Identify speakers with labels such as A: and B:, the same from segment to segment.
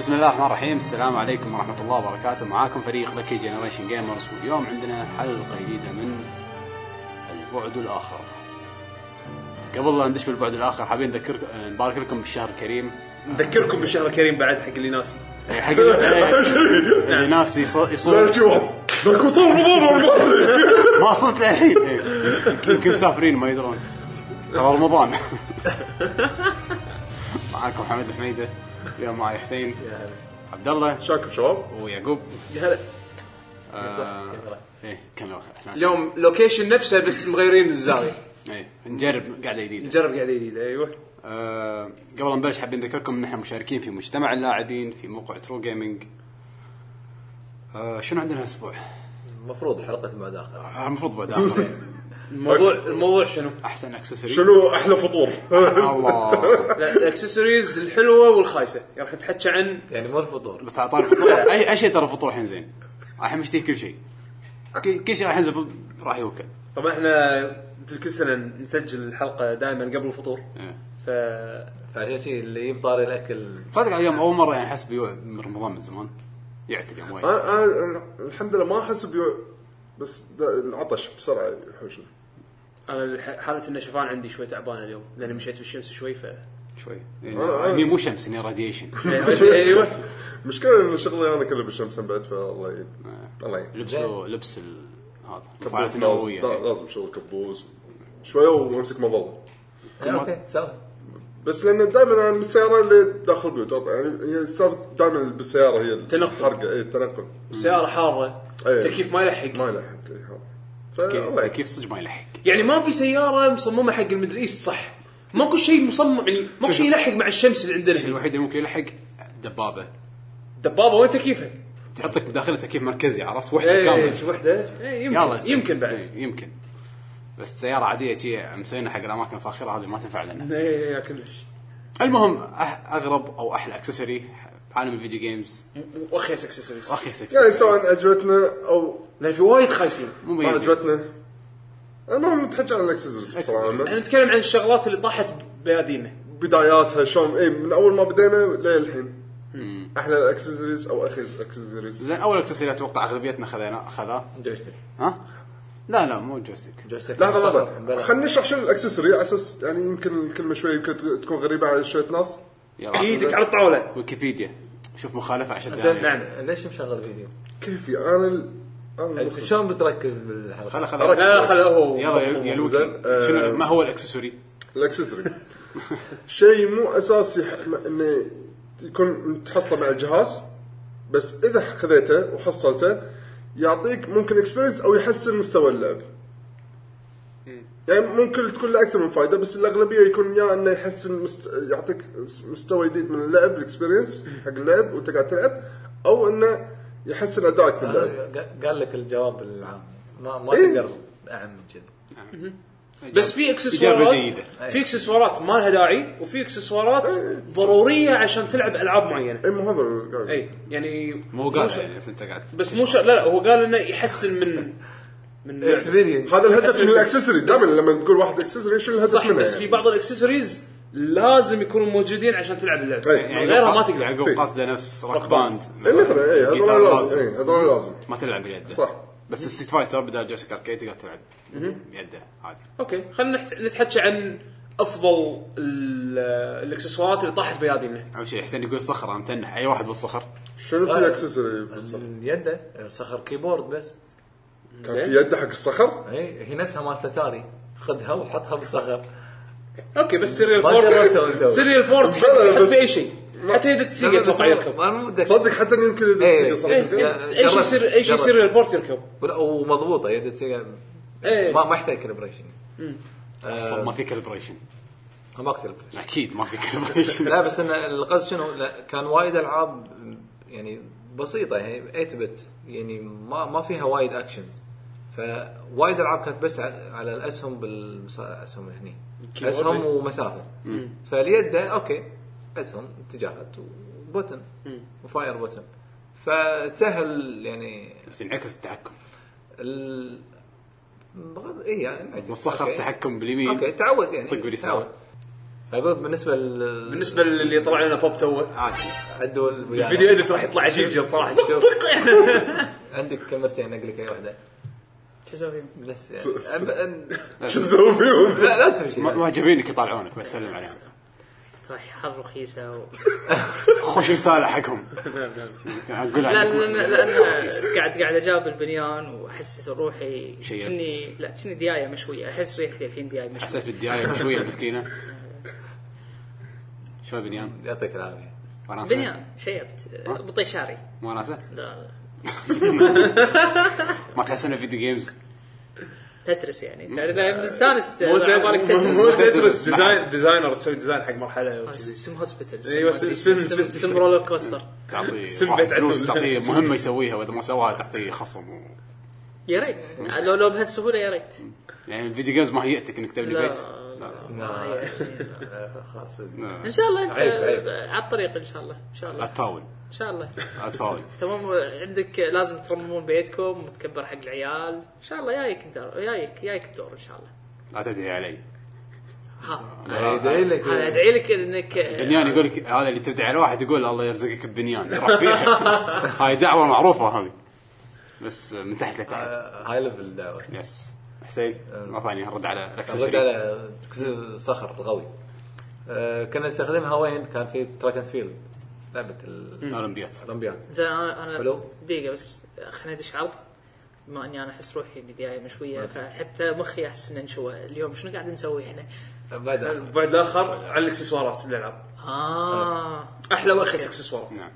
A: بسم الله الرحمن الرحيم السلام عليكم ورحمة الله وبركاته معاكم فريق ذكي جنريشن جيمرز واليوم عندنا حلقة جديدة من البعد الآخر بس قبل لا ندش بالبعد الآخر حابين نذكر نبارك لكم بالشهر الكريم إيه،
B: نذكركم بالشهر الكريم بعد حق اللي ناسي
A: حق اللي ناس يص- يصور
B: لكم صار رمضان
A: ما وصلت للحين إيه. يمكن مسافرين ما يدرون ترى رمضان معاكم حمد الحميدة اليوم معي حسين عبد الله
B: شاكم شباب
A: ويعقوب
B: هلا
A: آه، ايه كاميرا احنا
C: اليوم لوكيشن نفسه بس مغيرين الزاويه
A: ايه نجرب قاعده جديده
C: نجرب قاعده جديده ايوه
A: أه قبل نبلش حابين نذكركم ان احنا مشاركين في مجتمع اللاعبين في موقع ترو جيمنج أه شنو عندنا هالاسبوع؟
D: المفروض حلقه بعد اخر
A: آه، المفروض بعد آخر.
C: الموضوع الموضوع شنو؟
A: احسن اكسسوري
B: شنو احلى فطور
A: الله
C: لا، الاكسسوارز الحلوه والخايسه يعني راح نتحكى عن
D: يعني مو الفطور
A: بس اعطاني فطور اي اي شيء ترى فطور الحين زين الحين مشتهي كل شيء كل كل شيء راح ينزل ب- راح يوكل
C: طبعا احنا مثل كل سنه نسجل الحلقه دائما قبل الفطور
A: إيه.
C: ف
D: فعشان شي اللي يجيب طاري الاكل
A: صدق على اليوم اول مره يعني احس بيوع من رمضان من زمان يعتل يوم وايد
B: انا أنا الحمد لله ما احس بيوع بس دا- العطش بسرعه يحوشنا
C: انا الح- حاله ان شفان عندي شوي تعبان اليوم لاني مشيت بالشمس شوي ف
A: شوي يعني مو شمس يعني راديشن
C: ايوه
B: مشكلة ان شغلي انا كله بالشمس بعد فالله يعين الله يعين
A: لبس لبس ال- هذا
B: كبوس
A: الفعاليات
B: لازم,
A: النوويه
B: لا- لازم شغل كبوس شوية وامسك مظلة
D: آه، اوكي سوا
B: بس لان دائما انا من السيارة اللي داخل بيوت يعني هي سالفة دائما بالسيارة هي
C: تنقل.
B: الحرقة اي التنقل
C: السياره حاره
B: إيه.
C: التكييف ما يلحق
B: ما يلحق اي هذا فالله يعين.
A: كيف صدق ما يلحق
C: يعني ما في سياره مصممه حق الميدل ايست صح ماكو شيء مصمم يعني ماكو شيء يلحق مع الشمس اللي عندنا
A: الشيء
C: هنا.
A: الوحيد اللي ممكن يلحق دبابه
C: دبابه وين تكييفها؟
A: تحطك بداخلها تكييف مركزي عرفت
B: إيه،
A: وحده
C: ايه
A: كامله
C: شو وحده إيه، يمكن
A: يصير.
C: يمكن بعد
A: إيه، يمكن بس سياره عاديه شي مسوينا حق الاماكن الفاخره هذه ما تنفع لنا
C: ايه يا كلش
A: المهم أه، أح- اغرب او احلى اكسسوري عالم الفيديو جيمز
C: واخيس اكسسوارز
A: واخي
B: يعني
A: سكس
B: سواء عجبتنا او
C: لان في وايد خايسين
B: ما
A: مميز
B: عجبتنا المهم نتحكي عن الاكسسوارز بصراحه
C: احنا نتكلم عن الشغلات اللي طاحت بيادينا
B: بداياتها شلون اي إيه، من اول ما بدينا للحين احلى الاكسسوارز او اخي الاكسسوارز
A: زين اول اكسسوري اتوقع اغلبيتنا خذينا خذاه
D: جويستيك
A: ها لا لا مو جويستيك
D: جويستيك
B: لحظه
D: مصغر،
B: لحظه
D: بلا.
B: خلينا نشرح شنو الاكسسوري على اساس يعني يمكن الكلمه شوي يمكن ت- تكون غريبه على شويه ناس
A: يلا
C: ايدك على الطاوله
A: ويكيبيديا شوف مخالفه عشان دقائق.
C: نعم
D: ليش مشغل فيديو؟
B: كيفي انا ال- انا
D: أنت
B: المخرج.
D: شلون بتركز
A: خلا
D: بالحلقه؟
A: خلا
C: لا لا خله هو
A: يلا يا- يا لوكي
B: زين، آه.
A: شنو ما هو الاكسسوري؟
B: الاكسسوري شيء مو اساسي ح- م- انه يكون متحصله مع الجهاز بس اذا خذيته وحصلته يعطيك ممكن اكسبيرينس او يحسن مستوى اللعب. يعني ممكن تكون له اكثر من فائده بس الاغلبيه يكون يا انه يحسن مست... يعطيك س- مستوى جديد من اللعب الاكسبيرينس حق اللعب وانت قاعد تلعب او انه يحسن ادائك باللعب.
D: قال- قال لك الجواب العام ما ما
B: إيه.
D: تقدر اعم من كذا
C: بس في
A: إجابة
C: اكسسوارات
A: جيدة.
C: في اكسسوارات ما لها داعي وفي اكسسوارات ضروريه عشان تلعب العاب معينه
B: اي إيه، مو هذا اللي قاعد-
C: اي يعني
A: مو قال
C: شرط.
A: يعني بس انت قاعد
C: بس مو شرط لا لا هو قال انه يحسن من من يعني
D: اكسبيرينس
B: هذا الهدف من
C: بس-
B: الاكسسوري
C: بس-
B: دائما لما تقول واحد اكسسوري شنو الهدف
C: صح
B: منه
C: بس
B: يعني؟
C: في بعض الاكسسوارز لازم يكونوا موجودين عشان تلعب اللعبه
B: إيه.
C: يعني غيرها ما
A: يعني
C: تقدر
A: يعقوب قصده نفس روك
C: Rock
A: باند
B: اي مثلا اي إيه، هذول لازم اي هذول لازم
A: ما تلعب بيده
B: إيه. صح.
A: بس الستيت فايتر بدل جويستيك اركيد تقدر تلعب بيده عادي
C: اوكي خلينا نحت- نتحكى عن افضل ال- الاكسسوارات اللي طاحت بيادينا
A: اول شيء حسين يقول صخره امتنح اي واحد بالصخر
B: شنو في اكسسوري بالصخر؟
D: يده صخر كيبورد بس إيه؟
B: كان في يده حق الصخر؟
D: هي هي نفسها مالت اتاري خذها وحطها بالصخر
C: اوكي بس سيريال
D: ما جربتها من
C: بورت
D: تو.
C: سيريال بورت
B: بلا،
C: حق
B: بس-
C: في اي شيء حتى يد السيجا اتوقع يركب
D: انا مو متاكد
B: صدق حتى إن يمكن إذا
D: إيه.
B: تصير صخر
C: إيه،
B: زين.
C: بس اي شيء
D: جربت.
C: سير اي شيء
D: جربت.
C: سيريال بورت يركب
D: ولا- ومضبوطه يد السيجا
C: إيه.
D: ما ما يحتاج كالبريشن
E: آه.
A: اصلا ما في كالبريشن
D: ما كالبريشن
A: اكيد ما في كالبريشن
D: لا بس ان القصد شنو لا كان وايد العاب يعني بسيطه هي 8 بت يعني ما ما فيها وايد اكشنز فوايد العاب كانت بس ع- على الاسهم بالاسهم هني اسهم ومسافه فاليد ده اوكي اسهم اتجاهات وبوتن وفاير بوتن فتسهل يعني
A: بس ينعكس التحكم
D: ال بغض اي يعني
A: والصخر
D: أوكي.
A: تحكم باليمين
D: اوكي تعود يعني
A: طق باليسار.
D: تعود. اقول لك بالنسبه لل
C: بالنسبه للي طلع لنا بوب توه
A: عادي
D: عدوا ويانا.
C: الفيديو اديت راح يطلع عجيب جدا صراحه
D: شوف.
C: بق يعني.
D: عندك كاميرتين اقول لك اي واحده
E: شو اسوي؟
D: بس يعني أب- أن-
B: شو تسوي فيهم؟
D: لا لا تسوي شيء
A: معجبينك يطالعونك بس سلم عليهم
E: راح يحر رخيصه طيب، و...
A: خوش رساله حقهم اقول
E: لا
A: عندك
E: لان لان قاعد قاعد اجاوب البنيان واحس روحي
A: شيبت.
E: كني لا كني ديايه مشويه احس ريحتي الحين ديايه مشويه
A: حسيت بالديايه شويه المسكينه شو بنيان؟
D: يعطيك العافيه
A: وناسه؟
E: بنيان شيبت بطيشاري
A: وناسه؟
E: لا
A: ما تحس انه فيديو جيمز
E: تترس يعني انت لا، مستانس ت-
C: مو
E: على بالك
C: ت- مو-
E: تترس
C: مو
A: تترس.
C: تدرس ديزاين ديزاينر تسوي ديزاين حق مرحله
E: آه،
C: وكذي.
E: سم هوسبيتال
C: أيوة،
E: سم-
C: سم-
E: سم
C: سم-
E: سم رولر كوستر
A: تعطيه
C: سم
A: واحد
C: بيت عدل.
A: فلوس تعطيه مهمه يسويها واذا ما سواها تعطيه خصم و...
E: يا ريت لو لو بهالسهوله يا ريت
A: يعني الفيديو جيمز ما هيئتك انك تبني
E: لا
A: بيت
E: لا،
D: لا.
E: يعني-
D: آه، خلاص
E: ان شاء الله انت
D: عيب، عيب.
E: آه، على الطريق ان شاء الله ان شاء
A: لا
E: الله
A: تفاول
E: ان شاء الله
A: لا تفاول
E: تمام عندك لازم ترممون بيتكم وتكبر حق العيال ان شاء الله جايك الدور جايك جايك الدور ان شاء الله
A: لا تدعي علي
E: ها
D: ادعي لك
E: انا ادعي لك انك
A: بنيان يقول لك هذا اللي تدعي على واحد يقول الله يرزقك ببنيان راح فيها هاي دعوه معروفه هذه بس من تحت لتحت
D: آه، هاي ليفل دعوه
A: يس حسين
E: آه.
A: ما ثاني رد على
D: رد
A: الاكسسوري
D: على تكسير صخر غوي آه، كنا نستخدمها وين كان في تراك اند فيلد لعبه ال-
A: اولمبيات
D: الاولمبياد
E: زين انا انا
D: حلو.
E: دقيقه بس خليني ادش عرض بما اني انا احس روحي اني ديايه مشويه فحتى مخي احس انه انشوى اليوم شنو قاعدين نسوي احنا؟
D: بعد
C: البعد الاخر على الاكسسوارات الالعاب
E: اه
C: احلى واخس اكسسوارات
A: نعم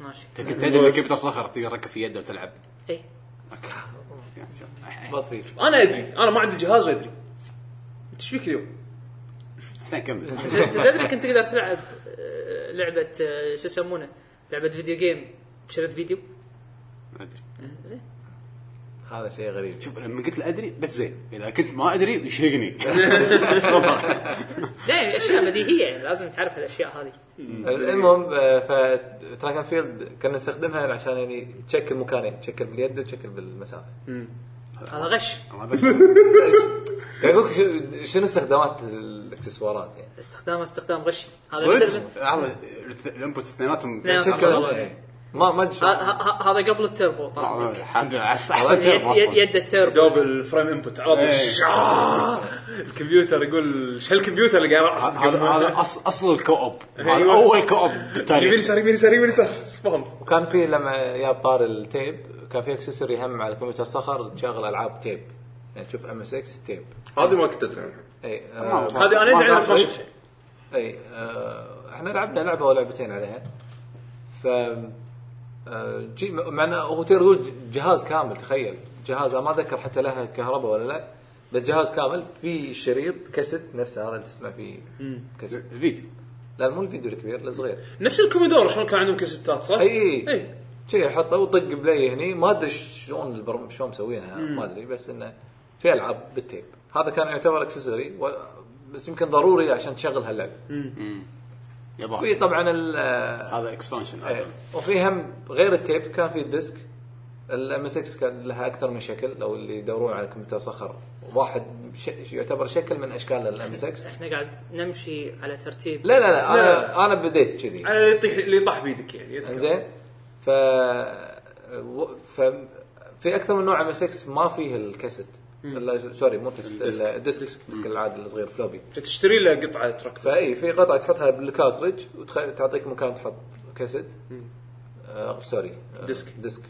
E: ماشي إيه.
A: انت كنت تدري ان كمبيوتر صخر تقدر تركب في يده وتلعب
E: اي
A: يعني شوف.
D: بط فيه
C: انا ادري انا ما عندي الجهاز وادري انت ايش فيك اليوم؟
A: حسين كمل
E: ت- تدري كنت تقدر تلعب آه، لعبه آه، شو يسمونه؟ لعبه فيديو جيم بشريط فيديو
A: ما ادري
E: زين
D: هذا شيء غريب
A: شوف لما قلت له ادري بس زين اذا كنت ما ادري يشهقني تفضل.
E: لا يعني اشياء بديهيه يعني لازم تعرف الاشياء هذه
D: المهم آه، فتراك اند فيلد كنا نستخدمها عشان يعني تشكل مكانين تشكل باليد وتشكل بالمسافه
E: هذا غش
A: ما أدري.
D: قاعد اقول لك شو- شنو استخدامات الاكسسوارات يعني
E: استخدامه استخدام غشي هذا
A: صدق
E: بدل-
A: لحظة، الانبوتس اثنيناتهم
E: لا، آه.
A: خمسة.
E: تشكل.
D: ما ما ادري
E: ه-
D: شو-
E: ه- ه- هذا قبل التربو طبعا
A: آه، حق احسن
E: يد,
A: تعب
E: يد,
A: اصلا
E: يد التربو
C: دوب الفريم انبوت على طول
A: إيه.
C: شش- آه. الكمبيوتر يقول ايش هالكمبيوتر اللي قاعد راح
A: هذا- هذا هذا أص- اصل الكوب هذا
C: أيوة.
A: اول كوب
C: يمين
A: بالتاريخ
C: يسار يمين يسار يمين يسار سبام
D: وكان في لما جاب طار التيب كان في اكسسوري هم على كمبيوتر صخر تشغل العاب تيب يعني تشوف ام اس اكس تيب
B: هذه ما يعني. كنت ادري عنها
D: اي آه،
A: ما هو صح.
C: هذه انا ادري عنها بس ما
A: ما-
C: شفت شيء
D: اي آه، احنا لعبنا لعبه او لعبتين عليها ف آه، جي مع انه هو تقدر تقول ج- جهاز كامل تخيل جهاز أنا ما اتذكر حتى لها كهرباء ولا لا بس جهاز كامل في شريط كاسيت نفسه هذا اللي تسمع فيه كاسيت
A: الفيديو
D: لا مو الفيديو الكبير الصغير
C: نفس الكوميدور شلون كان عندهم كاسيتات صح؟
D: اي اي
C: اي.
D: شي يحطه وطق بلاي هني ما ادري شلون البرم شلون مسوينها ما ادري بس انه في العاب بالتيب هذا كان يعتبر اكسسوري و... بس يمكن ضروري عشان تشغل هاللعبه في
A: يبا
D: طبعا ال
A: هذا اكسبانشن
D: إيه. وفي هم غير التيب كان في الديسك الام اس 6 كان لها اكثر من شكل لو اللي يدورون على كمبيوتر صخر واحد ش... يعتبر شكل من اشكال الام اس 6
E: احنا قاعد نمشي على ترتيب
D: لا لا لا انا
C: لا.
D: انا بديت كذي
C: على اللي يطيح اللي يطاح بيدك يعني يذكر.
D: انزين ف و- ف في اكثر من نوع ام اس 6 ما فيه الكاسيت لا، سوري مو كاسيت الديسك الديسك العادي الصغير فلوبي
C: تشتري له قطعه ترك
D: فاي في قطعه تحطها بالكارترج وتعطيك مكان تحط كاسيت آه سوري آه،
C: ديسك.
D: ديسك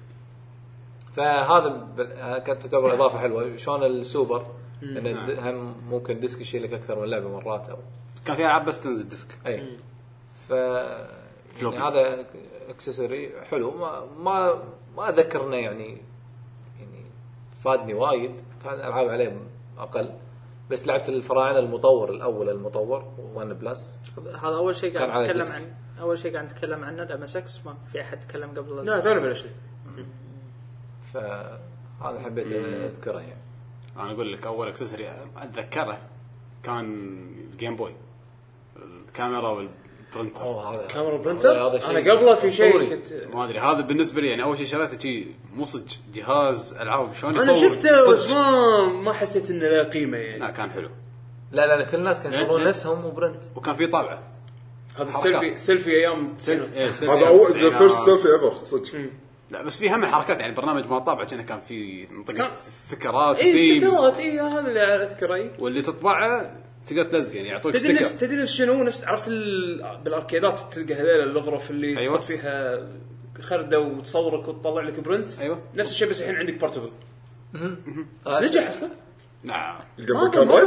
D: فهذا بال- آه، كانت تعتبر اضافه حلوه شلون السوبر انه د- هم ممكن ديسك يشيل لك اكثر من لعبه مرات او
A: كان في العاب بس تنزل ديسك
D: اي إيه. ف
A: فلوبي.
D: يعني هذا اكسسوري حلو ما ما ما اذكر انه يعني يعني فادني وايد كان العاب عليه اقل بس لعبت الفراعنه المطور الاول المطور 1 بلس
E: هذا اول شيء
D: كان على
E: قاعد نتكلم
D: الديسك.
E: عن اول شيء قاعد نتكلم عنه الام اس اكس ما في احد تكلم قبل
C: لا تعرف على شيء
D: فهذا حبيت اذكره يعني
A: انا اقول لك اول اكسسوري اتذكره كان الجيم بوي الكاميرا والبرنتر
D: اوه هذا
C: كاميرا
D: هذا-
C: برنتر
D: هذا شيء
C: انا قبله في
D: أسطوري.
C: شيء كنت
A: ما ادري هذا بالنسبه لي يعني اول شيء شريته شي مصج جهاز العاب شلون يصور
C: انا شفته بس
A: صج.
C: ما ما حسيت انه له قيمه يعني
A: لا كان حلو
D: لا لا لا كل الناس كانوا يصورون نفسهم وبرنت
A: وكان في طلعه
C: هذا
A: حركات.
C: السيلفي سيلفي ايام
A: سيلفي- إيه، سيلفي
B: هذا
A: أيام
B: اول ذا
A: التسعينات.
B: فيرست سيلفي ايفر صدق
A: لا بس في هم الحركات يعني برنامج ما طابع كأنه كان في منطقه
C: كان- إيه،
A: ستيكرات
C: اي
A: وثيمز.
C: استكرات اي هذا اللي اذكره اي
A: واللي تطبعه تقدر تلزق يعني يعطوك
C: تدري نفس
A: ستيكر
C: تدري نفس شنو نفس عرفت ال... بالاركيدات تلقى هذيلا الغرف اللي
A: أيوة.
C: أيوة. تحط فيها خرده وتصورك وتطلع لك برنت
A: أيوة.
C: نفس الشيء بس الحين عندك بورتبل بس نجح اصلا
A: نعم
B: قبل كان وايد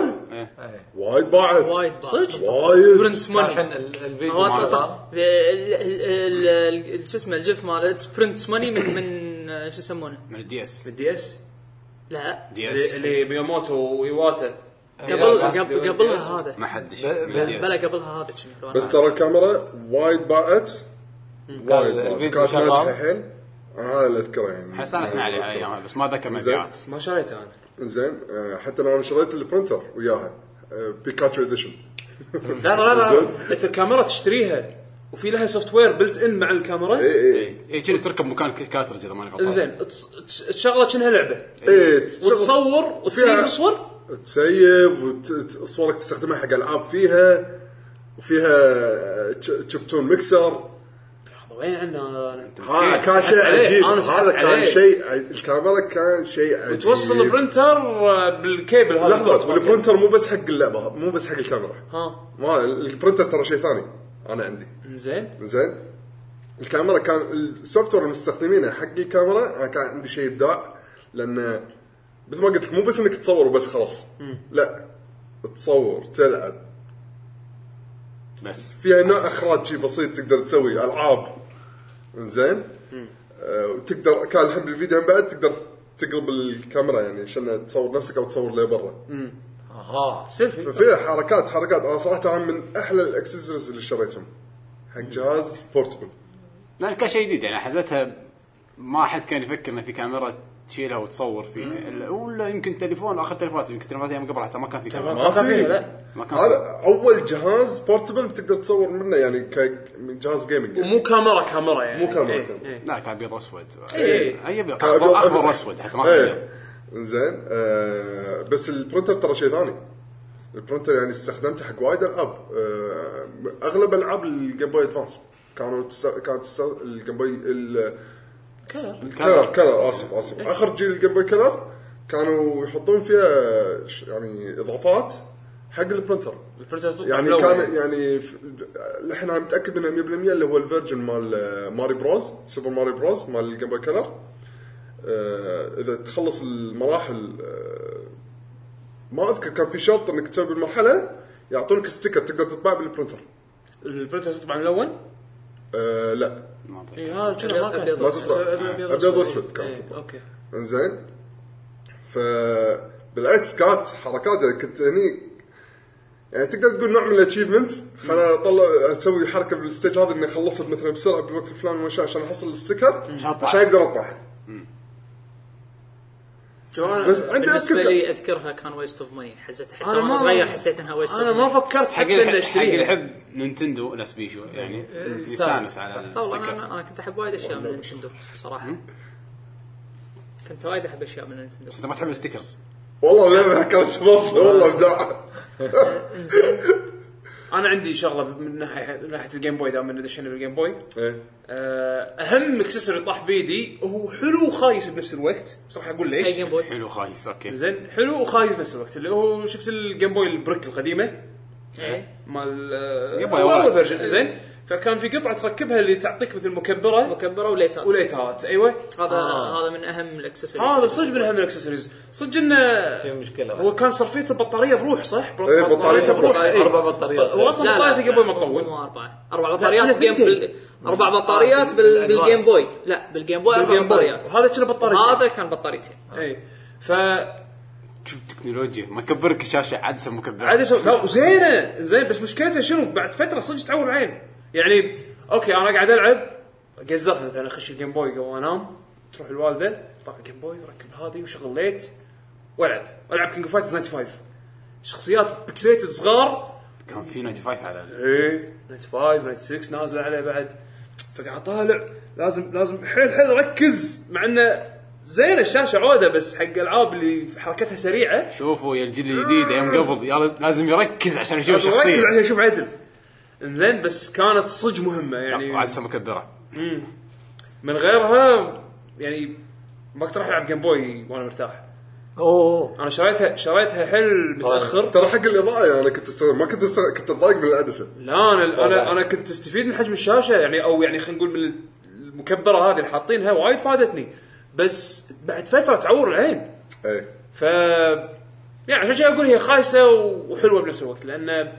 B: وايد باعت
E: وايد صدق
B: وايد
E: برنت
D: الحين
E: ماني
D: ال-
E: هو
D: الفيديو مالته
E: أطلع- ال- ال- ال- ال- شو اسمه الجيف مالت برنت ماني من من آه، شو يسمونه
A: من الدي اس
C: الدي اس
E: لا
A: دي
C: اللي-
A: اس
C: اللي مياموتو وايواتا
E: قبل
C: لا،
E: قبل-
C: لا،
E: قبلها
C: لا.
E: هذا
A: ما حدش
D: بل-
A: من الدي
E: بلا
A: اس
E: قبلها هذا شنو الوان
B: بس ترى الكاميرا وايد باعت وايد باعت.
D: الفيديو
B: كانت
D: شغال.
B: ناجحه حيل انا هذا اللي اذكره يعني
A: استانسنا عليها ايام بس ما ذكر
B: زين.
A: مبيعات
C: ما شريته انا
B: زين آه، حتى انا شريت البرنتر وياها آه، بيكاتشو اديشن
C: لا لا لا
B: زين.
C: انت الكاميرا تشتريها وفي لها سوفت وير بلت ان مع الكاميرا
B: اي اي
A: اي كنا إيه، تركب مكان كاترج اذا ماني
B: إيه.
A: غلطان
C: زين تس- تس- تشغله كأنها لعبه
B: اي
C: وتصور وتسيف
B: إيه، فيها-
C: صور
B: تسيف وصورك تستخدمها حق العاب فيها وفيها تشبتون ميكسر
C: وين عنا أنا؟
B: هذا كان شيء
C: عليه.
B: عجيب
C: أنا سحبت
B: هذا كان
C: عليه.
B: شيء ع- الكاميرا كان شيء عجيب
C: توصل البرنتر آه، بالكيبل هذا
B: لحظة والبرنتر مو بس حق اللعبة مو بس حق الكاميرا
C: ها
B: ما البرنتر ترى شيء ثاني انا عندي
C: زين
B: زين الكاميرا كان السوفت وير المستخدمينه حق الكاميرا انا كان عندي شيء ابداع لان مثل ما قلت لك مو بس انك تصور وبس خلاص لا تصور تلعب
A: بس
B: فيها نوع اخراج شيء بسيط تقدر تسوي العاب زين آه وتقدر كان الحين بالفيديو هم بعد تقدر تقلب الكاميرا يعني عشان تصور نفسك او تصور اللي برا
D: اها
C: سيلفي
B: ففيها حركات حركات انا صراحه هم من احلى الاكسسوارز اللي شريتهم حق جهاز بورتبل
A: لان كان شيء جديد يعني حزتها ما حد كان يفكر انه في كاميرا تشيلها وتصور فيها إلا- ولا يمكن تليفون اخر تليفونات يمكن تليفونات ايام قبل حتى ما كان في كاميرا
B: ما
C: كان
B: في.
C: فيها، لا
A: ما كان في.
B: هذا اول جهاز بورتبل تقدر تصور منه يعني ك- من جهاز جيمنج يعني.
C: ومو كاميرا كاميرا يعني
B: مو كاميرا
C: إيه،
B: كاميرا.
C: إيه.
A: لا كان ابيض واسود
C: إيه.
A: اي ابيض اخضر أخضر واسود حتى ما كان أبيض.
B: ايه زين آه بس البرنتر ترى شيء ثاني البرنتر يعني استخدمته حق وايد العاب آه اغلب العاب الجيم بوي ادفانس كانوا تس... كانت تس... الجيم بوي ال...
E: كلر.
B: الكلر كلر اسف اسف اخر جيل الجيم بوي كلر كانوا يحطون فيها ش- يعني اضافات حق البرنتر
C: البرنتر تطلع
B: يعني
C: بالأول.
B: كان يعني ف- الحين انا متاكد منه 100% اللي هو الفيرجن مال آه، ماري بروز سوبر ماري بروز مال الجيم بوي كلر آه، اذا تخلص المراحل آه، ما اذكر كان في شرط انك تسوي بالمرحله يعطونك ستيكر تقدر تطبع بالبرنتر
C: البرنتر تطبع ملون
B: آه لا
A: ما أدري.
C: اي هذا كنا ما كان
E: أبيض
B: ما تطبع
C: أبيض
B: ابيض
C: وأسود.
B: واسود كان
C: إيه، اوكي
B: انزين ف بالعكس كانت حركات يعني كنت هني يعني تقدر تقول نوع من الاتشيفمنت خلنا اطلع اسوي حركه بالستيج هذا اني اخلصها مثلا بسرعه بالوقت الفلاني وما شاء عشان احصل الستيكر
A: أطلع.
B: عشان اقدر اطلعها بس
E: بس
B: عندي
E: بالنسبه
B: أذكر-
E: لي اذكرها كان ويست اوف ماني حزتها حتى
C: أنا
E: وانا
C: ما-
E: صغير حسيت انها ويست
C: انا ما فكرت
A: حق
C: حتى اني
A: اللي- حق اللي
C: اشتريها
A: يحب نينتندو لا سبيشو يعني يستانس
D: يستانس.
A: على
E: انا
A: الستيكر
E: انا كنت احب وايد اشياء من نينتندو صراحه كنت وايد احب اشياء من نينتندو
A: بس انت ما تحب الستيكرز
B: والله اللعبه كانت برضه والله ابداع
C: انا عندي شغله من ناحيه من ناحيه الجيم بوي دام إنه دشينا بالجيم بوي
B: إيه.
C: آه، اهم اكسسوري طاح بيدي هو حلو وخايس بنفس الوقت بس راح اقول
E: اي
C: ليش
E: جيم بوي
A: حلو خايس اوكي
C: زين حلو وخايس بنفس الوقت اللي هو شفت الجيم بوي البريك القديمه
E: إيه.
C: مال
A: جيم
C: آه،
A: بوي
C: اول
A: واحد.
C: فيرجن زين فكان في قطعه تركبها اللي تعطيك مثل مكبره
E: مكبره وليتات
C: وليتات ايوه
E: هذا هذا من اهم الاكسسوارز
C: هذا صدق من اهم الاكسسوارز صدق انه
D: في مشكلة.
C: هو كان صرفيه البطاريه بروح صح؟
B: إيه، بطاريته بروح.
C: إيه.
D: اربع بطاريات
C: هو اصلا
E: لا، لا،
C: بطاريته
E: لا،
C: قبل ما
E: مو-
C: تطول
E: مو اربعه اربع
C: كنا
E: بطاريات بال-
C: ثنتين.
E: اربع بطاريات بال-
D: بالأدفانس.
E: بالجيم بوي لا بالجيم بوي اربع
C: بالجيم بوي.
E: بطاريات
C: هذا كنا بطاريته
E: هذا كان بطاريتين
C: اي ف
A: شوف تكنولوجيا مكبرك الشاشه عدسه مكبره
C: عاد اسوي لا وزينه زين بس مشكلتها شنو بعد فتره صدق تعور العين يعني اوكي انا قاعد العب قزرها مثلا اخش الجيم بوي قبل ما انام تروح الوالده طلع الجيم بوي وركب هذه وشغل ليت والعب العب كينج اوف فايترز 95 شخصيات بيكسيتد صغار
A: كان في 95 على
C: ايه 95 96 نازله عليه بعد فقاعد طالع لازم لازم حيل حيل ركز مع انه زين الشاشه عوده بس حق العاب اللي حركتها سريعه
A: شوفوا يا الجيل الجديد ايام قبل يا لز- لازم يركز عشان يشوف
C: ركز
A: شخصيه
C: عشان اشوف عدل انزين بس كانت صج مهمه يعني
A: وعاد سمك الذره
C: من غيرها يعني ما كنت راح العب جيم بوي وانا مرتاح
D: اوه
C: انا شريتها شريتها حيل متاخر
B: ترى حق الاضاءه يعني انا كنت استخدم ما كنت استخدم كنت اتضايق من العدسه
C: لا انا انا
D: طبعاً.
C: انا كنت استفيد من حجم الشاشه يعني او يعني خلينا نقول من المكبره هذه اللي حاطينها وايد فادتني بس بعد فتره تعور العين
B: اي
C: ف يعني عشان كذا اقول هي خايسه وحلوه بنفس الوقت لان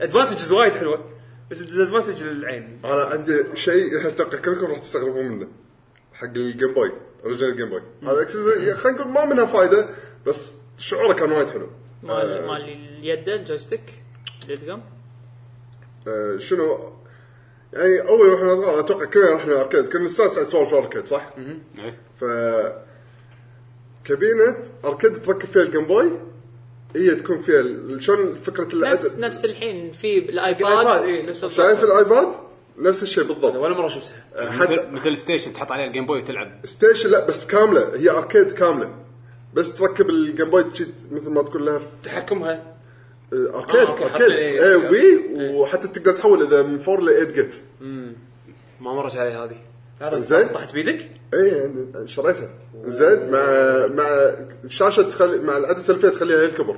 C: ادفانتجز وايد حلوه بس ديزادفانتج للعين
B: انا عندي شيء اتوقع كلكم راح تستغربوا منه حق الجيم بوي اوريجنال جيم بوي هذا اكسس- خلينا نقول ما منها فائده بس شعوره كان وايد حلو
E: مال مال اليد الجويستيك اليد قام
B: آه، شنو يعني اول واحنا صغار اتوقع كلنا رحنا الاركيد كنا لساتنا سوالف في الاركيد صح؟
A: إيه.
B: ف كابينه اركيد تركب فيها الجيم بوي هي تكون فيها ال- شلون فكره
E: نفس
B: العدد
E: نفس الحين في
C: الآيباد،
E: الايباد
C: إيه، نفس
B: شايف الايباد نفس الشيء بالضبط
C: ولا مره شفتها
B: آه، حتى
A: مثل مثل ستيشن تحط عليه الجيم بوي وتلعب
B: ستيشن لا بس كامله هي اركيد كامله بس تركب الجيم بوي تشي- مثل ما تقول لها
C: تحكمها
B: آه، اركيد
C: آه، أوكي، حط
B: اركيد
C: إيه،
B: اي
C: أوكي.
B: وي وحتى تقدر تحول اذا من 4 ل 8 جيت
C: ما مرت علي هذه هذا
B: زين.
C: طحت بيدك
B: اي يعني شريتها زين مع مع الشاشه تخلي مع العدسه اللي فيها تخليها يعني هي الكبر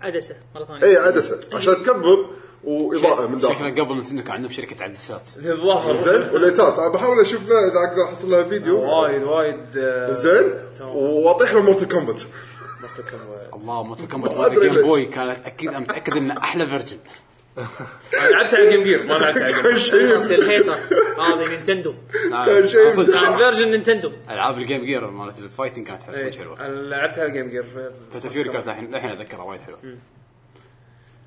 E: عدسه مره ثانيه
B: اي عدسه عشان تكبر واضاءه من داخل
A: شكلك قبل نتندو كان عندهم شركه عدسات
C: الظاهر
B: زين وليتات انا بحاول اشوف لها اذا اقدر احصل لها فيديو
C: وايد وايد آه،
B: زين
C: تمام.
B: واطيح له مورتل كومبات
A: الله موتو
B: ما
A: كمبر
B: أدري ليش.
A: الجيم بوي كانت اكيد انا متاكد انه احلى فيرجن
C: انا لعبت على الجيم جير ما لعبت على الجيم
B: كل شيء
E: خلاص يا الهيتر هذه نينتندو
A: نعم،
B: شيء
A: صدق.
E: كان فيرجن نينتندو
A: العاب الجيم جير مالت الفايتنج كانت حلوه
B: إيه.
A: صدق حلوه
C: انا لعبت على الجيم جير ف-
A: فتا فيوري كانت الحين الحين اذكرها وايد حلوه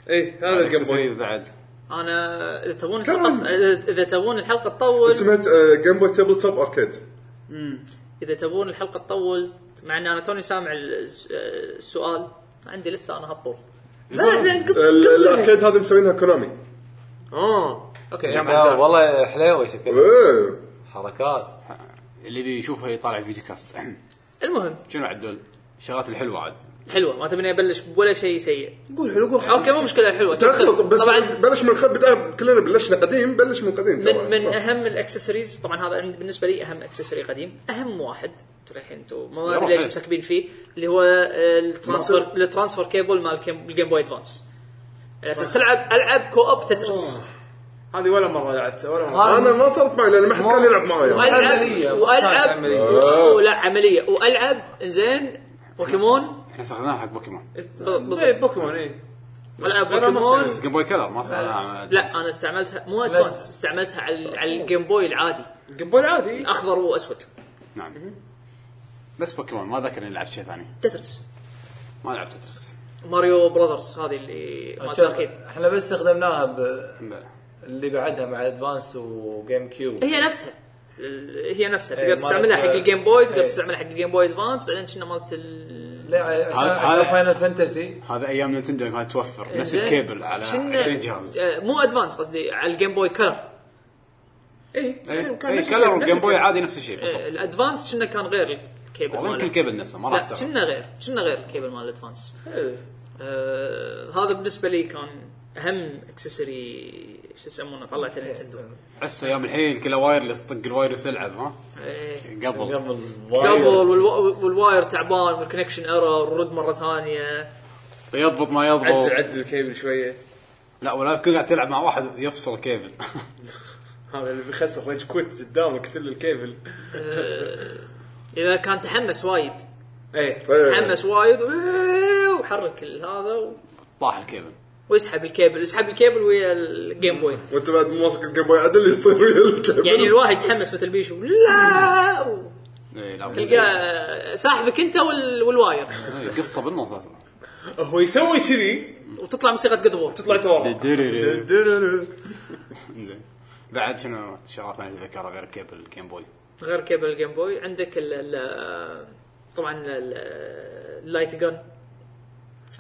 C: اي إيه، هذا الجيم بوي
A: الاكسسوارز بعد
E: انا اذا تبون
B: كمان.
E: الحلقه إذا- اذا تبون الحلقه تطول
B: اسمها آه، جيم بوي تيبل توب اركيد
E: اذا تبون الحلقه تطول مع ان انا توني سامع الس- السؤال عندي لسته انا هطول لا لا قط-
B: ال- الاركيد هذه مسوينها كونامي
C: اه اوكي
D: بس
C: جمع الجار.
D: والله حليوه شكلها
B: إيه.
D: حركات
A: اللي بيشوفها يطالع فيديو كاست
E: المهم
A: شنو عدل الشغلات الحلوه عاد
E: حلوه ما تبيني ابلش ولا شيء سيء
C: قول حلو قول
E: اوكي مو مشكله حلوه
B: تخلط بس
E: طبعا
B: بلش من خ... بدأ- كلنا بلشنا قديم بلش من قديم
E: من من اهم الاكسسوارز طبعا هذا عند- بالنسبه لي اهم اكسسوري قديم اهم واحد ترى الحين انتم ما ادري
A: يروح
E: ليش
A: إيه.
E: مسكبين فيه اللي هو آه، الترانسفير الترانسفير كيبل مال الكيم- الجيم بوي ادفانس على اساس تلعب العاب كو اوب تترس
C: هذه ولا مره لعبتها ولا مره
B: انا ما صارت معي لان ما حد كان يلعب معايا
D: عملية.
E: والعب والعب
D: عملية.
A: آه.
E: أوه، لا عمليه والعب زين بوكيمون
A: احنا استخدمناها حق بوكيمون
E: بالضبط.
C: اي إيه، بوكيمون اي
E: والعب
C: أنا ما
E: بوكيمون
A: بس جيم بوي كلر ما استخدمناها
E: لا انا استعملتها مو ادفانس استعملتها على على الجيم بوي العادي
C: جيم بوي العادي
E: اخضر واسود
A: نعم بس بوكيمون ما ذكر اني لعبت شيء ثاني
E: تترس
A: ما لعبت تترس
E: ماريو براذرز هذه اللي مال التركيب
D: احنا بس استخدمناها ب...
A: بلى.
D: اللي بعدها مع ادفانس وجيم كيوب
E: هي نفسها ال- هي نفسها
D: إيه،
E: تقدر
D: مالت-
E: تستعملها حق الجيم بوي تقدر
D: إيه.
E: تستعملها حق الجيم بوي ادفانس بعدين كنا مالت ال
D: لا عشان-
A: هذا-
D: عشان
A: هذا-
D: فاينل فانتسي
A: هذا ايام نينتندو كانت توفر نفس
E: زين.
A: الكيبل على
E: إيه، كنا-
A: 20 جهاز
E: آه، مو ادفانس قصدي على الجيم بوي كلر
C: اي
A: اي كلر وجيم بوي عادي نفس الشيء بالضبط
E: الادفانس كنا كان غير الكيبل
A: والله
E: ماله.
A: يمكن الكيبل نفسه ما راح
E: إيه، لا
A: استغرب
E: كنا غير كنا غير الكيبل مال الادفانس آه هذا بالنسبه لي كان اهم اكسسوري شو يسمونه طلعته نينتندو
A: احس ايام الحين كله وايرلس طق الوايرلس العب ها
E: إيه.
A: قبل
D: قبل
E: قبل
D: وايد.
E: والوا- والواير تعبان والكونكشن ايرور ورد مره ثانيه
A: يضبط ما
C: عدل
A: يضبط
C: عدل الكيبل شويه
A: لا ولا كل قاعد تلعب مع واحد يفصل كيبل
C: هذا اللي بيخسر ريج كويت قدامك تل الكيبل
E: اذا كان تحمس وايد
C: اي
B: إيه.
E: تحمس وايد و- وحرك ال- هذا و...
A: طاح الكيبل
E: ويسحب الكيبل يسحب الكيبل ويا الجيم بوي
B: وانت بعد مو واثق الجيم بوي عدل يطير ويا الكاميرا
E: يعني الواحد يتحمس مثل بيشو لا و-
A: اي إيه، لا
E: تلقى ساحبك انت وال... والواير
A: إيه، قصه بالنص اصلا
C: هو يسوي كذي
E: وتطلع موسيقى قد فور
C: تطلع تورا
A: زين بعد شنو شغلات ما اتذكرها غير كيبل الجيم بوي
E: غير كيبل الجيم بوي عندك ال ال طبعا ال- اللايت جن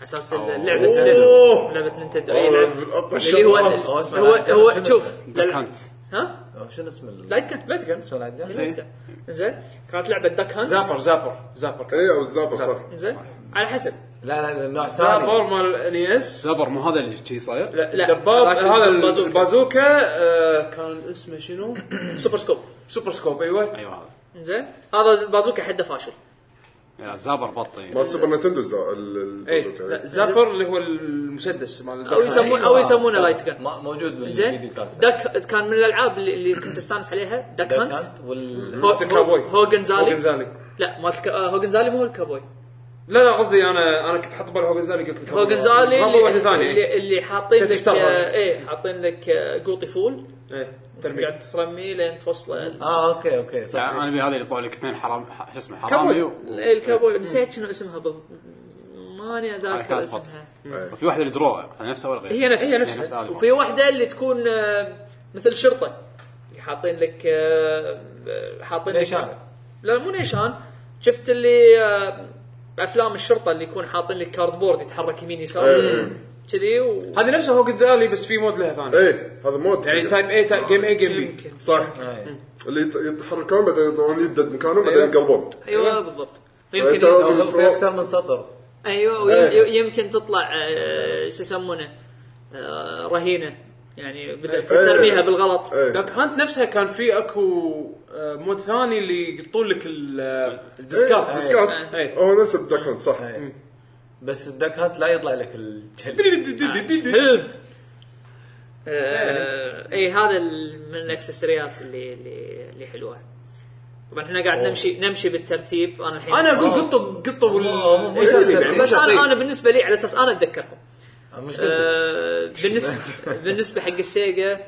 E: اساس ال- لعبه
B: أوه.
E: لعبه نينتندو
B: والله
E: إيه،
B: من أقوى
E: اللي هو
B: الشغلات.
E: هو هو شوف
A: ذا كانت
E: ها؟ إيه،
D: أو شنو اسم ال-
E: لايت كان
C: لا تقل
D: اسمه لايت جن؟
E: لايت كان
B: إيه.
E: زين كانت لعبه داك هانت
C: زابر زابر زابر
B: اي او الزابر صح
E: زين على حسب
D: لا لا النوع
C: زابر
D: الثاني
C: مال E اني اس
A: زبر مو هذا اللي شي صاير
C: لا
E: لا،
C: الدباب
E: هذاك
C: هذا
E: البازوكا.
C: البازوكا آه، كان اسمه شنو؟
E: سوبر سكوب
C: سوبر سكوب ايوه
A: ايوه هذا
E: زين هذا البازوكا حده فاشل
B: إيه،
A: لا زبر بطي
B: ما سوبر نتندو الزا- ال- ال-
C: اي
B: البازوكا.
C: إيه. لا، زابر اللي هو المسدس مال
E: او يسمون
D: آه.
E: او يسمونه لايت
D: م-
E: جن
D: موجود بالفيديو
E: زين
D: كاست
E: داك كان من الالعاب اللي اللي كنت استانس عليها داك
D: داك
E: هانت
D: هانت وال
E: هو-
C: مالت الكاوبوي.
E: هو- هوجن زالي.
C: هوجن زالي
E: لا مالت الك- آه، هوجن زالي مو هو الكابوي
C: لا لا قصدي انا انا كنت حاط بالي هوجن زالي قلت لك
E: هوجن زالي
C: رامبو واحده ثانيه
E: اللي, اللي حاطين
C: كنت
E: لك
C: تختار
E: آه،
C: هذا.
E: ايه حاطين لك آه، قوطي فول
C: إيه،
E: ترمي
C: ترميم
E: قاعد ترميه لين
C: آه،
E: توصله
D: اه اوكي اوكي صح
A: انا ابي هذا اللي طلع لك اثنين حرام ح- شو اسمه حرامي و-
C: آه،
E: ال- الكابوي نسيت شنو اسمها بالضبط ماني
C: آه،
E: اذاكر
A: حركات
E: اسمها
A: وفي واحده الدرو نفسها ولا غير
E: هي نفسها
C: هي نفسها.
A: هذه
E: وفي واحده اللي تكون آه، مثل شرطه اللي حاطين لك آه، حاطين لك
D: نيشان.
E: لا مو نيشان شفت اللي آه، افلام الشرطه اللي يكون حاطين لك كاردبورد يتحرك يمين يسار
B: إيه.
E: كذي و...
C: هذه نفسها هوجن زالي بس في مود لها ثاني
B: اي إيه، هذا مود
C: يعني تايب اي تايب جيم اي جيم بي
E: يمكن.
B: صح
D: إيه.
B: اللي يت- يتحركون بعدين يطلعون يد دد مكانهم بعدين يقلبون
E: ايوه بالضبط
B: أنت
E: يمكن
B: لازم
D: أو في اكثر من صدر
E: ايوه
B: إيه.
E: وي- يمكن تطلع آه، شو يسمونه آه، رهينه يعني بدات
B: إيه.
E: ترميها بالغلط
B: إيه.
C: داك هانت نفسها كان في اكو آه، مود ثاني اللي يقطون لك ال- آه، الديسكات
B: إيه، ديسكات
C: إيه.
B: هو نفس بداك هانت صح
D: إيه. بس الداك هانت لا يطلع لك الجلد
E: هلب
B: إيه.
E: آه، اي هذا ال- من الاكسسوارات اللي اللي اللي حلوه طبعا احنا قاعد نمشي نمشي بالترتيب انا الحين
C: انا اقول قطب قطب
D: أوه، مو- مو
C: إيه،
D: يصير
C: يعني
D: ترتيب.
E: بس انا
C: شغلين.
E: انا بالنسبه لي على اساس انا اتذكرهم
D: مشكلتك
E: آه، بالنسبه بالنسبه حق السيجا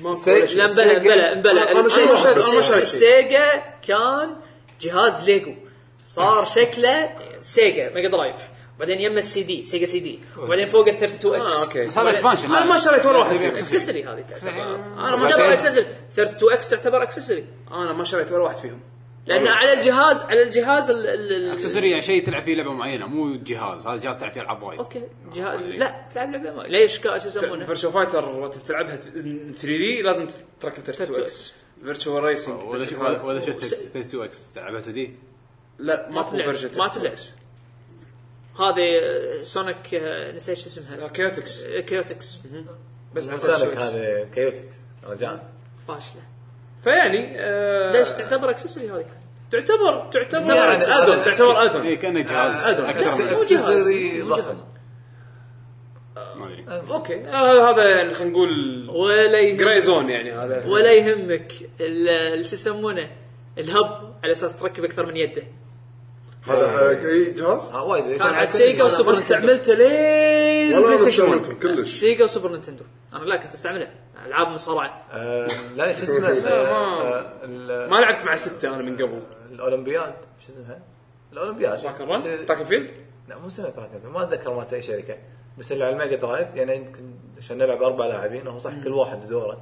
C: ما
D: سي-
E: لا بلا بلا بلا
B: أنا- أنا
E: السيجا-
B: شايف- أنا
E: السيجا-
B: شايف شيء.
E: السيجا كان جهاز ليجو صار شكله سيجا ميجا درايف بعدين يم السي دي سيجا سي دي وبعدين فوق ال 32
C: آه،
E: اكس
C: أوكي.
A: بس هذا اكسبانشن
C: انا ما شريت ولا واحد فيهم.
E: اكسسوري هذه تعتبر انا ما
C: بعدين-
E: اعتبر اكسسوري 32 اكس تعتبر اكسسوري
C: انا ما شريت ولا واحد فيهم
E: لان على الجهاز على الجهاز ال- ال- ال-
A: اكسسوري يعني شيء تلعب فيه لعبه معينه مو جهاز هذا جهاز تلعب فيه العاب وايد
E: اوكي جهاز لا تلعب لعبه ما- ليش كا- شو يسمونه
C: فيرتشو فايتر تبي تلعبها 3 دي لازم تركب 32
E: 32X.
C: اكس فيرتشو ريسنج
A: ولا شفت ولا شفت 32 اكس لعبته دي
C: لا
E: ما
C: ماكو
E: تلعب
C: فيرجن
E: ما تلعب هذه آه، سونيك آه، نسيت شو اسمها
C: كيوتكس
E: آه، كيوتكس
C: بس على
D: مسالك
C: 32X.
D: هذا كيوتكس رجاء
E: فاشله
C: فيعني آه،
E: ليش تعتبر اكسسوري هذه؟
C: تعتبر تعتبر
D: يعني
C: ادون
D: أدون.
C: تعتبر ادون
A: اي
D: إيه.
A: كانه إيه، جهاز
C: آه، أدرى.
A: اكثر من
E: مو جهاز.
D: اكسسوري
E: مو جهاز.
D: ضخم
A: ما ادري
C: اوكي آه، هذا يعني خلينا نقول
E: ولا
C: جراي
E: يهم
C: زون يعني هذا
E: ولا يهمك ال- ال- شو يسمونه الهب على اساس تركب اكثر من يده
B: هذا حق اي جهاز
D: ها وايد
E: كان على السيجا
C: ما
E: وسوبر نتندو
C: استعملته
E: إيه.
C: لين
B: والله
C: بلاي
B: انا
C: ستيشن 1
B: استعملتهم كلش
E: سيجا وسوبر نتندو انا لا كنت استعملها العاب مصارعه
D: آه، لا شو اسمه ال- آه، ال-
C: ما لعبت مع ستة انا من قبل
D: الاولمبياد شو اسمها؟ الاولمبياد
C: تراك
D: بس-
C: الرن تراك الفيلد
D: لا مو سنه تراك الرن، ما اتذكر مالت اي شركه بس اللي على الميجا درايف يعني يمكن عشان نلعب اربع لاعبين هو صح كل واحد دوره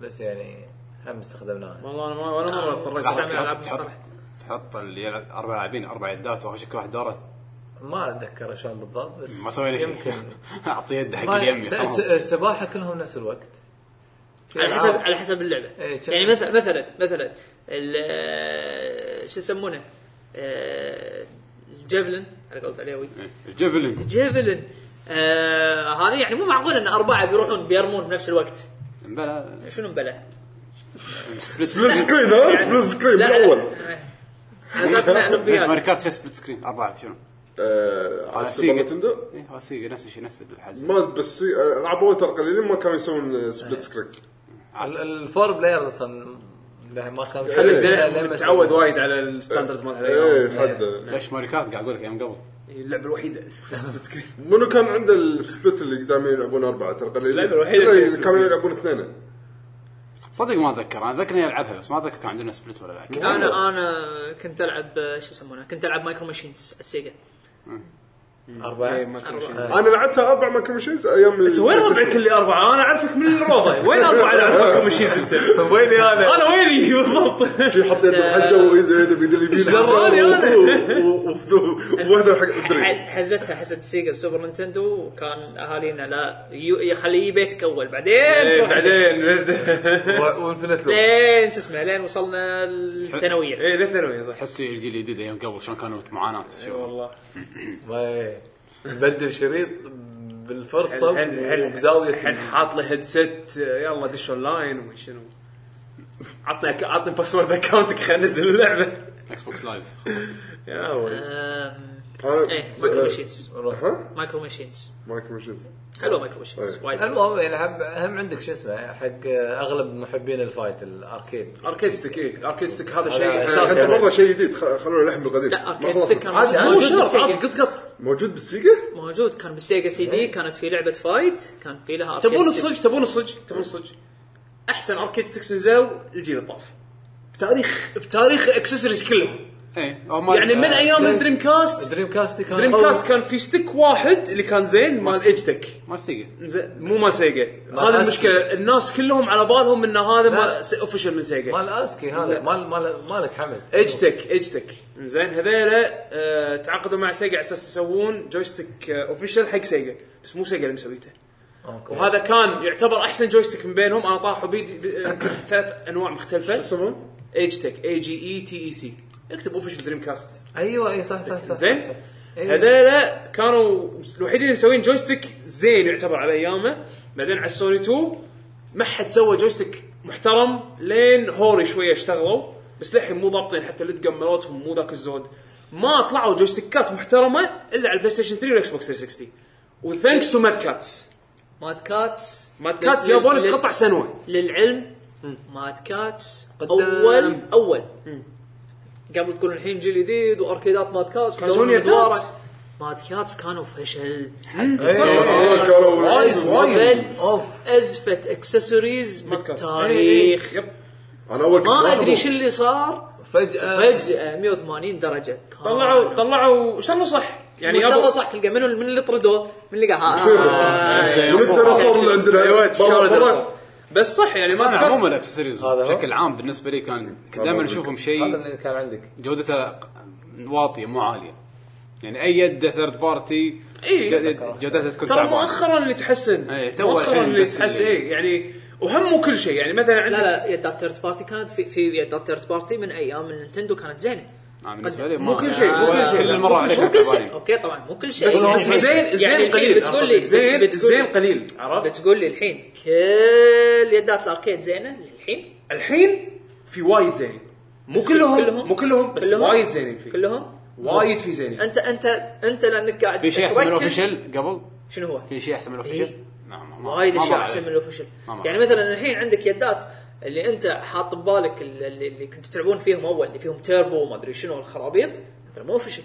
D: بس يعني هم استخدمناها
C: والله انا ما ولا مره اضطريت
E: استعمل
A: تحط-
E: ألعاب
A: تحط-
E: مصارعة.
A: تحط اللي يلعب اربع لاعبين اربع يدات واخش كل واحد دوره
D: ما اتذكر شلون بالضبط بس
A: ما سوينا شيء
D: يمكن
A: اعطي يده حق
D: ما-
A: اليمي
D: لا،
A: خلاص إيه.
D: الس- السباحه كلهم نفس الوقت يعني في
E: على حسب
D: ألعاب.
E: على حسب اللعبه
D: إيه، كان-
E: يعني مثلا مثلا مثلا ال- شو يسمونه آه، الجيفلن على قولة عليوي
A: إيه. الجبلن
E: الجيفلن آه هذه يعني مو معقول ان اربعه بيروحون بيرمون بنفس الوقت
A: بلا
E: شنو مبلا
A: سبليت
B: سبلت
A: سكرين
B: سكرين ها سبلت سكرين
E: لا، لا.
B: بالاول
E: على اساس انه
A: ماري
E: اولمبياد
A: كارت إيه، فيها سبليت سكرين اربعه شنو؟
B: آه، على
A: على
B: السوبر
A: سيجا.
B: نتندو
A: اي هو سيجا نفس الشيء نفس الحز
B: ما بس آه، العاب اول ترى قليلين ما كانوا يسوون آه، سبلت سكرين
D: ال- الفور بلايرز اصلا لا، إيه، ما كان
C: إيه، تعود وايد على الستاندرز يعني مال
B: ايه
C: هذا
B: حد
A: ليش ماري كارت قاعد اقول لك ايام قبل
C: اللعبه الوحيده اللي فيها سبليت سكرين
B: منو كان عنده السبلت اللي قدام يلعبون اربعه ترى قليلين
C: اللعبة الوحيدة
B: كله
C: اللي فيها
B: كانوا
C: سبلت.
B: يلعبون اثنين
A: صدق ما اتذكر انا اتذكر اني العبها بس ما اتذكر كان عندنا سبليت ولا لا كنت-
E: انا انا كنت العب آه، شو يسمونه كنت العب مايكرو ماشينز على السيجا
C: إيه،
D: اربعه
C: ما كان شيء.
B: انا لعبتها اربع مايكرو ماشينز ايام
C: انت وين ربعك اللي اربعه؟ انا اعرفك من الروضه، وين اربعه لعبتكم الشيز انت؟
D: ويني هذا؟
C: انا ويني بالضبط؟
B: شي حط يده بحجه وايده يده بيد اليمين
C: جراني أنا.
B: وواحده حق
E: حز-
B: الدري
E: حزتها حزت سيجا سوبر نينتندو وكان اهالينا لا يو- يخليه بيتك اول بعدين
C: إيه،
E: تروح-
C: بعدين
D: وانفنت
C: إيه.
D: لوب
E: لين شو اسمه لين وصلنا الثانويه
C: اي للثانويه صح
A: تحس الجيل الجديد ايام قبل شلون كانوا معاناه
C: إي
A: شو
C: والله
D: بدل شريط بالفرصه
C: الحين- الحين- الحين
D: وبزاويه
C: حاط له هيدسيت يلا دش اون لاين وما شنو عطنا أك- عطني باسورد اكونتك خلينا ننزل اللعبه
A: اكس بوكس لايف
C: يا ولد
E: أم،
B: أنا-
E: ايه مايكرو ماشينز
B: ها
E: مايكرو ماشينز
B: مايكرو ماشينز
E: حلو مايكرو ماشينز
B: إيه.
E: وايد حلو.
D: المهم يعني هم- هم عندك شو اسمه حق اغلب محبين الفايت الاركيد
C: اركيد ستيك اي اركيد ستيك إيه. هذا
D: هذا
C: شيء
D: أساس.
B: حتى مره شيء جديد خ- خلونا لحم القديم
E: لا
B: ما
E: اركيد
B: خلصنا.
E: ستيك كان
C: عادي مو
E: موجود
C: شرط عادي
E: بالسيجا
C: قط قط
B: موجود بالسيجا؟
E: موجود كان بالسيجا سي دي كانت في لعبه فايت كان في لها
C: تبون
E: أركيد ستيك.
C: الصج تبون الصج تبون الصج احسن اركيد ستيكس نزلوا الجيل الطاف بتاريخ بتاريخ اكسسوارز كلهم
A: ايه أو ما-
C: يعني من
A: آه،
C: ايام الدريم كاست
D: دريم كاست كان
C: دريم كاست كان في ستيك واحد اللي كان زين مال ايج تك
A: ما استيقظ
C: زين، مو مال سيجا
D: مال
C: هذا
D: أسكي.
C: المشكله الناس كلهم على بالهم ان هذا
D: لا.
C: مال اوفشل من سيجا
D: مال اسكي هذا مال مال مالك حمد
C: ايج تك ايج تك زين هذيلا آه، تعاقدوا مع سيجا على اساس يسوون جويستيك اوفشل آه، حق سيجا بس مو سيجا اللي مسويته
D: أوكي.
C: وهذا كان يعتبر احسن جويستيك من بينهم انا طاحوا بيدي ب- آه، ثلاث انواع مختلفه
B: اسمه؟
C: ايج تك اي جي اي تي اي سي E اكتب اوفشل دريم كاست
D: ايوه اي صح صح صح
C: زين
D: صح، صح. إيه.
C: هذيلا كانوا الوحيدين اللي مسوين جويستيك زين يعتبر على ايامه بعدين على السوني 2 ما حد سوى جويستيك محترم لين هوري شويه اشتغلوا بس للحين مو ضابطين حتى اللي تقملوتهم مو ذاك الزود ما طلعوا جويستيكات محترمه الا على البلاي ستيشن 3 والاكس بوكس 360 وثانكس تو ماد كاتس
E: ماد كاتس
C: ماد كاتس يابوني قطع سنوه
E: للعلم ماد كاتس
C: قدام.
E: اول اول قبل تقول الحين جيل جديد واركيدات ماد كاتس
C: كان يسوون
E: ودورنا
C: يدوارة.
E: مدوارة. ماد كاتس كانوا فشل
D: أيوة.
E: إيه.
B: آه، كانوا-
E: وايد
D: أوف.
E: ازفه اكسسوارز
C: ماد كاتس.
E: بالتاريخ
C: إيه، يب
B: انا اول كنت
E: ما
B: لاحظه.
E: ادري شو اللي صار آه،
D: فجاه
E: فجاه 180 درجه كان-
C: طلعوا طلعوا اشتغلوا صح يعني
E: يعني
C: يابو-
E: يابا صح تلقى منو من اللي طردوه من اللي قاعد
B: من الديناصور اللي عندنا
C: ايوه
B: برا-
C: شلون
B: برا.
C: درسوا. بس صح يعني
A: صراحه
C: ما
A: عموما
C: كانت
A: الاكسسوارز
D: هذا هو.
A: بشكل عام بالنسبه لي كان كنت دائما اشوفهم
D: هذا
A: شيء
D: اللي كان عندك
A: جودته واطيه مو عاليه يعني اي يد ثيرد بارتي
C: إيه.
A: جودتها تكون
C: ترى
A: تعبانه
C: مؤخرا اللي تحسن
A: إيه، تو
C: مؤخرا
A: الحين
C: اللي
A: بس إيه.
C: تحسن
A: اللي-
C: اي يعني وهم مو كل شيء يعني مثلا
E: لا
C: عندك
E: لا يدات ثيرد بارتي كانت في في يدات ثيرد بارتي من ايام النينتندو كانت زينه
A: أنا بالنسبه آه، لي
C: مو
A: ما-
C: كل شيء، مو كل
A: ولا
C: شيء.
A: كل
C: مو
A: المره
C: كل
A: عليك
E: مو كل شيء
A: تعبانين.
E: اوكي طبعا مو كل شيء
C: بس
A: إيه.
E: يعني
C: زين
E: الحين
C: زين قليل
E: بتقول لي
C: زين
E: بتقول-
C: زين قليل عرفت
E: بتقول لي الحين كل يدات الاركيد زينه للحين
C: الحين في وايد زين مو كلهم مو كلهم بس وايد زينين فيه
E: كلهم
C: وايد في زينين
E: انت انت انت لانك قاعد
A: في شيء احسن من
E: تركز-
A: الاوفيشل قبل؟
E: شنو هو؟
A: في شيء احسن من
E: إيه.
A: الاوفيشل؟ نعم، ما-
E: وايد
A: ما
E: اشياء
A: مر
E: احسن
A: علي.
E: من الاوفيشل
A: ما مر
E: يعني مثلا الحين عندك يدات اللي انت حاط ببالك ال- اللي, اللي كنتوا تلعبون فيهم اول اللي فيهم تيربو وما ادري شنو الخرابيط مثلا مو اوفيشل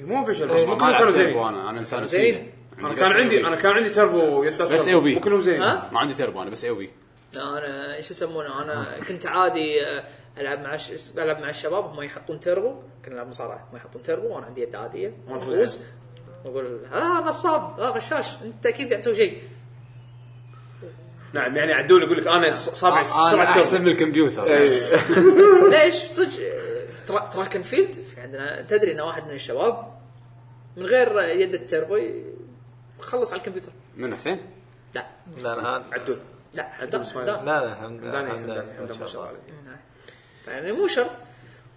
C: إيه، مو فشل بس
A: إيه، ما
C: مو كلهم
A: لعبت
C: كانوا
A: تيربو
C: زينين
A: انا انا انسان
E: زين.
A: وسيلة.
C: انا
A: بس
C: كان عندي
A: AOB.
C: انا كان عندي تربو يدات
A: بس إيه،
C: تربو،
A: AOB.
C: مو كلهم زينين
E: ها؟
A: ما عندي تيربو انا بس اي بي
E: انا ايش يسمونه انا كنت عادي آه، العب مع ش... العب مع الشباب هم يحطون تيربو كنا نلعب مصارعه هم يحطون تيربو وانا عندي يد عاديه
C: ونفوز
E: ونفوز واقول اه نصاب اه غشاش انت اكيد قاعد تسوي شيء
C: نعم يعني عدول يقول لك انا ص- صابع
A: انا
C: سرعه
A: احسن
C: تربو
A: من الكمبيوتر
C: إيه.
E: ليش صدق آه، ترا... تراك اند فيلد في عندنا تدري ان واحد من الشباب من غير يد التيربو ي- خلص على الكمبيوتر
A: من حسين؟
E: لا
D: لا لا
C: عدول
E: لا
C: عندهم
E: حمدان
C: سمايل.
E: حمدان.
D: لا لا الحمد لله
C: داني
D: الحمد لله،
C: داني، الحمد لله ما شاء الله عليه
E: يعني مو شرط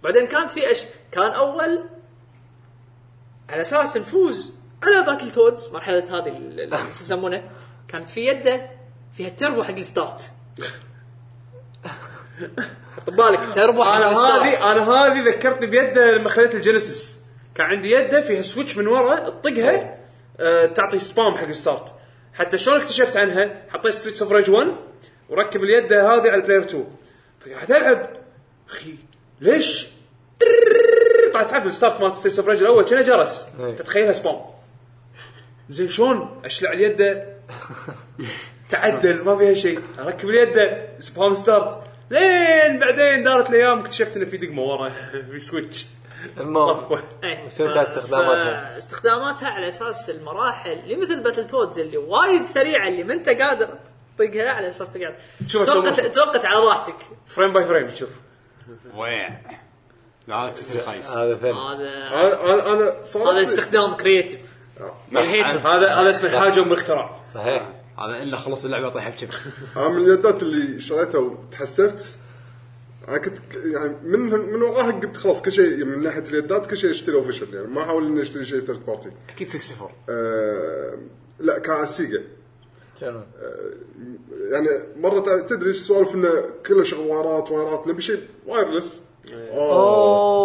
E: بعدين كانت في ايش كان اول على اساس نفوز على باتل تودز مرحله هذه ال- ال- شو يسمونه كانت في يده فيها التربو حق الستارت حط ببالك تربو حق
C: انا
E: الستارت
C: هذه انا هذه ذكرتني بيده لما خذيت الجينيسيس كان عندي يده فيها سويتش من ورا تطقها آه تعطي سبام حق الستارت حتى شلون اكتشفت عنها حطيت ستريتس اوف ريج 1 وركب اليد هذه على البلاير 2 فقعدت العب اخي ليش ترررررر، طلعت تعرف الستارت مال ستريتس اوف ريج الاول كانه جرس
D: إيه.
C: فتخيلها سبام زين شلون اشلع اليده تعدل ما فيها شيء اركب اليد سبام ستارت لين بعدين دارت الايام اكتشفت انه في دقمه ورا في سويتش
D: المهم
E: إيه.
D: شنو كانت
E: ف-
D: استخداماتها؟
E: استخداماتها على اساس المراحل اللي مثل باتل تودز اللي وايد سريعه اللي ما انت قادر تطقها على اساس تقعد
C: شوف
E: توقت
C: أسوي.
E: توقت على راحتك
C: فريم باي فريم تشوف
A: وين لا هذا كسر
C: آه،
A: خايس
D: هذا فيلم
E: هذا
B: انا انا انا صارت
E: هذا
B: لي-
E: استخدام كريتيف الهيتر.
C: هذا هذا اسمه الحاجه ام الاختراع
D: صحيح
A: هذا الا خلص اللعبه طيحه بشبك
B: انا من اليدات اللي شريتها وتحسفت انا كنت ك- يعني من من وراها جبت خلاص كل شيء يعني من ناحيه اليدات كل شيء اشتري اوفيشال يعني ما احاول اني اشتري شيء ثيرد بارتي
A: اكيد 64
B: أه لا كان على السيجا
D: شنو؟
B: يعني مره ت- تدري إيش سوالف انه كله شغل وايرات وايرات نبي شيء آه، وايرلس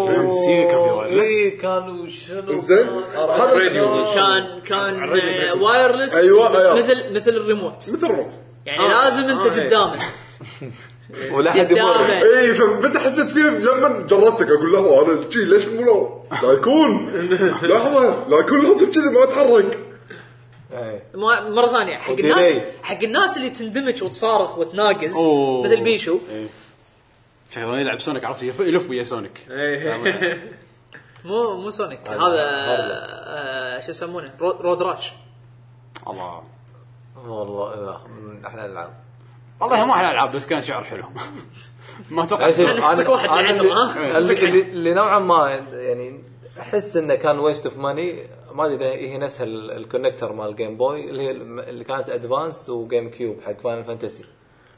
A: كان سيجا كان في وايرلس.
D: اي كانوا شنو
B: زين هذا
C: راديو.
B: الشيء.
E: كان كان
C: الرجل
E: آه،
C: يركز.
E: وايرلس
B: أيوة، أيوة.
E: مثل مثل الريموت
B: مثل الروت
E: يعني
C: آه.
E: لازم انت
C: آه، إيه.
E: قدامه
D: ولا حد يمر
E: قدامه
B: اي فمتى إيه، حسيت فيه لما جربتك اقول لحظه انا شي ليش مو لو- لا يكون لحظه لا يكون لازم كذي ما اتحرك
D: إيه.
E: ما- مره ثانيه حق
D: وديلي.
E: الناس حق الناس اللي تندمج وتصارخ وتناقز
A: أوه.
E: مثل بيشو
A: إيه. شغله يلعب سونيك عرفت يف- يلف ويا سونيك
C: إيه.
E: مو مو سونيك هذا آه، شو يسمونه رو- رود راش
A: الله
D: والله إذا من احلى الالعاب
A: والله ما احلى العاب بس كان شعور حلو ما توقعت
D: عشان-
E: أنا أختك واحد
D: أنا
E: من عتبة، ها؟
D: اللي, اللي, اللي نوعا ما يعني احس انه كان ويست اوف ماني ما ادري اذا هي نفسها ال- الكونكتر مال الجيم بوي اللي هي الم- اللي كانت ادفانسد وجيم كيوب حق فاينل فانتسي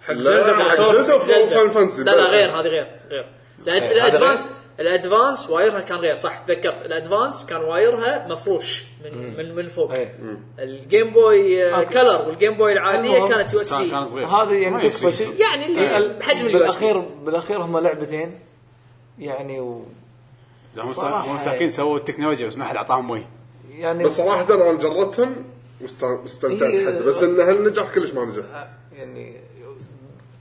C: حق
B: لا
C: زلدة
B: حق
C: بالصوت.
B: زلدة فاينل فانسي
E: لا لا غير هذه غير غير لا،
D: إيه، هذا
E: الادفانس الادفانس وايرها كان غير صح تذكرت الادفانس كان وايرها مفروش من من من فوق
D: إيه.
E: الجيم بوي آه،
D: أوكي.
E: كلر والجيم بوي العاديه
D: المهم،
E: كانت يو اس
A: كان كان
E: بي
A: صغير
D: هذه
A: ما
D: يعني تكفى
A: يسوي.
D: شيء
E: يعني ال-
D: ال-
E: بحجم اليو اس بي
D: بالاخير بالاخير هم لعبتين يعني و
A: لا، هم
D: صراحة
A: هم مساكين سووا التكنولوجيا بس ما حد اعطاهم وي
D: يعني
B: بس صراحه انا جربتهم واست- واستمتعت
D: هي-
B: حد بس ان هالنجاح كلش ما نجح
D: يعني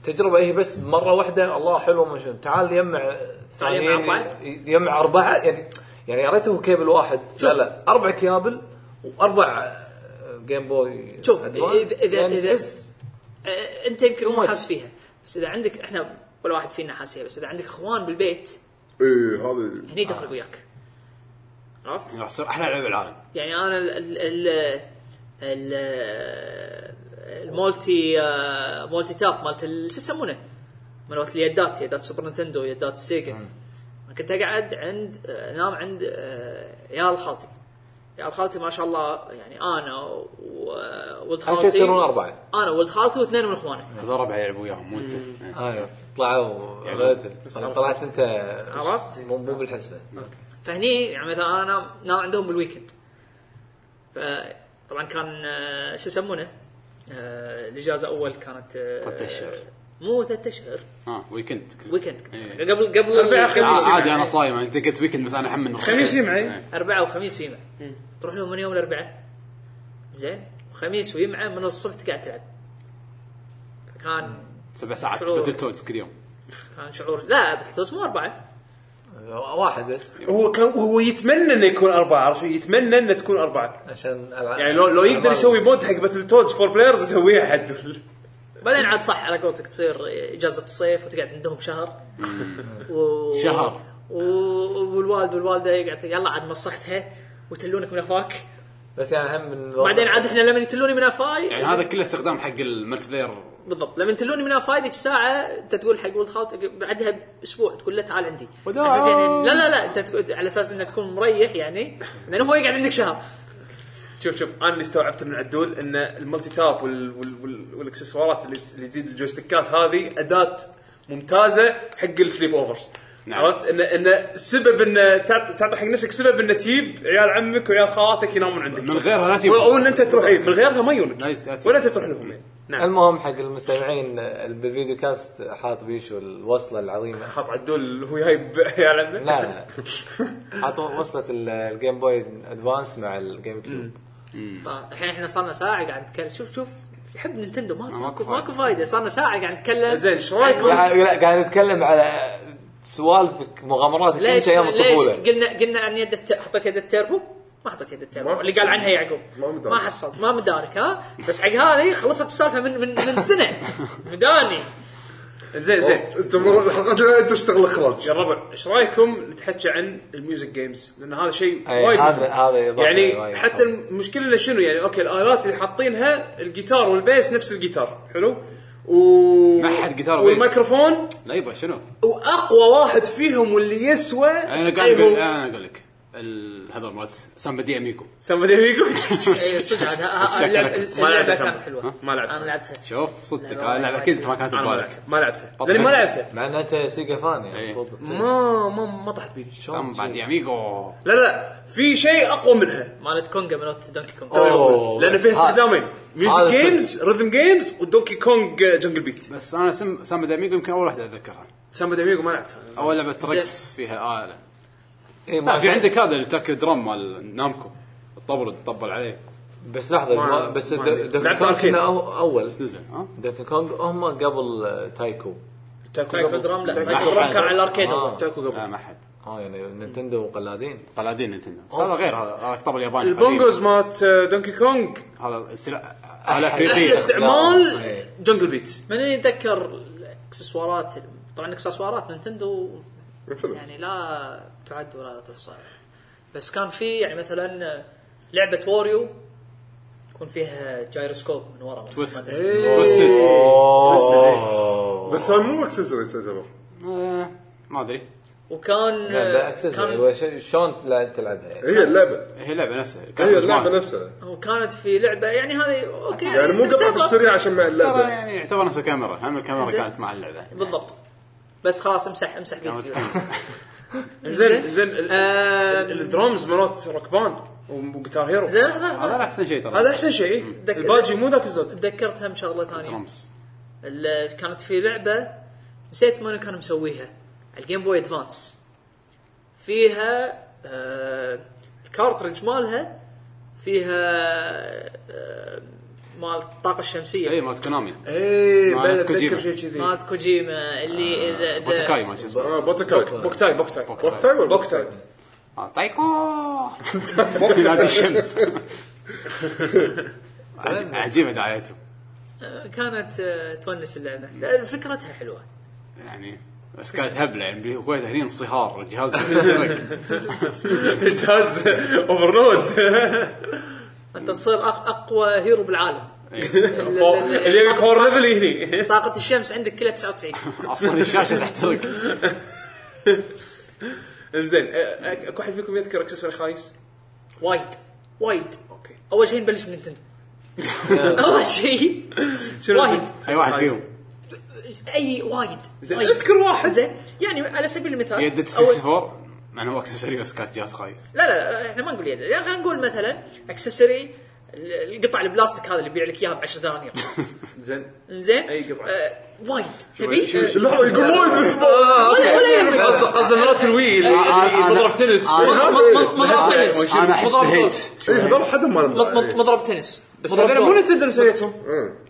D: تجربه هي بس مره واحده الله حلو ما شنو تعال يجمع ثانيين
E: أربعة؟
D: يجمع اربعه يعني يعني يا ريته هو كيبل واحد لا لا اربع كيابل واربع آه، جيم بوي
E: شوف
D: أدفانس.
E: اذا اذا
D: يعني
E: اذا
D: تحس
E: آه، انت يمكن مو
D: مو
E: حاس فيها بس اذا عندك احنا ولا واحد فينا حاس فيها بس اذا عندك اخوان بالبيت
B: اي إيه، هذه
E: هني تفرق وياك عرفت؟
A: راح تصير احلى لعبه بالعالم
E: يعني انا ال ال ال ال المولتي آه، مولتي تاب مالت ال- شو يسمونه؟ مالت اليدات يدات سوبر نينتندو يدات سيجا أنا كنت اقعد عند آه، نام عند آه، يا خالتي يا خالتي ما شاء الله يعني انا
D: اهم
E: وولد
D: شيء
E: خالتي
D: يصيرون اربعه
E: انا وولد خالتي واثنين من اخواني
A: هذول ربع يلعبوا وياهم مو انت إيه.
D: ايوه طلعوا
C: يعني
D: ريدل. أنا طلعت انت
E: عرفت؟
D: مو مو بالحسبه
E: فهني يعني مثلا انا نام عندهم بالويكند فطبعا كان آه، شو يسمونه؟ آه، الاجازه اول كانت آه،
A: ثلاثة أشهر.
E: مو ثلاث اشهر
A: اه ويكند
E: ويكند
A: إيه.
E: قبل قبل
C: أربعاء،
E: قبل-
C: خميس.
A: آه، عادي انا صايم انت قلت ويكند بس انا احمل
C: خميس يجي معي.
A: إيه.
E: اربعاء وخميس ويمعة تروح لهم من يوم الاربعاء زين وخميس ويمعة من الصبح تقعد تلعب فكان
A: سبع ساعات
E: شعور.
A: باتل تودز كل يوم
E: كان شعور لا بتلتوز مو اربعه
D: واحد بس
C: هو كان هو يتمنى انه يكون اربعه عرفت يتمنى انه تكون اربعه
D: عشان
C: يعني لو لو يقدر يسوي مود حق باتل تودز فور بلايرز يسويها حد
E: بعدين عاد صح على قولتك تصير اجازه الصيف وتقعد عندهم شهر و...
A: شهر.
E: و... والوالد والوالده يقعد يلا عاد مسختها وتلونك من افاك
D: بس يعني هم من
E: بعدين عاد احنا لما يتلوني من افاي
A: يعني هذا كله استخدام حق الملتي بلاير
E: بالضبط لما تلوني من افاي ذيك ساعه انت تقول حق ولد خالتك بعدها باسبوع تقول له تعال عندي على اساس يعني لا لا لا انت تقول على اساس انه تكون مريح يعني لانه هو يقعد عندك شهر
C: شوف شوف انا اللي استوعبته من عدول ان الملتي تاب وال- وال- وال- والاكسسوارات اللي اللي تزيد الجويستيكات هذه اداه ممتازه حق السليب اوفرز
A: نعم.
C: عرفت ان ان سبب ان تعط- تعطي حق نفسك سبب ان تجيب عيال عمك وعيال خالاتك ينامون عندك
A: من غيرها لا تجيب.
C: او ان انت تروح إيه، من غيرها ما يجونك
A: لا يت-
C: ولا انت تروح لهم إيه. نعم
D: المهم حق المستمعين آه، بالفيديو كاست حاط بيشو الوصله العظيمه
C: حاط عدول هو جايب عيال عمك
D: لا لا حاط وصله ال- الجيم بوي ادفانس مع الجيم كيوب
E: طيب، الحين احنا صارنا ساعه قاعد نتكلم شوف شوف يحب نينتندو ما
A: ماكو
E: ماكو
A: فايدة.
E: ماكو فايده صارنا ساعه قاعد نتكلم
C: زين، شو رايكم؟
E: عن-
D: قاعد لا، قاعد نتكلم على سوالفك مغامراتك
E: ليش
D: انت ايام
E: ليش
D: الطفوله
E: قلنا قلنا عن يد الت... حطيت يد التربو ما حطيت يد التربو
B: ما
E: اللي قال
B: حصل.
E: عنها يعقوب
B: ما مدارك.
E: ما حصلت ما مدارك ها بس حق هذه خلصت السالفه من من من سنه مداني
C: زين زين
B: انت مرة- الحلقات اللي بعد تشتغل اخراج
C: يا الربع ايش رايكم نتحكى عن الميوزك جيمز لان هذا شيء
D: أي،
C: وايد
D: إيه، هذا-
C: مهم.
D: هذا يضاف لي
C: يعني
D: وايد.
C: حتى المشكله إنه شنو يعني اوكي الالات اللي حاطينها الجيتار والبيس نفس الجيتار حلو و
A: ما حد جيتار وبيس.
C: والميكروفون
A: لا يبا شنو؟
C: واقوى واحد فيهم واللي يسوى إيه،
A: انا قاعد آه. اقول انا اقول لك ال- هذا مرات سامبا دي اميكو
C: سامبا ديفيكو
E: إيه، صدق عاد، ها- ها- اللعبة-
C: ما
E: اللعبة
C: لعبتها
E: كانت
C: سامبا.
E: حلوه
C: ما لعبتها.
E: انا لعبتها
A: شوف صدتك
E: لا، لا،
A: هذه اللعبه
E: لا،
A: اكيد أنت ما كانت
C: انا ما
A: ببالك
C: لعبتها ما لعبتها لاني ما لعبتها
D: مع ان انت سيجا فان يعني
A: إيه.
D: المفروض ت-
C: ما ما ما طحت بيدي
A: سامبا دي اميكو
C: لا لا في شيء اقوى منها
E: مالت كونجا مالت دونكي كونج
D: أوه.
C: لان فيها
D: هذا-
C: استخدامين ميوزك
D: هذا
C: جيمز ريذم جيمز ودونكي كونج جنجل بيت
A: بس انا سم- سامبا دي اميكو يمكن اول واحده اتذكرها
C: سامبا ديفيكو ما لعبتها
A: اول لعبه ركس فيها اله
D: إيه، ما
A: لا في
D: أدري.
A: عندك هذا التاك درام مال نامكو الطبل اللي تطبل عليه
D: بس لحظه
C: ما-
D: ما بس
C: ما
D: دو-
C: عندي.
D: دونكي
C: لعبت
D: كونغ
C: أركيد.
D: كنا أو- اول
A: بس نزل ها
D: دونكي كونغ هم قبل آه، تايكو
E: تايكو درام لا
A: ما
E: تايكو
A: حد
E: درام كان
A: لعبها.
E: على الاركيد
D: آه.
E: هو.
C: تاكو قبل
A: لا ما حد
D: اه يعني نينتندو قلادين
A: قلادين نتندو بس هذا غير هذا هذا طبل ياباني
C: البونجوز مالت دونكي كونج
A: قديم. هذا السلاح اله
C: احلى
A: افريقيه
C: استعمال
D: لا، إيه.
C: جنجل بيت
E: من اللي يتذكر الاكسسوارات طبعا الاكسسوارات نينتندو يعني لا تعد ولا تحصى بس كان في يعني مثلا لعبه واريو يكون فيها جايروسكوب من ورا
A: تويست
E: ما أدري.
C: إيه.
A: تويستد
B: بس هاي مو اكسسوري تعتبر
A: آه، ما ادري
E: وكان
D: لا
B: يعني
E: كان
D: اكسسواري شلون تلا- تلعبها يعني
B: هي اللعبه
A: هي لعبه نفسها
C: إيه،
B: هي
A: كانت
B: اللعبه
A: زمان.
B: نفسها
E: وكانت في لعبه يعني هذه اوكي
B: يعني مو قبل
E: تعتبر-
B: تشتريها عشان مع
A: ترى
B: اللعبه
A: يعني يعتبر نفس الكاميرا هم الكاميرا
E: زين.
A: كانت مع اللعبه
E: نعم. بالضبط بس خلاص امسح امسح
A: كانت
E: بيجي
C: زين زين ال-
E: آه،
C: ال- الدرامز مالت روك باند وجيتار هيرو
E: زين لحظة، لحظة.
A: هذا احسن شيء ترى
C: هذا احسن شيء
E: دك-
C: الباجي مو ذاك الزود
E: تذكرت هم شغله ثانيه
A: ترمس
E: ال- كانت في لعبه نسيت من كان مسويها على الجيم بوي ادفانس فيها آه الكارترج مالها فيها آه مال الطاقه
A: اي
E: الشمسيه
A: مالت كونامي
C: إيه. اي
A: مالت
C: بعد
A: كوجيما.
C: اتذكر شيء كذي
E: مالت كوجيما اللي اذا إذا-
A: بوتاكاي ما شو اسمه
B: اه بوتكاي
C: بوكتاي بوكتاي
B: بوكتاي ولا
C: بوكتاي.
B: بوكتاي؟
A: آه، تايكو في نادي الشمس عجيب- عجيبه دعايته
E: آه، كانت آه تونس اللعبه لا، فكرتها حلوه
A: يعني بس كانت هبله يعني بالكويت هني انصهار الجهاز
C: جهاز اوفرلود
E: انت تصير أق- اقوى هيرو بالعالم
A: إيه.
E: ال- ال- ال-
C: اللي يبي باور
E: طاقة-
C: ليفل هني
E: طاقه الشمس عندك كلها 99
A: اصلا الشاشه تحترق
C: زين اكو احد فيكم يذكر اكسسوار خايس؟
E: وايد وايد
C: اوكي
E: اول شيء نبلش من نتندو اول شيء وايد
A: اي واحد فيهم
E: اي وايد
C: زين
E: وايد.
C: اذكر واحد
E: زين يعني على سبيل المثال
A: يد
E: أول-
A: 64 مع انه هو اكسسوري بس كانت جهاز خايس
E: لا لا لا احنا ما نقول يد يعني خلينا نقول مثلا اكسسوري ال- القطع البلاستيك هذا اللي يبيع لك اياها ب 10 دنانير
C: زين
E: زين
C: أي قطعة.
E: آه، وايد تبي آه،
B: لحظه يقول وايد بس
E: ولا ولا يهمك
C: قصد مرات الويل
A: أنا-
C: مضرب تنس
A: أنا-
C: آه،
E: مضرب تنس
A: انا احس
E: مضرب
A: بالهيت
E: تنس.
B: اي هذول إيه، حد ما
E: مض- مض- مضرب تنس
C: بس
E: مضرب
C: هذول مو
E: بول.
C: نتندو مسويتهم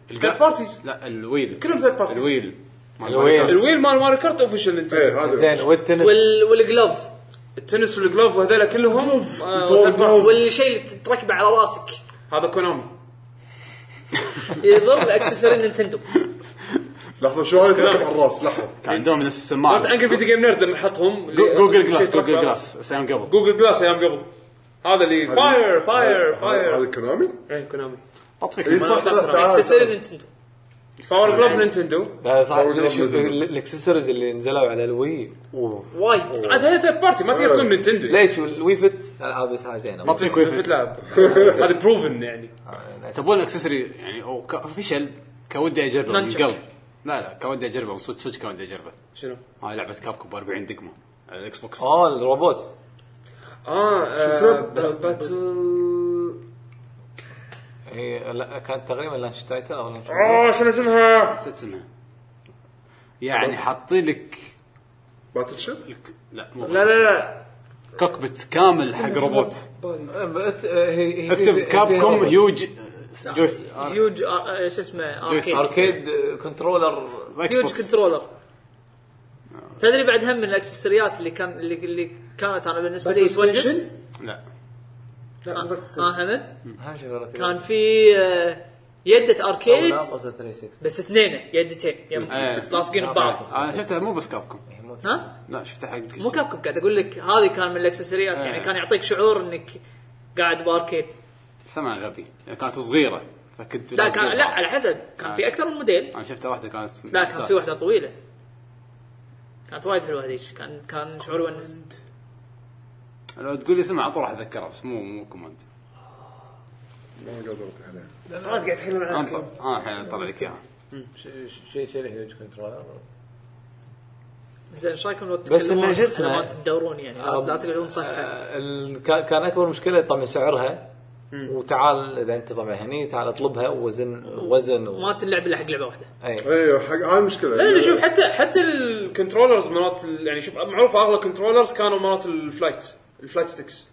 C: ثيرد
A: القا-
C: بارتيز
A: لا الويل
C: كلهم ثيرد بارتيز.
A: الويل مال
D: الويل.
A: ماريو كارت.
C: الويل مال ماري كارت اوفيشال نتندو
B: اي إيه، هذا
D: زين والتنس
E: وال والجلوف
C: التنس والجلوف وهذول كلهم آه،
B: جلوف،
C: third party.
B: جلوف.
E: والشيء اللي تركبه على راسك
C: هذا كونامي
E: يضر اكسسوري نينتندو
B: لحظه شو هاي تركب على الراس لحظه
A: كان عندهم نفس
C: مالت
A: السماعه
C: انكل فيديو جيم نيرد لما حطهم
A: جو- جوجل
C: شيء
A: جلاس
C: تركب
A: جوجل
C: على-
A: جلاس بس ايام قبل
C: جوجل جلاس ايام قبل هذا اللي فاير فاير فاير
B: هذا كونامي؟
C: اي إيه، كونامي
A: طط فيك
B: اي صح صح تعال،
E: اكسسوري
B: تعال
E: نينتندو
C: باور جلوف نينتندو
D: لا صح
B: أول
D: شوف
B: مرة.
D: ال- الاكسسوارز اللي نزلوا على الوي
E: وايد
C: عاد هذا ثيرد بارتي ما تقدر تقول نينتندو يعني.
D: ليش الوي فت العاب بس هاي زينه
A: طط فيك
C: في
A: ويفت.
C: تلعب هذا بروفن يعني
A: تبون اكسسوري يعني او ك- اوفيشال كان ودي اجربه من
E: نانشك.
A: قلب لا لا كان ودي اجربه صدق صدق كان ودي اجربه
C: شنو؟
A: هاي لعبه كابكو ب 40 دقمه على الاكس بوكس
D: اه الروبوت
C: اه
B: اسمه؟
C: آه، بات- باتل
D: هي لا كانت تقريبا لانش تايتل او لانش
E: آه.
C: اه شنو اسمها؟
A: نسيت اسمها يعني حاطين لك
B: باتل شيب
A: لك- لا مو
C: لا لا لا
A: كوكبت كامل حق روبوت
D: آه،
A: اكتب
D: اكتب
A: كابكوم هيوج جويست
E: هيوج آه، آه، شو اسمه
A: جويستيك.
E: اركيد
D: اركيد كنترولر
A: اكس
E: هيوج
A: بوكس
E: كنترولر تدري بعد هم من الاكسسوريات اللي كان اللي, اللي كانت انا بالنسبه لي
C: باتل
E: تونس
C: ستيشن؟
A: لا
E: اه آه، حمد
D: ها شوف الركيد.
E: كان في آه، يدة اركيد
D: ولا طاسة 360
E: بس اثنين يدتين يم- لاصقين ببعض
A: انا شفتها Uh, مو بس كابكم
E: ها
A: لا شفتها حق
E: مو كابكم قاعد اقول لك هذه كان من الاكسسوارات يعني
A: آه.
E: كان يعطيك شعور انك قاعد باركيد
A: بس انا غبي كانت صغيره فكنت
E: لا كان لا
A: لازم-
E: على حسب كان في
A: آه.
E: اكثر من موديل
A: انا شفتها واحده كانت
E: لا كان في واحده طويله كانت وايد حلوه هذيك كان كان شعور ونس
A: لو تقول لي اسمها على طول راح اتذكرها بس مو مو كوماند
B: ما قدرت عليه
C: ما قاعد يتكلم عن
A: انطر انا الحين اطلع آه، لك اياها
D: شيء شيء هيوج كنترولر
E: زين ايش رايكم لو
D: بس
E: تتكلمون
D: إنه شو اسمه؟
E: عن حلوات تدورون يعني لا- لا تقعدون صخه
D: آه، ال- كا- كان اكبر مشكله طبعا سعرها وتعال اذا انت طبعا هني تعال اطلبها وزن وزن و...
E: ما تلعب الا حق لعبه واحده
D: اي
B: ايوه حق هاي المشكله
C: لا لا إيه، شوف حتى حتى الكنترولرز مرات ال- يعني شوف معروف اغلى كنترولرز كانوا مرات الفلايت الفلايت ستكس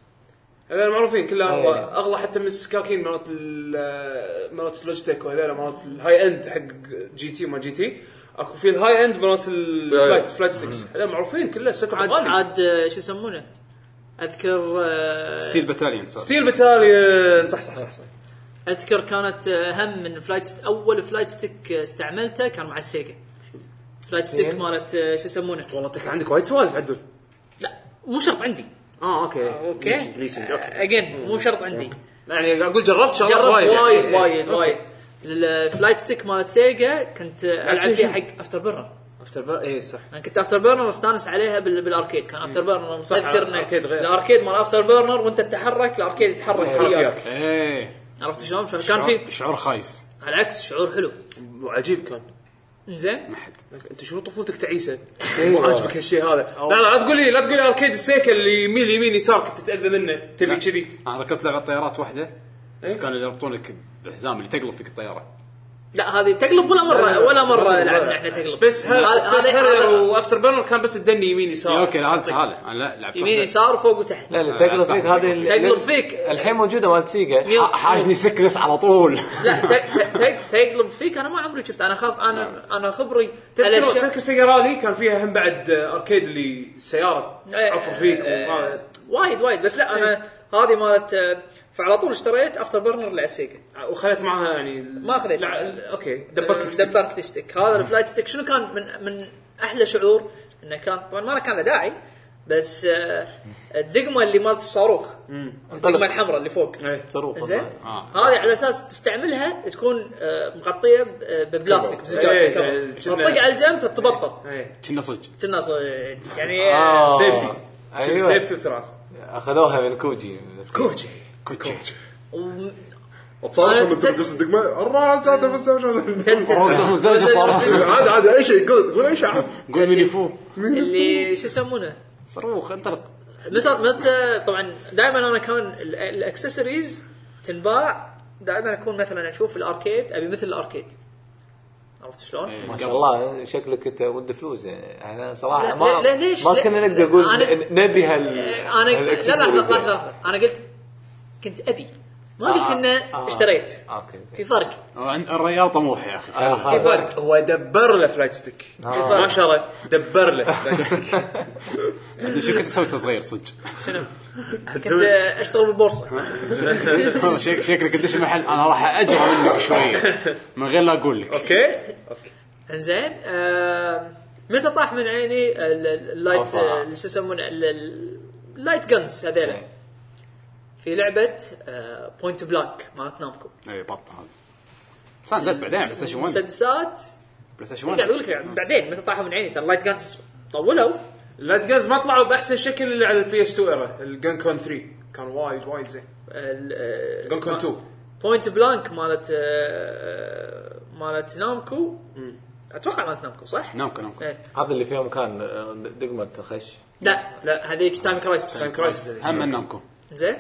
C: هذول معروفين كلها اغلى
D: إيه.
C: اغلى حتى من السكاكين مرات ال- مرات لوجيتك وهذول مرات الهاي اند حق جي تي وما جي تي اكو في الهاي اند مرات الفلايت فلايت ستكس هذول معروفين كلها سيت
E: عاد
C: غالي
E: عاد آه، شو يسمونه اذكر آه،
A: ستيل باتاليون
C: ستيل بتاليون صح صح صح صح
E: اذكر كانت آه، هم من فلايت ست... اول فلايت ستيك آه، استعملته كان مع السيجا فلايت ستيك
D: زين.
E: مالت آه، شو يسمونه
C: والله تك عندك وايد سوالف عدل
E: لا مو شرط عندي آه،
C: اه اوكي
E: اوكي
C: Glitching، اوكي
E: اجين مو شرط عندي
C: يعني اقول جربت شغلات
E: جربت
C: وايد يعني. إيه.
E: وايد وايد
C: أوكي.
E: وايد الفلايت ستيك مالت سيجا كنت آه، العب فيها حق افتر برنر
C: افتر بر اي إيه، صح
E: انا كنت افتر برنر استانس عليها بال- بالاركيد كان افتر برنر
C: إيه. صح،
E: اذكر انه
C: الأركيد غير.
E: الاركيد مال افتر برنر وانت تتحرك الاركيد يتحرك
C: يتحرك
E: وياك
C: وياك.
A: ايه
E: عرفت شلون؟ فكان في
A: شعور خايس
E: على العكس شعور حلو
C: وعجيب كان
E: زين
A: ما حد
C: لك انت شنو طفولتك تعيسه؟ مو عاجبك هالشيء هذا لا لا لا تقول لي لا تقول لي اركيد السيكل اللي يمين يمين يسار كنت تتاذى منه تبي كذي
A: انا ركبت لعبه طيارات واحده بس
E: إيه.
A: كانوا يربطونك بحزام اللي تقلب فيك الطياره
E: لا هذه تقلب ولا مره ولا مره لعبنا احنا تقلب
C: سبيس هير
E: هذا-
C: سبيس
E: هذا-
C: هير
E: هذا
C: وافتر برنر كان بس الدني يمين يسار
A: اوكي لا هذا سهاله انا لا لعبت
E: يمين
A: واحدة.
E: يسار فوق وتحت
D: لا لا إيه، تقلب فيك هذه اللي-
E: تقلب فيك.
D: الحين موجوده مالت سيجا
E: يلا.
A: ح- حاجني سكنس على طول
E: لا ت- ت- ت- تقلب فيك انا ما عمري شفت انا خاف انا انا خبري على
C: تذكر
E: الأشياء-
C: تذكر سيارالي كان فيها هم بعد آه، اركيد اللي السياره
E: إيه.
C: عفر فيك إيه.
E: إيه.
C: وهذا.
E: وايد وايد بس لا انا هذه مالت آه، فعلى طول اشتريت افتر برنر للسيجا
C: وخذت معها يعني
E: ما أخذت. إيه.
C: اوكي دبرت لك ستيك.
E: دبرت لي ستيك هذا الفلايت ستيك شنو كان من من احلى شعور انه كان طبعا ما كان له داعي بس آه، الدقمه اللي مالت الصاروخ الدقمه الحمراء اللي فوق
C: إيه.
D: صاروخ
E: زين
A: آه.
E: هذه على اساس تستعملها تكون آه، مغطيه ب- آه، ببلاستيك
C: إيه،
E: بزجاج
C: إيه،
E: كفر. تطق على الجنب فتبطل
C: إيه.
A: كنا صدق
E: كنا صج- يعني آه،
D: آه.
C: سيفتي
D: أيوة.
C: سيفتي وتراث
D: اخذوها من كوجي
C: كوتشي
A: كوتش
E: وم- أنا
B: اتصالح لما
E: تت-
B: تدوس الدقمه الراس هذا بس
A: روز مزدوجة صراحة.
B: عادي عادي اي شيء قول قول اي شيء عادي.
A: قول ميني فو
E: اللي شو يسمونه
A: صاروخ انطلق
E: متى متى طبعا دائما انا كان ال- الاكسسوارز تنباع دائما اكون مثلا اشوف الاركيد ابي مثل الاركيد عرفت شلون؟
A: إيه،
D: ما
A: قبل.
D: شاء الله شكلك انت ود فلوس يعني احنا
E: لا،
D: صراحه ما
E: لا، ليش؟
D: ما
E: لا،
D: كنا
E: لا،
D: نقدر نقول
E: أنا-
D: ن- نبي هال
E: آه، انا لا
D: هال-
E: لحظه لحظه
D: يعني accessories. يعني.
E: لحظه انا قلت كنت ابي ما قلت
D: آه،
E: انه
D: آه.
E: اشتريت
D: اوكي زين.
E: في فرق
A: آه، الريال طموح يا اخي
D: أنا خايف.
C: هو دبر له فلايت ستيك
E: آه.
C: ما شرى دبر له فلايت ستيك
A: أدري شو كنت تسوي وأنت صغير صدق
E: شنو؟ كنت آه، اشتغل بالبورصه
A: شك- شكلك انت شي محل انا راح اجرى منك شويه من غير لا اقول لك
C: اوكي
E: انزين آه، متى طاح من عيني ال- ال- اللايت
A: أوه.
E: آه، اللي شو يسمونه ال- ال- اللايت جنز هذيلا
D: إيه.
E: في لعبه بوينت بلانك مالت نامكو
A: اي بط هذا بس أنا نزلت بعدين بلاي ستيشن 1
E: مسدسات
A: بلاي ستيشن
E: قاعد اقول
A: 1
E: لك يعني بعدين متى طاحوا من عيني ترى اللايت جانز طولوا
C: اللايت جنز ما طلعوا باحسن شكل اللي على البي اس 2 ايرا الجن كون 3 كان وايد وايد زين
E: آه،
C: جن كون 2
E: بوينت بلانك مالت آه، مالت نامكو اتوقع مالت نامكو صح؟
A: نامكو نامكو
E: إيه.
D: هذا اللي فيه مكان آه، دقمه تخش
E: لا لا هذيك تايم كرايسس
C: كان كرايسس
A: هم من نامكو
E: زين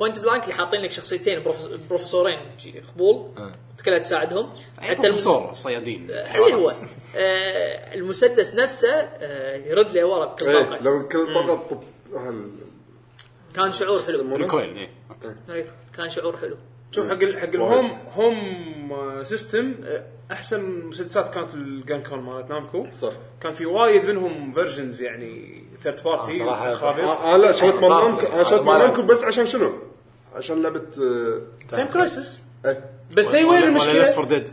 E: بوينت بلانك اللي حاطين لك شخصيتين بروفس- بروفيسورين جي- خبول تكلها تساعدهم
A: أي
E: حتى الم-
A: أيوة، بروفيسور صيادين
E: اللي هو آه، المسدس نفسه آه، يرد لي ورا بكل
B: ايه
E: طاقه
B: لو كل طاقه طب هال-
E: كان شعور حلو إيه،
A: ريكويل اي
E: كان شعور حلو
C: شوف حق ال- آه، حق الهوم هوم سيستم احسن مسدسات كانت الجن كون مالت نامكو
B: صح
C: كان في وايد منهم فيرجنز يعني ثيرد بارتي
D: آه، صراحة
C: خرابيط
B: انا لا شريت مال
D: طافي.
B: نامكو انا شريت
D: هذا ما
B: مال
D: لعبت.
B: نامكو بس عشان شنو؟ عشان لعبه آه،
D: طيب.
C: تايم كرايسس
B: إيه.
C: بس
E: أيوة،
C: تدري وين
A: ليفت
C: المشكله؟
A: فور ديد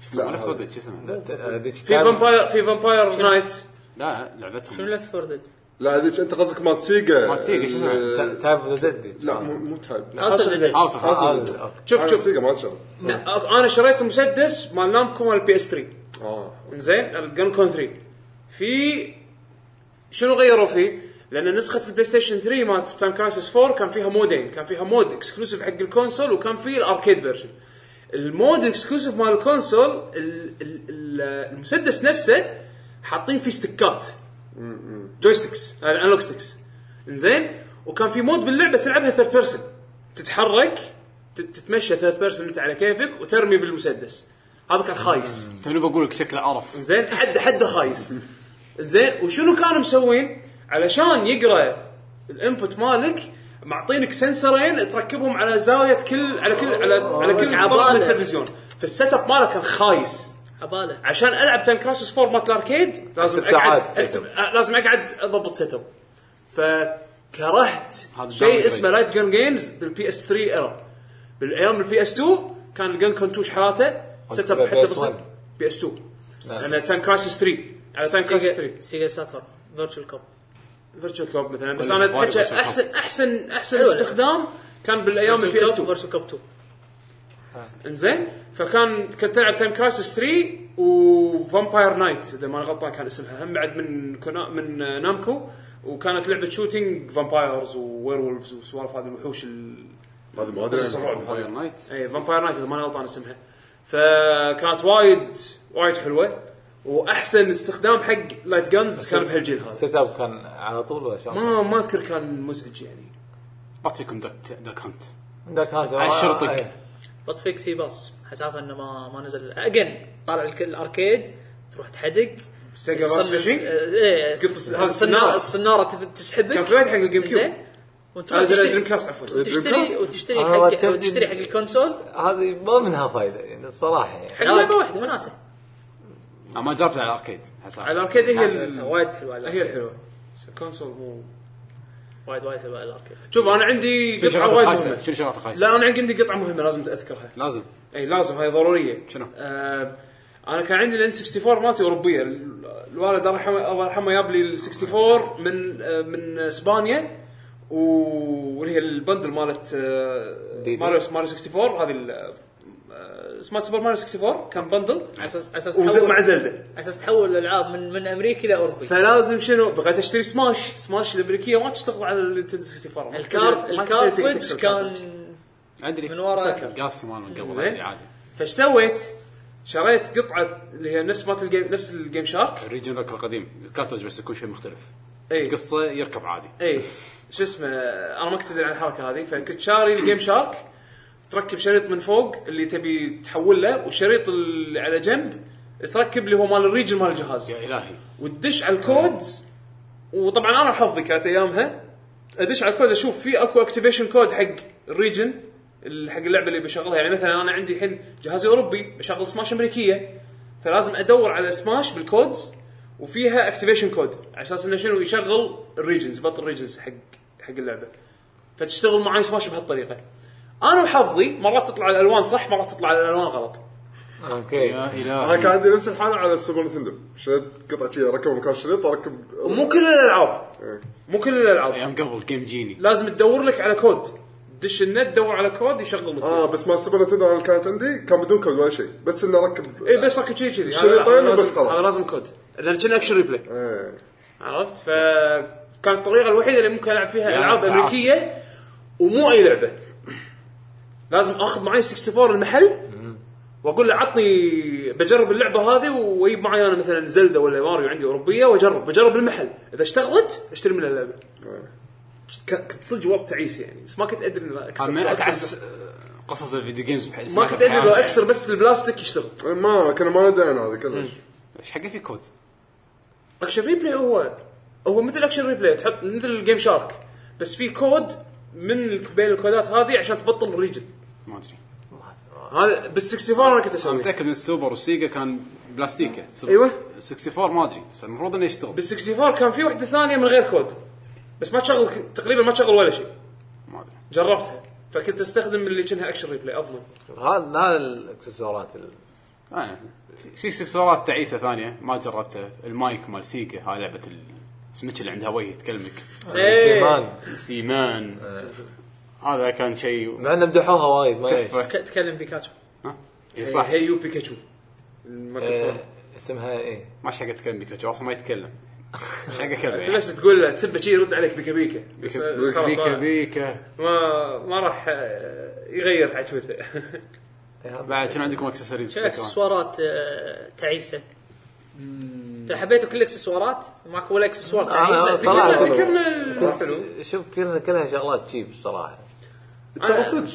A: شو اسمه
B: لا،
A: ليفت فور ديد شو اسمه
C: في فامباير في فامباير نايت
A: لا
E: شنو
A: لعبتهم
E: ليفت فور ديد؟
B: لا هذيك انت قصدك مات سيجا
A: مات سيجا، شو اسمه؟
B: ال-
D: تايب اوف ذا ديد
B: لا مو مو تايب
E: اصل ديد
A: هاوس اوف
B: هاوس
A: هاوس.
B: أوف-
C: شوف
B: مات
C: شوف
B: سيجا ما شاء
C: لا،
D: آه.
C: أوك- انا شريت مسدس مال نامكو مال بي اس 3
B: اه
C: زين الجن كون 3 في شنو غيروا فيه؟ لان نسخه البلاي ستيشن 3 مالت تايم كرايسس 4 كان فيها مودين كان فيها مود اكسكلوسيف حق الكونسول وكان فيه الاركيد فيرجن المود اكسكلوسيف مال الكونسول ال- ال- ال- المسدس نفسه حاطين فيه يعني ستيكات جويستكس انالوج ستكس زين وكان في مود باللعبه تلعبها ثيرد بيرسون تتحرك تت- تتمشى ثيرد بيرسون انت على كيفك وترمي بالمسدس هذا كان خايس
A: توني بقول لك شكله قرف
C: زين حد حد خايس زين وشنو كانوا مسوين علشان يقرا الانبوت مالك معطينك سنسرين تركبهم على زاويه كل على كل على على كل عباره من
E: عبالة.
C: التلفزيون فالسيت اب ماله كان خايس
E: عباله
C: عشان العب تايم كراسس 4 مالت الاركيد لازم
D: عشر ساعات
C: اقعد
D: setup.
C: أكتب آه، لازم اقعد اضبط سيت اب فكرهت
A: هذا
C: شيء
A: downgrade.
C: اسمه لايت جن جيمز بالبي اس 3 ايرا بالايام البي اس 2 كان الجن كنتوش حالاته سيت اب
D: بس
C: حتى
D: بس
C: بسيط
D: one.
C: بي اس 2 انا تايم كراسس 3 على تايم كراسس 3
E: سيجا- سيجا ساتر فيرتشوال كوب
C: فيرتشوال كلوب مثلا بس
A: ولا
C: انا
A: Mario
C: اتحكى
A: Virtual Club.
C: احسن احسن احسن
E: أيوة.
C: استخدام كان بالايام البي اس
E: فيرتشوال
C: 2
E: كوب فيرتشوال كوب 2
C: انزين فكان كنت تلعب تايم كرايسس 3 وفامباير نايت اذا ماني غلطان كان اسمها هم بعد من كونا من آه، نامكو وكانت لعبه شوتينج فامبايرز ووير وولفز وسوالف هذه الوحوش ال- إيه،
B: هذا ما ادري
C: الرعب.
A: فاير نايت
C: اي فامباير نايت اذا ماني غلطان اسمها فكانت وايد وايد حلوه واحسن استخدام حق لايت جانز كان بهالجيل هذا
D: سيت اب كان على طول ولا شلون؟
C: ما ما اذكر كان مزعج يعني
A: بط فيكم دك دك هانت
D: عندك هذا
A: عشرتك.
D: إيه.
E: بط فيك سي باس حسافه انه ما ما نزل اجين طالع الك- الاركيد تروح تحدق
C: سيجا باس
E: تصمم-
C: فيشنج؟
E: ايه
C: تقط الس- هذا السنارة.
E: السناره السناره تذ- تسحبك
C: كان في وايد حق الجيم كيوب.
E: زين وانت
C: هذا
E: تشتري-
C: دريم كاست عفوا
E: تشتري وتشتري
D: آه،
E: حق
D: تبدي-
E: وتشتري حق الكونسول
D: هذه ما منها فائده يعني الصراحه يعني
E: حق لعبه واحده وناسه
A: انا ما جربت على الاركيد حسب.
C: على الاركيد هي ال-
E: وايد حلوه على
C: هي
E: الأركيد.
C: الحلوه بس الكونسول مو
E: وايد وايد حلوه على الاركيد
C: شوف انا عندي
A: شنو
C: قطعه
A: شغلات
C: وايد
A: الخايسه
C: مهمه
A: شنو شغلات الخايسه
C: لا انا عندي قطعه مهمه لازم اذكرها
A: لازم
C: اي لازم هاي ضروريه
A: شنو؟
C: آه انا كان عندي الان 64 مالتي اوروبيه ال- الوالد الله يرحمه الله يرحمه جاب لي ال 64 من آه من اسبانيا و- واللي هي البندل مالت آه،
D: دي دي.
C: ماريو ماريو 64 هذه ال- آه، اسمها سوبر ماريو 64 كان بندل
E: على اساس على اساس
C: وز- مع
E: تحول
C: زلده
E: على اساس تحول الالعاب من من امريكي لاوروبي
C: فلازم شنو بغيت اشتري سماش سماش الامريكيه ما تشتغل على النينتندو 64 ما
E: الكارت
C: تقدر- ما تقدر
E: الكارتريج
C: تكتب
E: كان
C: الكارتريج.
A: ادري
E: من ورا
C: مسكر.
A: قاسي مال من قبل
C: زين.
A: أدري عادي
C: فايش سويت؟ شريت قطعه اللي هي نفس مالت الجيم نفس الجيم شارك
A: الريجن باك القديم الكارترج بس يكون شيء مختلف
C: اي
A: القصه يركب عادي
C: اي إيه، شو اسمه انا ما كنت ادري عن الحركه هذه فكنت شاري الجيم شارك تركب شريط من فوق اللي تبي تحول له والشريط اللي على جنب تركب اللي هو مال الريجن مال الجهاز
A: يا الهي
C: وتدش على الكود وطبعا انا حظي كانت ايامها ادش على الكود اشوف في اكو اكتيفيشن كود حق الريجن ال- حق اللعبه اللي بشغلها يعني مثلا انا عندي الحين جهازي اوروبي بشغل سماش امريكيه فلازم ادور على سماش بالكودز وفيها اكتيفيشن كود على اساس انه شنو يشغل الريجنز بطل الريجنز حق حق اللعبه فتشتغل معاي سماش بهالطريقه انا وحظي مرات تطلع الالوان صح مرات تطلع الالوان غلط
D: اوكي
A: يا
B: انا كان
A: الهي
B: عندي نفس الحاله على السوبر نتندو شريت قطعه شي ركب مكان الشريط اركب
C: ومو كل الالعاب
B: إيه.
C: مو كل الالعاب
A: ايام قبل جيم جيني
C: لازم تدور لك على كود دش النت دور على كود يشغل لك
B: اه بس مال السوبر نتندو انا اللي كانت عندي كان بدون كود ولا شيء بس انه ركب
C: اي إيه، بس ركب كذي كذي
B: شريطين
C: هذا- هذا
B: وبس
C: لازم-
B: خلاص.
C: هذا لازم كود لان كنا اكشن ريبلاي
B: ايه
C: عرفت فكانت الطريقه الوحيده اللي ممكن العب فيها
A: لا،
C: العاب
A: تعال.
C: امريكيه ومو اي لعبه لازم اخذ معي 64 المحل واقول له عطني بجرب اللعبه هذه واجيب معي انا مثلا زلده ولا ماريو عندي اوروبيه واجرب بجرب المحل اذا اشتغلت اشتري من اللعبه
B: آه.
C: ك- كنت صدق وقت تعيس يعني بس ما كنت ادري إن أكسر-
A: من
C: أكسر-
A: اتعس قصص الفيديو جيمز بح-
C: ما كنت ادري لو اكسر بس البلاستيك يشتغل
B: ما كنا ما ندري عن هذا كلش
A: ايش حقه في كود؟
C: اكشن ريبلاي هو هو مثل اكشن ريبلاي تحط مثل الجيم شارك بس في كود من ال- بين الكودات هذه عشان تبطل الريجن
A: ما ادري
C: هذا بال 64 انا كنت
A: انا
C: اسوي
A: متاكد ان السوبر والسيجا كان بلاستيكه سوبر-
C: أيوة.
A: 64 ما ادري بس المفروض انه يشتغل
C: بال 64 كان في وحده ثانيه من غير كود بس ما تشغل تقريبا ما تشغل ولا شيء
A: ما ادري
C: جربتها فكنت استخدم اللي كانها اكشن ريبلاي اضمن
D: هذا هذا الاكسسوارات ال-
A: آه. في اكسسوارات تعيسه ثانيه ما جربتها المايك مال سيجا هاي لعبه ال- السمك اللي عندها وجه تكلمك
E: إيه.
D: السيمان
A: سيمان هذا كان شيء
D: مع انه مدحوها وايد ما ليش
A: تحفه
E: تك- تكلم بيكاتشو
A: ها؟ اي صح آه.
C: هيو بيكاتشو الميكروفون
D: إيه، اسمها ايه
A: ما شقة تكلم بيكاتشو اصلا ما يتكلم شقة كلمه
C: انت
A: يعني.
C: بس تقول له تسبه شي يرد عليك بيكا بيكا بس- بس
A: بيكا
C: خلاص آه.
A: بيكا,
C: ما-
A: بيكا.
C: ما ما راح آه، يغير عتوته
D: إيه، هذا-
A: بعد شنو عندكم اكسسوارز
E: شنو اكسسوارات آه، تعيسه؟ حبيتوا كل الاكسسوارات ماكو ولا اكسسوار
A: آه،
D: أنا
E: تعيس
D: صراحة-
E: ذكرنا-
C: ذكرنا
B: آه.
C: ال- حلو
D: شوف كلها كلها شغلات تشيب الصراحه
B: ترى
C: آه.
B: صدق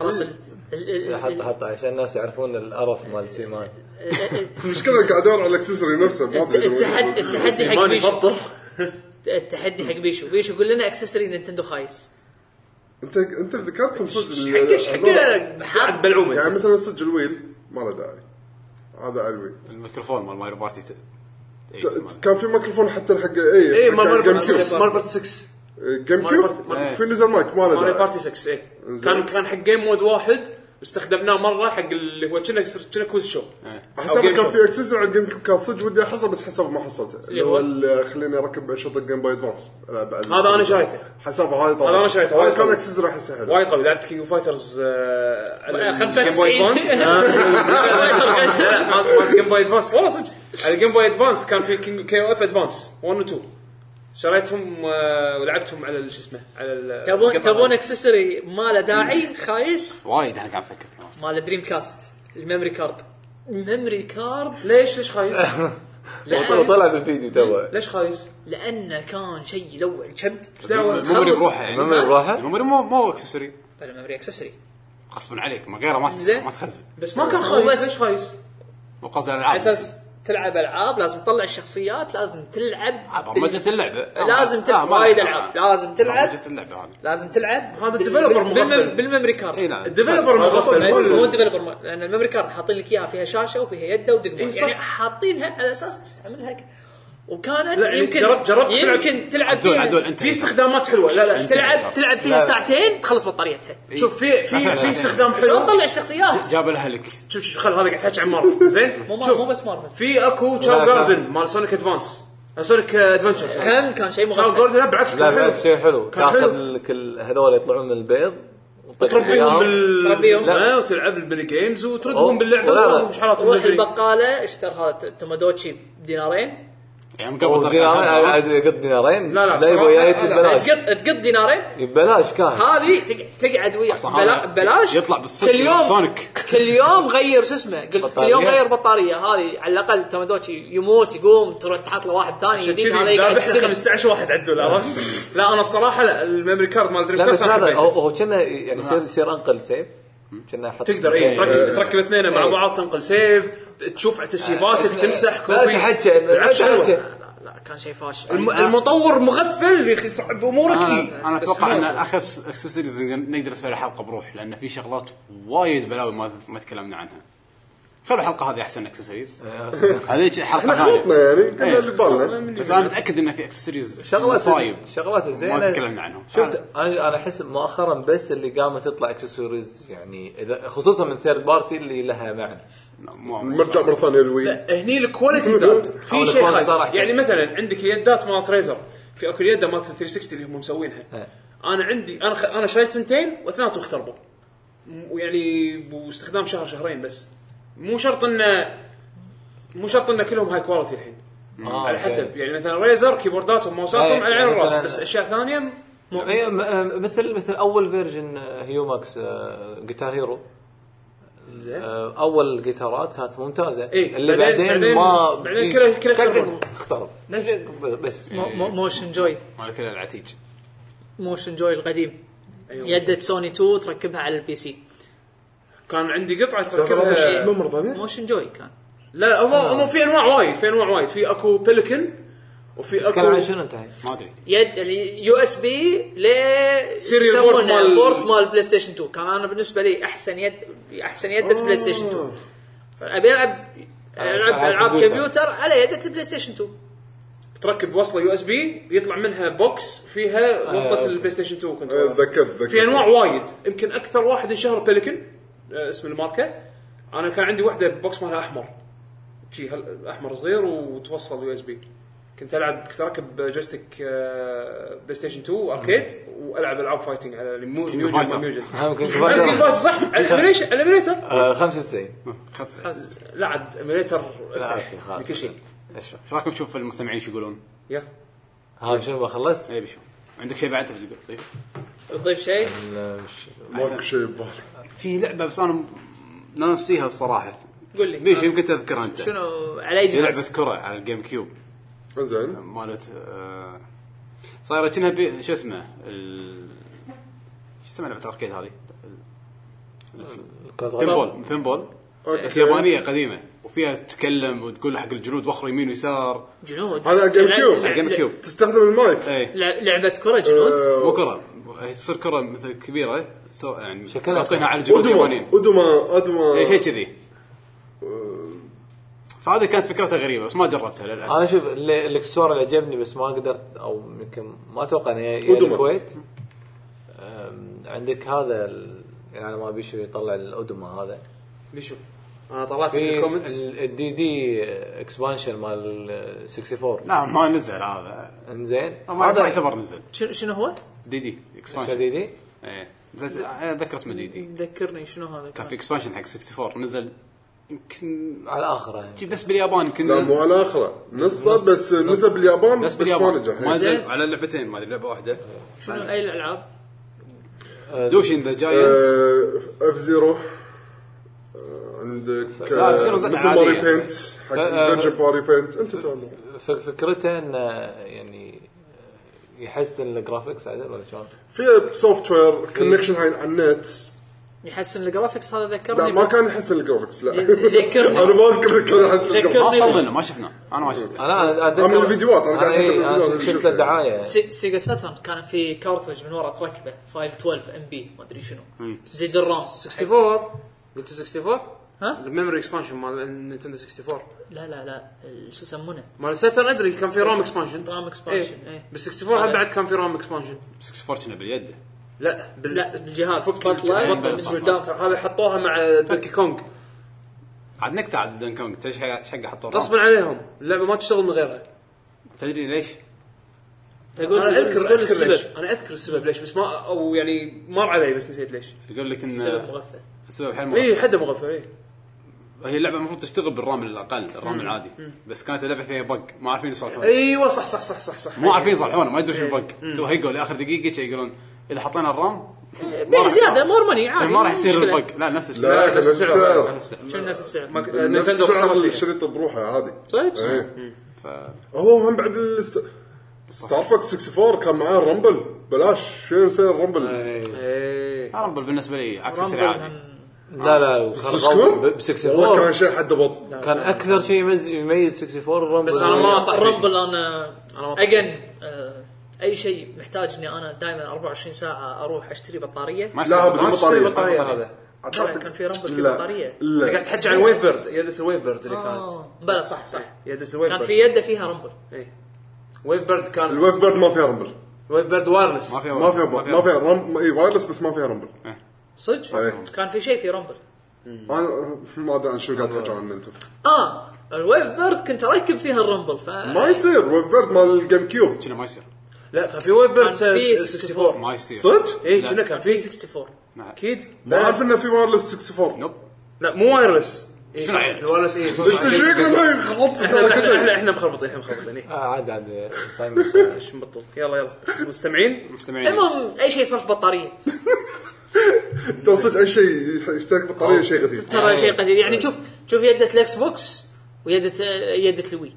E: خلاص ال- ال- ال-
D: حط حط عشان الناس يعرفون القرف مال سيمان
E: ال-
B: المشكله قاعد ادور على الاكسسوري نفسه ما
E: الت-
B: ادري وين.
E: التحدي التحدي حق
C: سيماني
E: بيشو
C: بطل
E: التحدي حق بيشو بيشو يقول لنا اكسسوري نينتندو خايس
B: انت انت ذكرتهم صدق ال-
C: حق ايش حق
B: الوضع.
C: قاعد بلعومه
B: يعني مثلا صدق الويل ما له داعي هذا على الويل
C: إيه،
A: الميكروفون مال مايرو بارتي ت- إيه،
B: ت-
A: تمام.
B: كان في ميكروفون حتى إيه، حق اي
C: اي إيه، مال مال
B: جيم
C: بارتي
B: كيوب
C: 6 مال بارتي 6
B: جيم
C: مال بارتي-
B: كيوب
C: مال-
B: في نزل مايك ما له
C: مال
B: داعي
C: بارتي 6 اي
B: انزين.
C: كان كان حق جيم مود واحد استخدمناه مره حق اللي هو كنا كنا كوز شو
B: حسب
C: أو
B: كان
C: Game
B: في اكسسوري على الجيم كيوب كان صدق ودي احصل بس حسب ما حصلته اللي
C: هو؟
B: هو ال- خليني اركب انشطه جيم باي ادفانس ألعب على-
C: هذا أنا شريته.
B: حسابه هاي طبعا
C: هذا أنا شريته، وايد
B: هذا كان
C: قوي.
B: اكسسوري احسه حلو
C: وايد قوي لعبت كينج اوف فايترز آه، على الجيم بوي
E: 95
C: ادفانس آه، لا، لا، مال- مال جيم بوي ادفانس والله صدق على الجيم بوي ادفانس كان في كينج كي او اف ادفانس 1 و 2 شريتهم آه، ولعبتهم على ال- شو اسمه على ال-
E: تبون
C: القطعة.
E: تبون اكسسوري ما له داعي خايس
A: وايد انا قاعد افكر فيه.
E: مال دريم كاست الميموري كارد الميموري كارد
C: ليش ليش خايس؟
D: وطلع بالفيديو توه
C: ليش خايس؟
E: لانه كان شيء يلوع الكبد
C: ايش دعوه؟
A: الميموري بروحه يعني
D: المهم راحت
A: الميموري مو مو اكسسوري
E: بلا ميموري اكسسوري
A: غصبا عليك ما غيره ما تس-
E: زين.
A: ما تخزن
C: بس ما كان
E: بس-
C: خايس ليش خايس؟
A: مو قصدي على
E: على
A: الالعاب
E: اساس تلعب العاب لازم تطلع الشخصيات لازم
A: آه،
E: تلعب
A: برمجه اللعبه آه،
E: لازم
A: ما-
E: تلعب
A: آه، ما
E: وايد
A: لها-
E: العاب
A: آه.
E: لازم تلعب
A: برمجه اللعبه هذه
E: لازم تلعب
C: هذا
E: بال-
C: الديفلوبر
E: بال- بالمم-
C: مغفل.
E: بالميموري كارد
A: اي نعم
C: الديفلوبر مغفل
E: بس
C: مو ال-
E: مو الديفلوبر مو- لان الميموري كارد حاطين لك اياها فيها شاشه وفيها يده
C: إي
E: ودقمه
C: صح.
E: يعني حاطينها على اساس تستعملها ك- وكانت
C: لا، يعني
E: يمكن
C: جربت- جربت تلعب-
E: يمكن تلعب
A: عدول عدول
E: فيها
A: انت
C: في استخدامات حلوه لا
D: إيه.
C: لا
E: تلعب تلعب فيها ساعتين تخلص بطاريتها
C: شوف في
D: إيه.
C: في في استخدام
E: شلون
C: حلو
E: تطلع الشخصيات
A: جاب الاهلك
C: شوف شوف خل هذا قاعد تحكي عن مارفل زين
E: مو مو
C: شوف
E: بس مارفل
C: في اكو
D: لا،
C: تشاو
D: لا.
C: جاردن مال آه، سونيك ادفانس سونيك ادفنشر
E: هم كان شيء
C: تشاو
E: مغفل
C: جاردن لا بالعكس
D: لا
C: كان حلو
D: بالعكس شيء حلو
C: كان حلو.
D: تاخذ لك ال- هذول يطلعون من البيض
C: تربيهم بال
E: تربيهم.
C: اسمه، وتلعب البلي جيمز وتردهم
D: أوه. لا، لا.
C: باللعبه ومش حالاتهم
E: روح
C: بالبلي.
E: البقاله اشتر هذا التمادوتشي بدينارين
A: يعني قبل ترى
D: دينارين قد دينارين
C: لا، لا،
D: لا يبغى
C: بصراحة
D: جايت
C: لا، لا.
D: ببلاش
E: تقط تقط دينارين
D: ببلاش كان
E: هذه تق- تقعد ويا
A: أصلاً
E: بلا-
A: هذا
E: بلاش
A: يطلع بالصدق
E: كل يوم
A: سونيك.
E: كل يوم غير شو اسمه قلت كل يوم
D: بطارية.
E: غير بطاريه هذه على الاقل تمادوتشي يموت يقوم تروح تحط له واحد ثاني
C: عشان
E: جديد
C: كذي
E: هذا يقعد
C: ذابحنا
E: يسخن.
C: 15 واحد على الدولار لا انا الصراحه لا الميموري كارد مال دريم
D: لا بس
C: كاست أنا
D: هذا هو-
C: حبيته.
D: هو كنا يعني يصير يصير انقل سيف كنا إيه. حط
C: نعم. تقدر اي تركب تركب اثنين مع
D: إيه.
C: بعض تنقل سيف تشوف تسييفاتك تمسح
D: لا إيه،
C: كوبي
D: تحكي
C: بالعكس
D: لا
C: حلوة.
D: تحكي
E: لا لا كان شيء فاشل
C: الم- المطور مغفل يا اخي صعب امورك إيه.
A: انا, أنا
C: بس
A: اتوقع
C: حلوة.
A: ان اخس اكسسوارز نقدر نسوي لها حلقه بروح لان في شغلات وايد بلاوي ما ما تكلمنا عنها خلوا الحلقه هذه احسن اكسسوارز هذيك حلقه
B: احنا
A: ثانيه
B: خلطنا يعني قلنا
A: إيه.
B: اللي ببالنا
A: بس انا متاكد ان في اكسسوارز
D: شغلات
A: مصايب
D: شغلات الزينه
A: ما تكلمنا آه، عنهم.
D: شفت انا انا احس مؤخرا بس اللي قامت تطلع اكسسوارز يعني اذا خصوصا من ثيرد بارتي اللي لها معنى
A: مو-
B: نرجع مره ثانيه للويل
C: هني الكواليتي زاد في
D: أمم. أو
C: شيء
D: الكواليتي صار
C: خايس
D: أحسن.
C: يعني مثلا عندك اليدات مالت ريزر في اكو اليده مالت 360 اللي هم مسوينها
D: إيه.
C: انا عندي انا خ... انا شريت ثنتين واثنيناتهم اختربوا م- ويعني واستخدام شهر شهرين بس مو شرط انه مو شرط انه كلهم هاي كواليتي الحين
D: آه،
C: على
D: أوكي.
C: حسب يعني مثلا ريزر كيبورداتهم
D: إيه،
C: ماوساتهم على عين
D: يعني
C: الراس
D: مثلاً-
C: بس اشياء ثانيه
D: هي م- آه، مثل مثل اول فيرجن آه، هيوماكس آه، جيتار هيرو
C: زين
D: آه، اول جيتارات كانت ممتازه
C: إيه،
D: اللي
C: بعدين-
D: بعدين,
C: بعدين-
D: ما
C: بعدين كله- كله اختربوا.
D: اخترب بس إيه.
E: مو- مو- موشن جوي
A: مال كل العتيج
E: موشن جوي القديم
C: أيوة.
E: يدة سوني 2 تركبها على البي سي
C: كان عندي قطعه
B: لا ترى شو
C: تركبها
B: اسمه مره ثانيه
E: موشن جوي كان
C: لا هم
D: آه.
C: هم في انواع وايد في انواع وايد في اكو بيليكن وفي
D: تتكلم عن
C: اكو
D: شنو انت هاي؟
A: ما ادري
E: يد يعني يو اس بي ل
C: Serial port مال-
E: بورت مال بلاي ستيشن 2 كان انا بالنسبه لي احسن يد احسن يده بلاي ستيشن 2 فابي العب العب
D: ألعاب
E: العاب
D: كمبيوتر.
E: كمبيوتر على يده البلاي ستيشن 2
C: تركب وصله يو اس بي يطلع منها بوكس
D: آه،
C: فيها وصله البلاي ستيشن 2
B: إيه،
C: كنترولر
B: تذكرت تذكرت
C: في انواع وايد يمكن اكثر واحد انشهر بيليكن آه، اسم الماركه انا كان عندي واحده بوكس مالها احمر شي هل- احمر صغير وتوصل يو اس بي كنت العب كنت اركب جويستيك آه، بلاي ستيشن 2 اركيد والعب العاب فايتنج على المو- ميوجن
A: فايتر.
C: ما ميوجن
D: هم كنت
C: أنا
D: بقدر-
C: كنت بايس صح على الإيميليشن- على الإيميليتر.
D: آه، 95
A: خس
C: لا عاد ايميليتر
D: لا،
C: افتح
D: أوكي، خلاص.
C: لكل شيء
D: اشوف
A: ايش رايكم تشوف المستمعين شو يقولون؟
C: يلا
D: ها شنو ما خلصت؟
A: اي بشو عندك شيء بعد تبي تقول؟ طيب.
E: تضيف شيء
D: لا، وش-
B: ماكو شيء ببالي
A: في لعبه بس انا ناسيها الصراحه
E: قول لي
A: بيشو يمكن تذكرها انت
E: آه. شنو على اي
A: هي لعبه
E: جهاز؟
A: كره على الجيم كيوب
B: زين
A: مالت آه، صايره كأنها بي- شو اسمه ال... شو اسمها لعبه الاركيد هذه؟ بينبول بينبول بس يابانيه قديمه وفيها تتكلم وتقول حق الجنود وخر يمين ويسار
E: جنود
B: هذا على جيم كيوب.
A: على جيم كيوب
B: تستخدم المايك
A: اي
E: لع- لعبه كره جنود
B: آه،
A: مو كره هي تصير كره مثل كبيره سو يعني
D: شكلها
A: حاطينها على الجنود
B: ادما
A: اليابانيين
B: ادما
A: اي إيه، شيء
B: ادما
A: كذي فهذه كانت فكرتها غريبه بس ما جربتها للاسف
D: انا شوف اللي- الاكسسوار اللي عجبني بس ما قدرت او يمكن ما اتوقع انه يا
B: أدمة.
D: الكويت أم، عندك هذا ال- يعني ما بيشو يطلع الادمه هذا
C: بيشو انا طلعت لك
D: في
C: الكومنتس
D: ال- الدي دي اكسبانشن مال ال 64
A: لا نعم، ما نزل هذا
D: انزين
A: ما ما
D: هذا
A: يعتبر نزل
E: شنو شنو هو؟
A: دي دي
D: اسمه
A: اكسبانشن
D: دي دي
A: ايه نزلت أنا اتذكر اسمه دي دي
E: ذكرني شنو هذا
A: كان في
E: كان
A: اكسبانشن حق 64 نزل يمكن
D: على الاخره يعني.
A: شي بس باليابان يمكن
B: لا
A: نزل
B: مو على اخره نصه بس نزل باليابان
A: بس
B: بس ما
A: باليابان
B: نجح
A: ما
B: إيه.
A: نزل على لعبتين ما ادري لعبه واحده
E: شنو اي الالعاب؟
A: دوشين ذا جاينت
B: آه، اف زيرو آه، عندك
A: لا، F Zero
B: آه،
A: زاد
B: مثل
A: عادية.
B: ماري بينت حق
D: آه،
B: فيرجن ماري بينت انت تعلم.
D: ف- فكرته انه يعني يحسن الجرافكس عدل ولا شلون؟
B: في سوفت وير كونكشن على النت
E: يحسن الجرافكس هذا
B: لا
E: ذكرني
B: ما
E: ب-
B: كان يحسن الجرافكس لا
E: يذكرني.
B: انا ما اذكر كان يحسن الجرافكس
A: ما صلنا ما شفناه انا
B: أه.
A: ما شفته
D: انا انا اتذكر
B: أنا من الفيديوهات، أنا قاعد
D: إيه،
B: أتذكر
D: أنا
B: الفيديوهات اللي
D: شفت
B: شفتها.
D: له دعايه
E: سي- سيجا ساترن كان في كارترج من ورا تركبه 512 ام بي ما ادري شنو زيد الرام
C: 64 قلت 64
E: ها؟
C: الميموري اكسبانشن مال نينتندو 64
E: لا لا لا ال- شو يسمونه؟
C: مال ساتر ادري كان في رام اكسبانشن
E: رام إيه. اكسبانشن اي
C: بال 64 هم بعد كان في رام اكسبانشن
A: 64 كنا باليد
C: لا بال
E: لا الجهاز
C: فك
E: بطل.
A: الجهاز.
C: البطل اسمه داون تاون. هذا حطوها مع دونكي كونغ
A: عاد نكته عاد دونك كونج تدري إيش حق حطوا الرام؟
C: غصبا عليهم اللعبه ما تشتغل من غيرها
A: تدري ليش؟
E: تقول
C: انا اذكر
E: تقول
C: اذكر
E: السبب
C: السبب انا اذكر السبب ليش بس ما او يعني مر علي بس نسيت ليش إيه،
A: يقول لك
E: السبب
A: ان
E: مغفل
A: السبب حيل مهم.
C: اي حدا مغفل اي
A: هي اللعبه المفروض تشتغل بالرام الاقل الرام العادي بس كانت اللعبه فيها بق ما عارفين يصلحونه
C: ايوه صح صح صح صح صح
E: إيه.
A: مو عارفين يصلحونه ما يدرون شو البق توهقوا لاخر دقيقه شي يقولون اذا حطينا الرام
E: بيه زياده مور ماني عادي
A: إيه، ما راح يصير
E: إيه، مشكلة.
A: البق لا نفس
B: لا
A: السعر
B: كان نفس
C: السعر.
B: السعر
E: شنو نفس السعر
C: ما ك-
B: نفس
C: نينتندو
B: السعر
C: خسرت
B: اللي
C: فيها.
B: شريطه بروحه عادي
E: طيب
B: ايه
A: ف-
B: هو هم بعد الست... ستار فوكس 64 كان معاه رامبل بلاش شنو يصير رامبل
C: ايه
A: رامبل بالنسبه لي اكسسوري
E: رامبل
A: عادي
E: هم-
D: لا لا وكان غلط ب- ب 64
B: والله كان شيء حد بط
D: كان اكثر شيء يميز يميز 64 الرامبل
C: بس أنا ما- طيب.
E: رامبل انا
C: أنا ما-
E: اجن اي آه، شيء محتاج اني انا دائما 24 ساعه اروح اشتري بطاريه
A: ما
B: لا بدون
A: اشتغل.
B: بطاريه
C: البطاريه هذا
E: لا، كان في رامبل في
B: لا.
E: بطاريه
C: انت قاعد
B: لا
C: تحكي عن ويف بيرد يده الويف بيرد اللي كانت
E: آه، بلا صح صح
C: يده الويف
E: كانت
C: بيرد
E: في يده فيها رامبل
C: إيه. ويف بيرد كان
B: الويف بيرد ما فيها رامبل
C: ويف بيرد وايرلس
A: ما فيها
B: ما فيها ما فيها رامبل اي وايرلس بس ما فيها رامبل
E: صدق
B: إيه.
E: كان في شيء في رامبل
B: انا ما ادري عن شو قاعد تحكي عنه انتم
E: اه الويف بيرد كنت اركب فيها الرامبل ف
B: ما يصير ويف بيرد مال الجيم كيوب
A: كنا ما يصير
C: لا كان في ويف بيرد
E: كان في
C: 64
A: ما يصير
B: صدق؟
C: اي
A: لا.
C: كنا كان في
E: 64
C: اكيد
B: ما اعرف انه في وايرلس 64
A: نوب
C: لا مو وايرلس إيه،
A: شنو
C: صح.
A: عيرت؟
C: الوايرلس اي
B: انت ايش فيك لما إيه، خلطت
C: احنا
B: ترى كل
C: احنا-
B: شيء
C: احنا- احنا مخربطين احنا مخربطين إيه.
D: آه، عاد عاد
C: ايش مبطل يلا يلا مستمعين
A: مستمعين
E: المهم اي شيء صرف بطاريه
B: ترى صدق اي شيء يستهلك بطاريه شيء غثيث
E: ترى شيء قليل يعني شوف شوف يده الاكس بوكس ويده يده الوي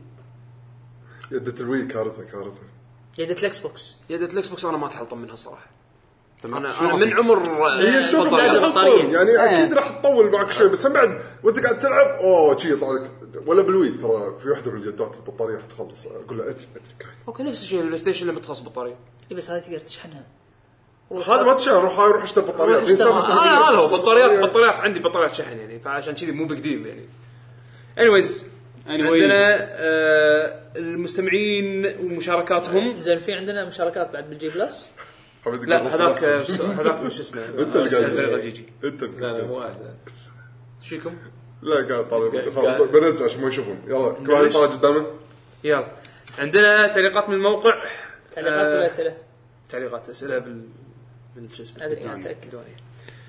B: يدة الوي كارثه كارثه
E: يده الاكس بوكس
C: يدة الاكس بوكس انا ما اتحلطم منها الصراحه
A: تمام.
C: انا
A: شنو
C: انا من
A: راسك؟
C: عمر آه،
B: هي سوالف
E: بطارية.
B: لازم
E: بطارية.
B: تطول، يعني اكيد راح تطول معك شوي بس بعد وانت قاعد تلعب اوه شي يطلع لك ولا بالوي ترى في وحده من الجدات البطاريه راح تخلص اقول لها ادري ادري كاي.
C: اوكي نفس الشيء البلاي ستيشن لما تخلص بطاريه
E: اي بس هذه تقدر تشحنها
B: هذا ما تشتري روح هاي روح اشتري بطاريه
E: روح اشتري.
B: الإنسان
E: آه،
C: انا هذا هو
B: بطارية.
C: بطاريات بطاريات عندي بطاريات شحن يعني فعشان كذي مو بيج ديل يعني انيويز
A: Anyways.
C: عندنا آه المستمعين ومشاركاتهم
E: زين في عندنا مشاركات بعد بالجي بلس
C: لا هذاك آه، هذاك شو اسمه آه،
B: أنت اللي قاعد.
C: فريق الجيجي
B: انت
D: لا لا مو اهل
C: شو فيكم؟
B: لا قاعد طالع
D: قاعد-
B: خلاص
D: قاعد.
B: بنزل عشان ما يشوفون يلا كل واحد يطالع قدامه
C: يلا عندنا تعليقات من الموقع
E: تعليقات
C: آه،
E: والاسئله
C: تعليقات اسئله بال بال شو اسمه
E: ادري انا
A: بالدنيا.
E: اتاكد
C: الدنيا.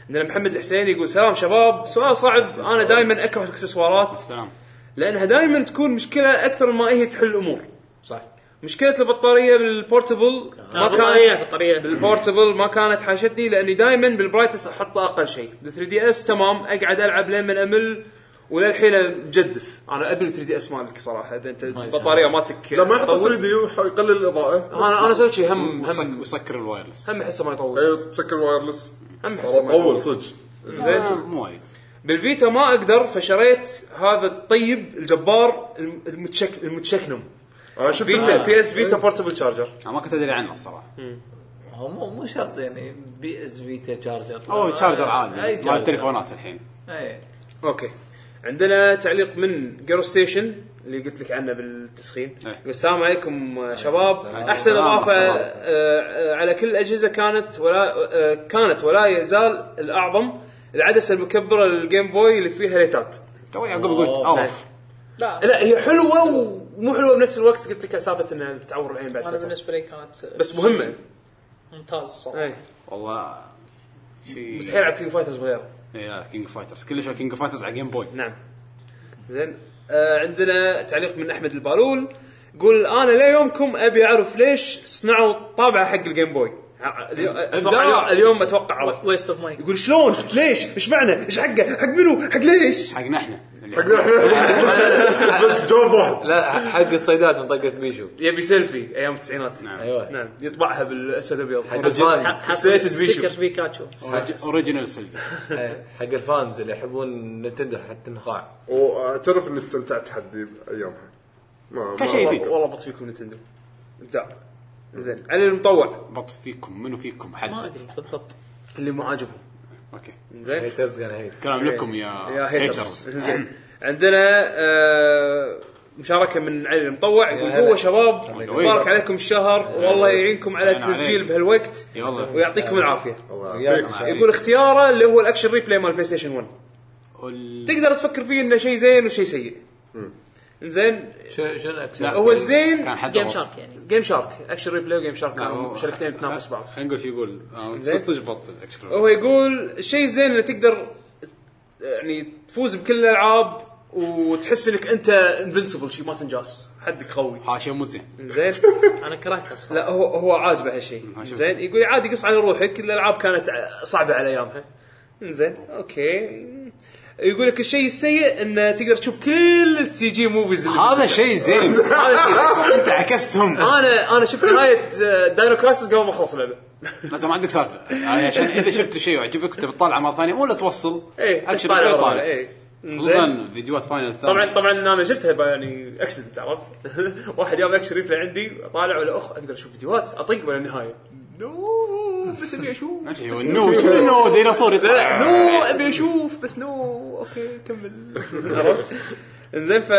C: عندنا محمد الحسين يقول سلام شباب سؤال صعب انا دائما اكره الاكسسوارات
A: السلام
C: لانها دائما تكون مشكله اكثر ما هي تحل الامور
D: صح
C: مشكله البطاريه بالبورتبل ما
E: بطاريه
C: كانت
E: بطاريه
C: بالبورتبل ما كانت حاشتني لاني دائما بالبرايتس احطه اقل شيء بال 3 دي اس تمام اقعد العب لين من امل وللحين مجدف انا ابن 3 دي اس مالك صراحه اذا انت البطاريه مالتك
B: لا ما يحط
C: تطول.
B: 3 دي يقلل الاضاءه
C: انا انا اسوي شيء هم
A: وسك-
C: هم
A: وسكر الوايرلس
C: هم احسه ما يطول
B: اي تسكر وايرلس
C: هم احسه ما
B: اول
C: يطول
B: صدق
C: زين.
A: آه، مو وايد
C: بالفيتا ما اقدر فشريت هذا الطيب الجبار الم- المتشك المتشكنم آه،
B: انا شفت
C: فيتا
B: ال-
C: بي اس فيتا بورتبل شارجر
A: انا ما كنت ادري عنه الصراحه
D: هو مو مو شرط يعني بي اس فيتا شارجر
A: او شارجر
D: اي
A: عادي مال
D: شارجر
A: التليفونات الحين
D: اي
C: اوكي عندنا تعليق من جيرو ستيشن اللي قلت لك عنه بالتسخين
A: إيه.
C: يقول السلام عليكم آه، شباب
D: السلام.
C: احسن
A: السلام
C: اضافه
A: ورحمة الله.
C: آه، آه، على كل الاجهزه كانت ولا آه، كانت ولا يزال الاعظم العدسه المكبره للجيم بوي اللي فيها ليتات
A: توي عقب قلت اوف
E: لا
C: لا هي حلوه ومو حلوه بنفس الوقت قلت لك على سالفه انها بتعور العين بعد
E: انا
C: فترة.
E: بالنسبه لي كانت
C: بس آه. مهمه
E: ممتاز صراحه
C: اي
A: والله شيء
C: مستحيل العب كينج فايترز بغيره
A: اي لا كينج فايترز كل شيء كينج فايترز على جيم بوي
C: نعم زين آه عندنا تعليق من احمد البالول يقول انا ليومكم ابي اعرف ليش صنعوا طابعه حق الجيم بوي ع- اليوم- اتوقع اليوم- اليوم اتوقع عرفت
E: ويست اوف ماني
C: يقول شلون ليش ايش معنى ايش حقه حق منو حق ليش
A: حقنا احنا يعني
B: بس جواب واحد
D: لا حق الصيدات منطقه بيشو
C: يبي سيلفي ايام التسعينات
A: نعم.
D: ايوه
C: نعم يطبعها بالاسود ابيض
D: حق
C: بالزاني.
D: الفانز
C: حسيت بيشو
E: ستيكرز بيكاتشو
A: اوريجينال سيلفي
D: إيه، حق الفانز اللي يحبون نتندو حتى النخاع
B: واعترف اني استمتعت حدي بايامها ما ما-
A: كشيء
C: والله- والله بط فيكم نتندو ابداع زين علي المطوع
A: بط فيكم منو فيكم
E: ما
A: حدد
E: ادري بالضبط
C: اللي مو عاجبهم
A: اوكي
C: زين
D: هيترز كان هيت
A: كلام لكم يا
C: يا هيترز
A: هيترز
C: زين عندنا آه، مشاركه من علي المطوع يقول
D: هلا.
C: قوه شباب
A: قوي.
C: مبارك عليكم الشهر والله يعينكم على
A: أهلا
C: التسجيل
A: عليك.
C: بهالوقت
A: اي والله
C: ويعطيكم العافيه
B: الله
D: وياك.
B: يعافيك.
C: يقول اختياره اللي هو الاكشن ريبلاي مال بلاي ستيشن 1
A: وال-
C: تقدر تفكر فيه انه شيء زين وشيء سيء زين
D: شو شنو اكشن
A: لا.
C: هو الزين
A: كان حد
E: جيم
A: أول.
E: شارك يعني
C: جيم شارك اكشن ريبلاي وجيم شارك
A: لا،
C: كانوا
A: هو-
C: نعم، شركتين تنافس بعض
A: خلينا نقول شو يقول آه،
C: زين.
A: صدق بط الأكشن.
C: هو يقول الشيء الزين اللي تقدر يعني تفوز بكل الالعاب وتحس انك انت انفنسبل شيء ما تنجاس حدك قوي
A: ها شيء مو زين
C: زين
E: انا كرهته اصلا
C: لا هو هو عاجبه هالشيء
A: عاجبه.
C: زين يقول عادي قص على روحك الالعاب كانت ع- صعبه على ايامها زين اوكي يقول لك الشيء السيء انه تقدر تشوف كل السي جي موفيز اللي
A: هذا شيء زين
C: هذا شيء سيء.
A: انت عكستهم
C: انا انا شفت نهايه آه، داينو كرايسس قبل ما اخلص اللعبه
A: لا انت ما عندك سالفه يعني عشان اذا شفت شيء وعجبك وتبي تطالعه مره ثانيه ولا توصل
C: ايه
A: اكشن
C: طالع
A: ريبلاي
C: ورا،
A: طالع
C: إيه. زين.
A: خصوصا فيديوهات فاينل الثانيه
C: طبعا طبعا انا جبتها ب- يعني اكسدنت عرفت؟ واحد جاب اكشن ريبلاي عندي اطالع ولا اخ اقدر اشوف فيديوهات اطق ولا النهايه نو بس ابي اشوف
A: ماشي، هو نو شنو نو ديناصور
C: لا لا،
A: يطلع.
C: نو ابي اشوف بس نو اوكي كمل عرفت؟ انزين ف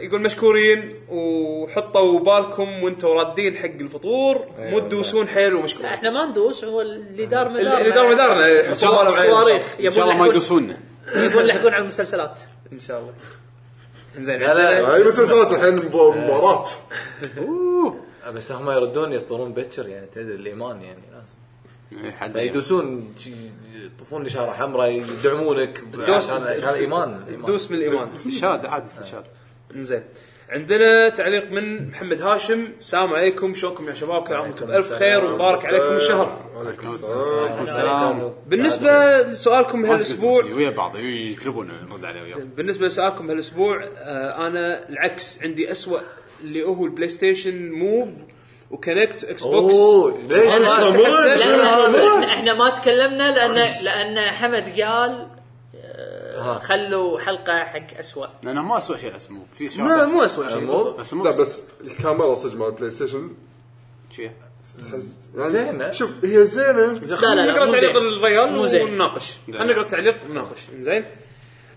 C: يقول مشكورين وحطوا بالكم وانتم رادين حق الفطور مو تدوسون حيل ومشكور
E: احنا ما ندوس هو اللي دار مدارنا
C: اللي دار مدارنا
A: إن شاء الله
C: حطوا بالهم علينا.
E: صواريخ.
A: ان شاء الله ما يدوسونا
E: يبون يلحقون على المسلسلات
C: ان شاء الله انزين
D: لا، لا،
C: عندنا-
B: هاي مسلسلات الحين مب- مباراه
A: أيوة.
D: بس هم يردون يفطرون بكر يعني تدري الايمان يعني لازم
A: إيه، حد
C: طيب.
D: يدوسون شي- يطوفون لشارة حمراء يدعمونك ب-
C: دوس-
D: عشان عشان الايمان الإيمان.
C: دوس من الايمان
A: استشهاد عادي استشهاد
C: انزين عندنا تعليق من محمد هاشم السلام عليكم شلونكم يا شباب كل عام وانتم بالف خير ومبارك عليكم الشهر
B: وعليكم
A: وعليكم السلام
C: بالنسبه لسؤالكم هالاسبوع
A: ويا بعض يقلبون نرد عليه وياه
C: بالنسبه لسؤالكم هالاسبوع آه انا العكس عندي أسوأ اللي هو البلاي ستيشن موف وكونكت اكس بوكس
D: اوه ليش ما
C: استحسنت؟
E: لا، لا، لا، احنا- احنا ما تكلمنا لان لان حمد قال آه، خلوا حلقه حق اسوء
A: لانه ما اسوء شيء اسمه في شيء
C: لا مو اسوء شيء
D: مو
A: بس مو
B: لا بس الكاميرا صدق مال بلاي ستيشن
A: شيء
B: تحس يعني
D: زينة.
B: شوف هي زينه
E: لا، لا،
C: خلينا
E: لا،
C: نقرا
E: مو
C: تعليق
E: زين.
C: الريال
E: مو زين.
C: ونناقش خلينا
A: لا.
C: نقرا التعليق ونناقش زين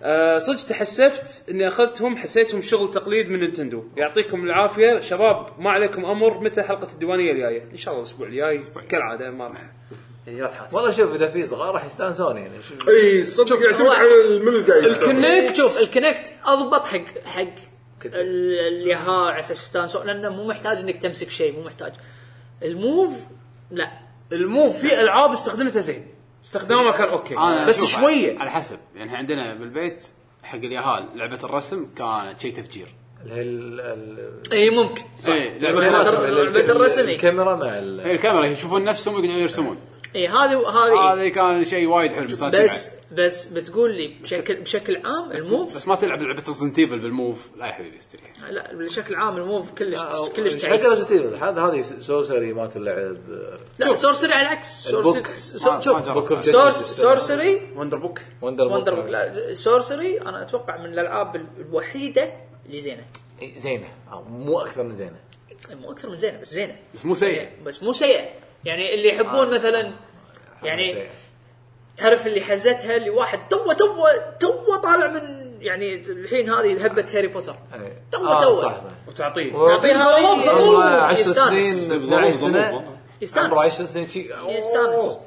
C: آه صدق تحسفت اني اخذتهم حسيتهم شغل تقليد من نينتندو يعطيكم العافيه شباب ما عليكم امر متى حلقه الديوانيه الجايه ان شاء الله الاسبوع الجاي كالعاده ما راح يعني لا تحاتي
D: والله شوف اذا في صغار راح يستانسون يعني شوف
B: اي صدق يعتمد على من اللي قاعد يستخدم.
C: الكنكت
E: شوف الكونكت اضبط حق حق ال- اللي ها على اساس يستانسون لانه مو محتاج انك تمسك شيء مو محتاج الموف لا
C: الموف في العاب استخدمتها زين استخدامها كان اوكي
A: أنا
C: بس
A: أشوف
C: شويه
A: على حسب يعني إحنا عندنا بالبيت حق اليهال لعبه الرسم كانت شيء تفجير
D: اللي هي ال- ال-
E: اي ممكن
A: إيه، لعبة
D: الكاميرا-
A: الرسم.
E: الرسم. لعبة الرسم، إيه.
D: الكاميرا مع ال-
A: هي الكاميرا يشوفون نفسهم ويقعدون يرسمون
E: اي إيه، هذه هذه
A: هذا كان شيء وايد حلو بس أنا
E: بس
A: سمعت.
E: بس بتقول لي بشكل بشكل عام الموف
A: بس ما تلعب لعبه ريزنت ايفل بالموف لا يا حبيبي استريح
E: لا بشكل عام الموف كلش
D: أو-
E: كلش
D: إيش حق
E: تعيس
D: Resident Evil؟ هذا هذه سوسري مالت اللعب
E: لا سورسري على العكس سورسري
D: البوك.
E: سو-
A: ما- ما
E: شوف
A: جربت.
D: بوك أوف
E: سورس
D: Dead.
E: سورسري
C: وندر بوك
D: وندر
E: وندر بوك لا سورسري انا اتوقع من الالعاب الوحيده اللي زينه
D: إيه، زينه أو مو اكثر من زينه
E: مو اكثر من زينه بس زينه
A: بس مو سيء
E: بس مو سيئه يعني اللي يحبون
D: آه،
E: مثلا يعني
D: زينة.
E: تعرف اللي حزتها اللي واحد تو تو تو طالع من يعني الحين هذه هبه هاري بوتر
D: إيه.
E: تو
D: آه،
E: تو
D: صح صح
C: وتعطيه
E: تعطيها
C: ظلام، ظلام.
E: أوه،
D: عمره 10
E: يستانس.
D: سنين 12 سنه
A: ظلوم.
E: يستانس.
D: عمره 10 سنين شي أوه.
C: Oh.
E: يستانس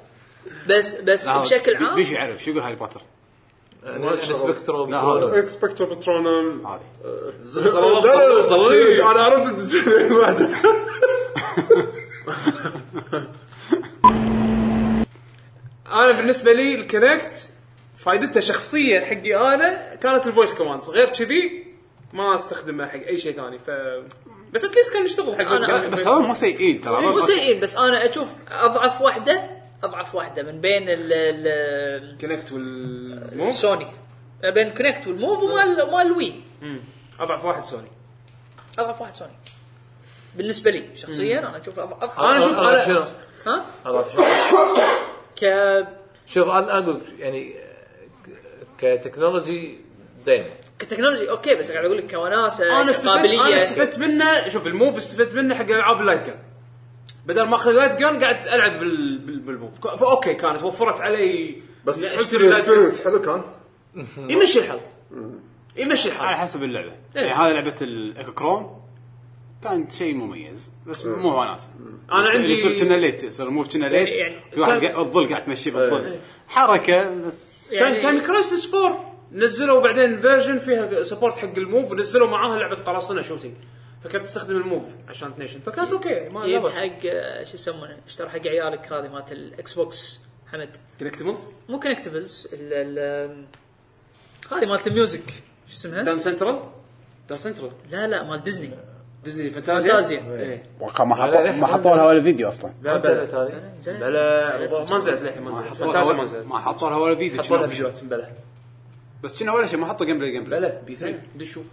E: بس بس
C: نعم.
A: لا،
E: بشكل
A: بي- بيشو
E: عام
A: يعرف شو يقول هاري بوتر
D: ن- سبكترو
A: لا، هذا.
B: اكسبكتو بترونم
A: هذه
C: ظلام، ظلام، ظلام.
B: انا عرفت واحد
C: انا بالنسبه لي الكونكت فائدته شخصيا حقي انا كانت الفويس كوماندز غير كذي ما استخدمها حق اي شيء ثاني ف بس اتليست كان يشتغل حق voice
E: أنا-
C: command.
A: بس هذول مو سيئين ترى
E: أه، مو سيئين بس انا اشوف اضعف واحده اضعف واحده من بين ال- ال
C: كونكت والمو
E: سوني بين كونكت والموف ومال مال الوي
C: مم. اضعف واحد سوني
E: اضعف واحد سوني بالنسبه لي شخصيا انا اشوف اضعف
C: أنا أشوف-
D: أنا
C: أنا-
D: شنو
E: ها
D: أعرف شنو.
E: ك
D: شوف انا اقول يعني كتكنولوجي زينه
E: كتكنولوجي اوكي بس قاعد اقول لك كوناسه
C: انا استفدت انا
E: قابليه
C: استفدت منه شوف الموف استفدت منه حق العاب اللايت جن بدل ما اخذ اللايت جن قعدت العب بال... بال... بالموف ك- فاوكي كانت وفرت علي
B: بس
C: إني
B: تحس
C: أشتري اللايت جن.
B: الاكسبيرينس حلو كان
C: يمشي الحال يمشي
A: على
C: الحال
A: حسب اللعبه
C: إيه.
A: يعني هذه لعبه الايكو كروم كانت شيء مميز بس مو وناسه
C: أنا
A: يصير-
C: عندي-
A: يصير كنا ليت يصير مو كنا ليت
E: يعني-
A: في واحد
C: طيب. إيه.
A: قاعد- الظل قاعد تمشي بالظل حركه بس
C: كان كان
E: يعني
C: كرايسس 4 نزلوا بعدين فيرجن فيها سبورت حق الموف ونزلوا معاها لعبه قراصنه شوتنج فكانت تستخدم الموف عشان تنيشن
E: إيه.
C: فكانت اوكي ما لا
E: يجيب
C: بس
E: حق آه، شو يسمونه اشترى حق عيالك هذه مالت الاكس بوكس حمد
C: كونكتبلز
E: مو كونكتبلز ال- ال- هذه مالت الميوزك شو اسمها؟
C: دان سنترال دان سنترال
E: لا لا مال ديزني
C: ديزني فانتازيا
E: فانتازيا.
C: إيه.
A: ما
D: حطوا- ما حطوا
A: لها ولا فيديو اصلا
D: لا نزلت هذه
E: نزلت نزلت.
C: بلا ما نزلت للحين ما نزلت فانتازيا ما نزلت
A: ما حطوا لها ولا فيديو
C: حطوا لها
A: كنا-
C: فيديوهات إيه. بلا
A: بس كنا ولا شيء ما حطوا جيم بلاي جيم بلاي
C: بلا بي 3 دش شوف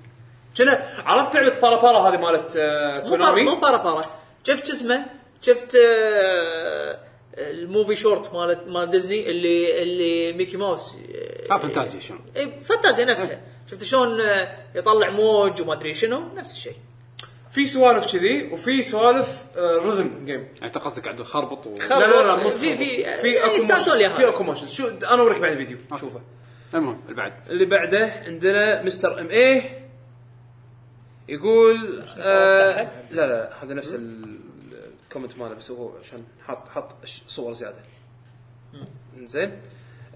C: كنا عرفت لعبه بارا بارا هذه مالت آه،
E: مو بارا مو
C: كونامي
E: بارا بارا شفت شو اسمه شفت آه، الموفي شورت مال مال ديزني اللي اللي ميكي ماوس آه،
A: اه فانتازيا شنو
E: اي فانتازيا نفسها شفت شلون آه، يطلع موج وما ادري شنو نفس الشيء
C: في سوالف كذي وفي سوالف آه، رذم جيم
A: يعني انت قصدك قاعد تخربط و...
E: خربط.
C: لا لا لا مو
E: في-
C: تخربط.
E: في-
C: في
E: يعني يستانسون
C: اكو
E: ليها.
C: في اكو موشنز شو انا اوريك بعد الفيديو شوفه
A: المهم اللي بعد
C: اللي بعده عندنا مستر ام اي يقول آه
E: أحد؟
C: لا لا هذا نفس ال- الكومنت ماله بس هو عشان حط حط ش- صور زياده زين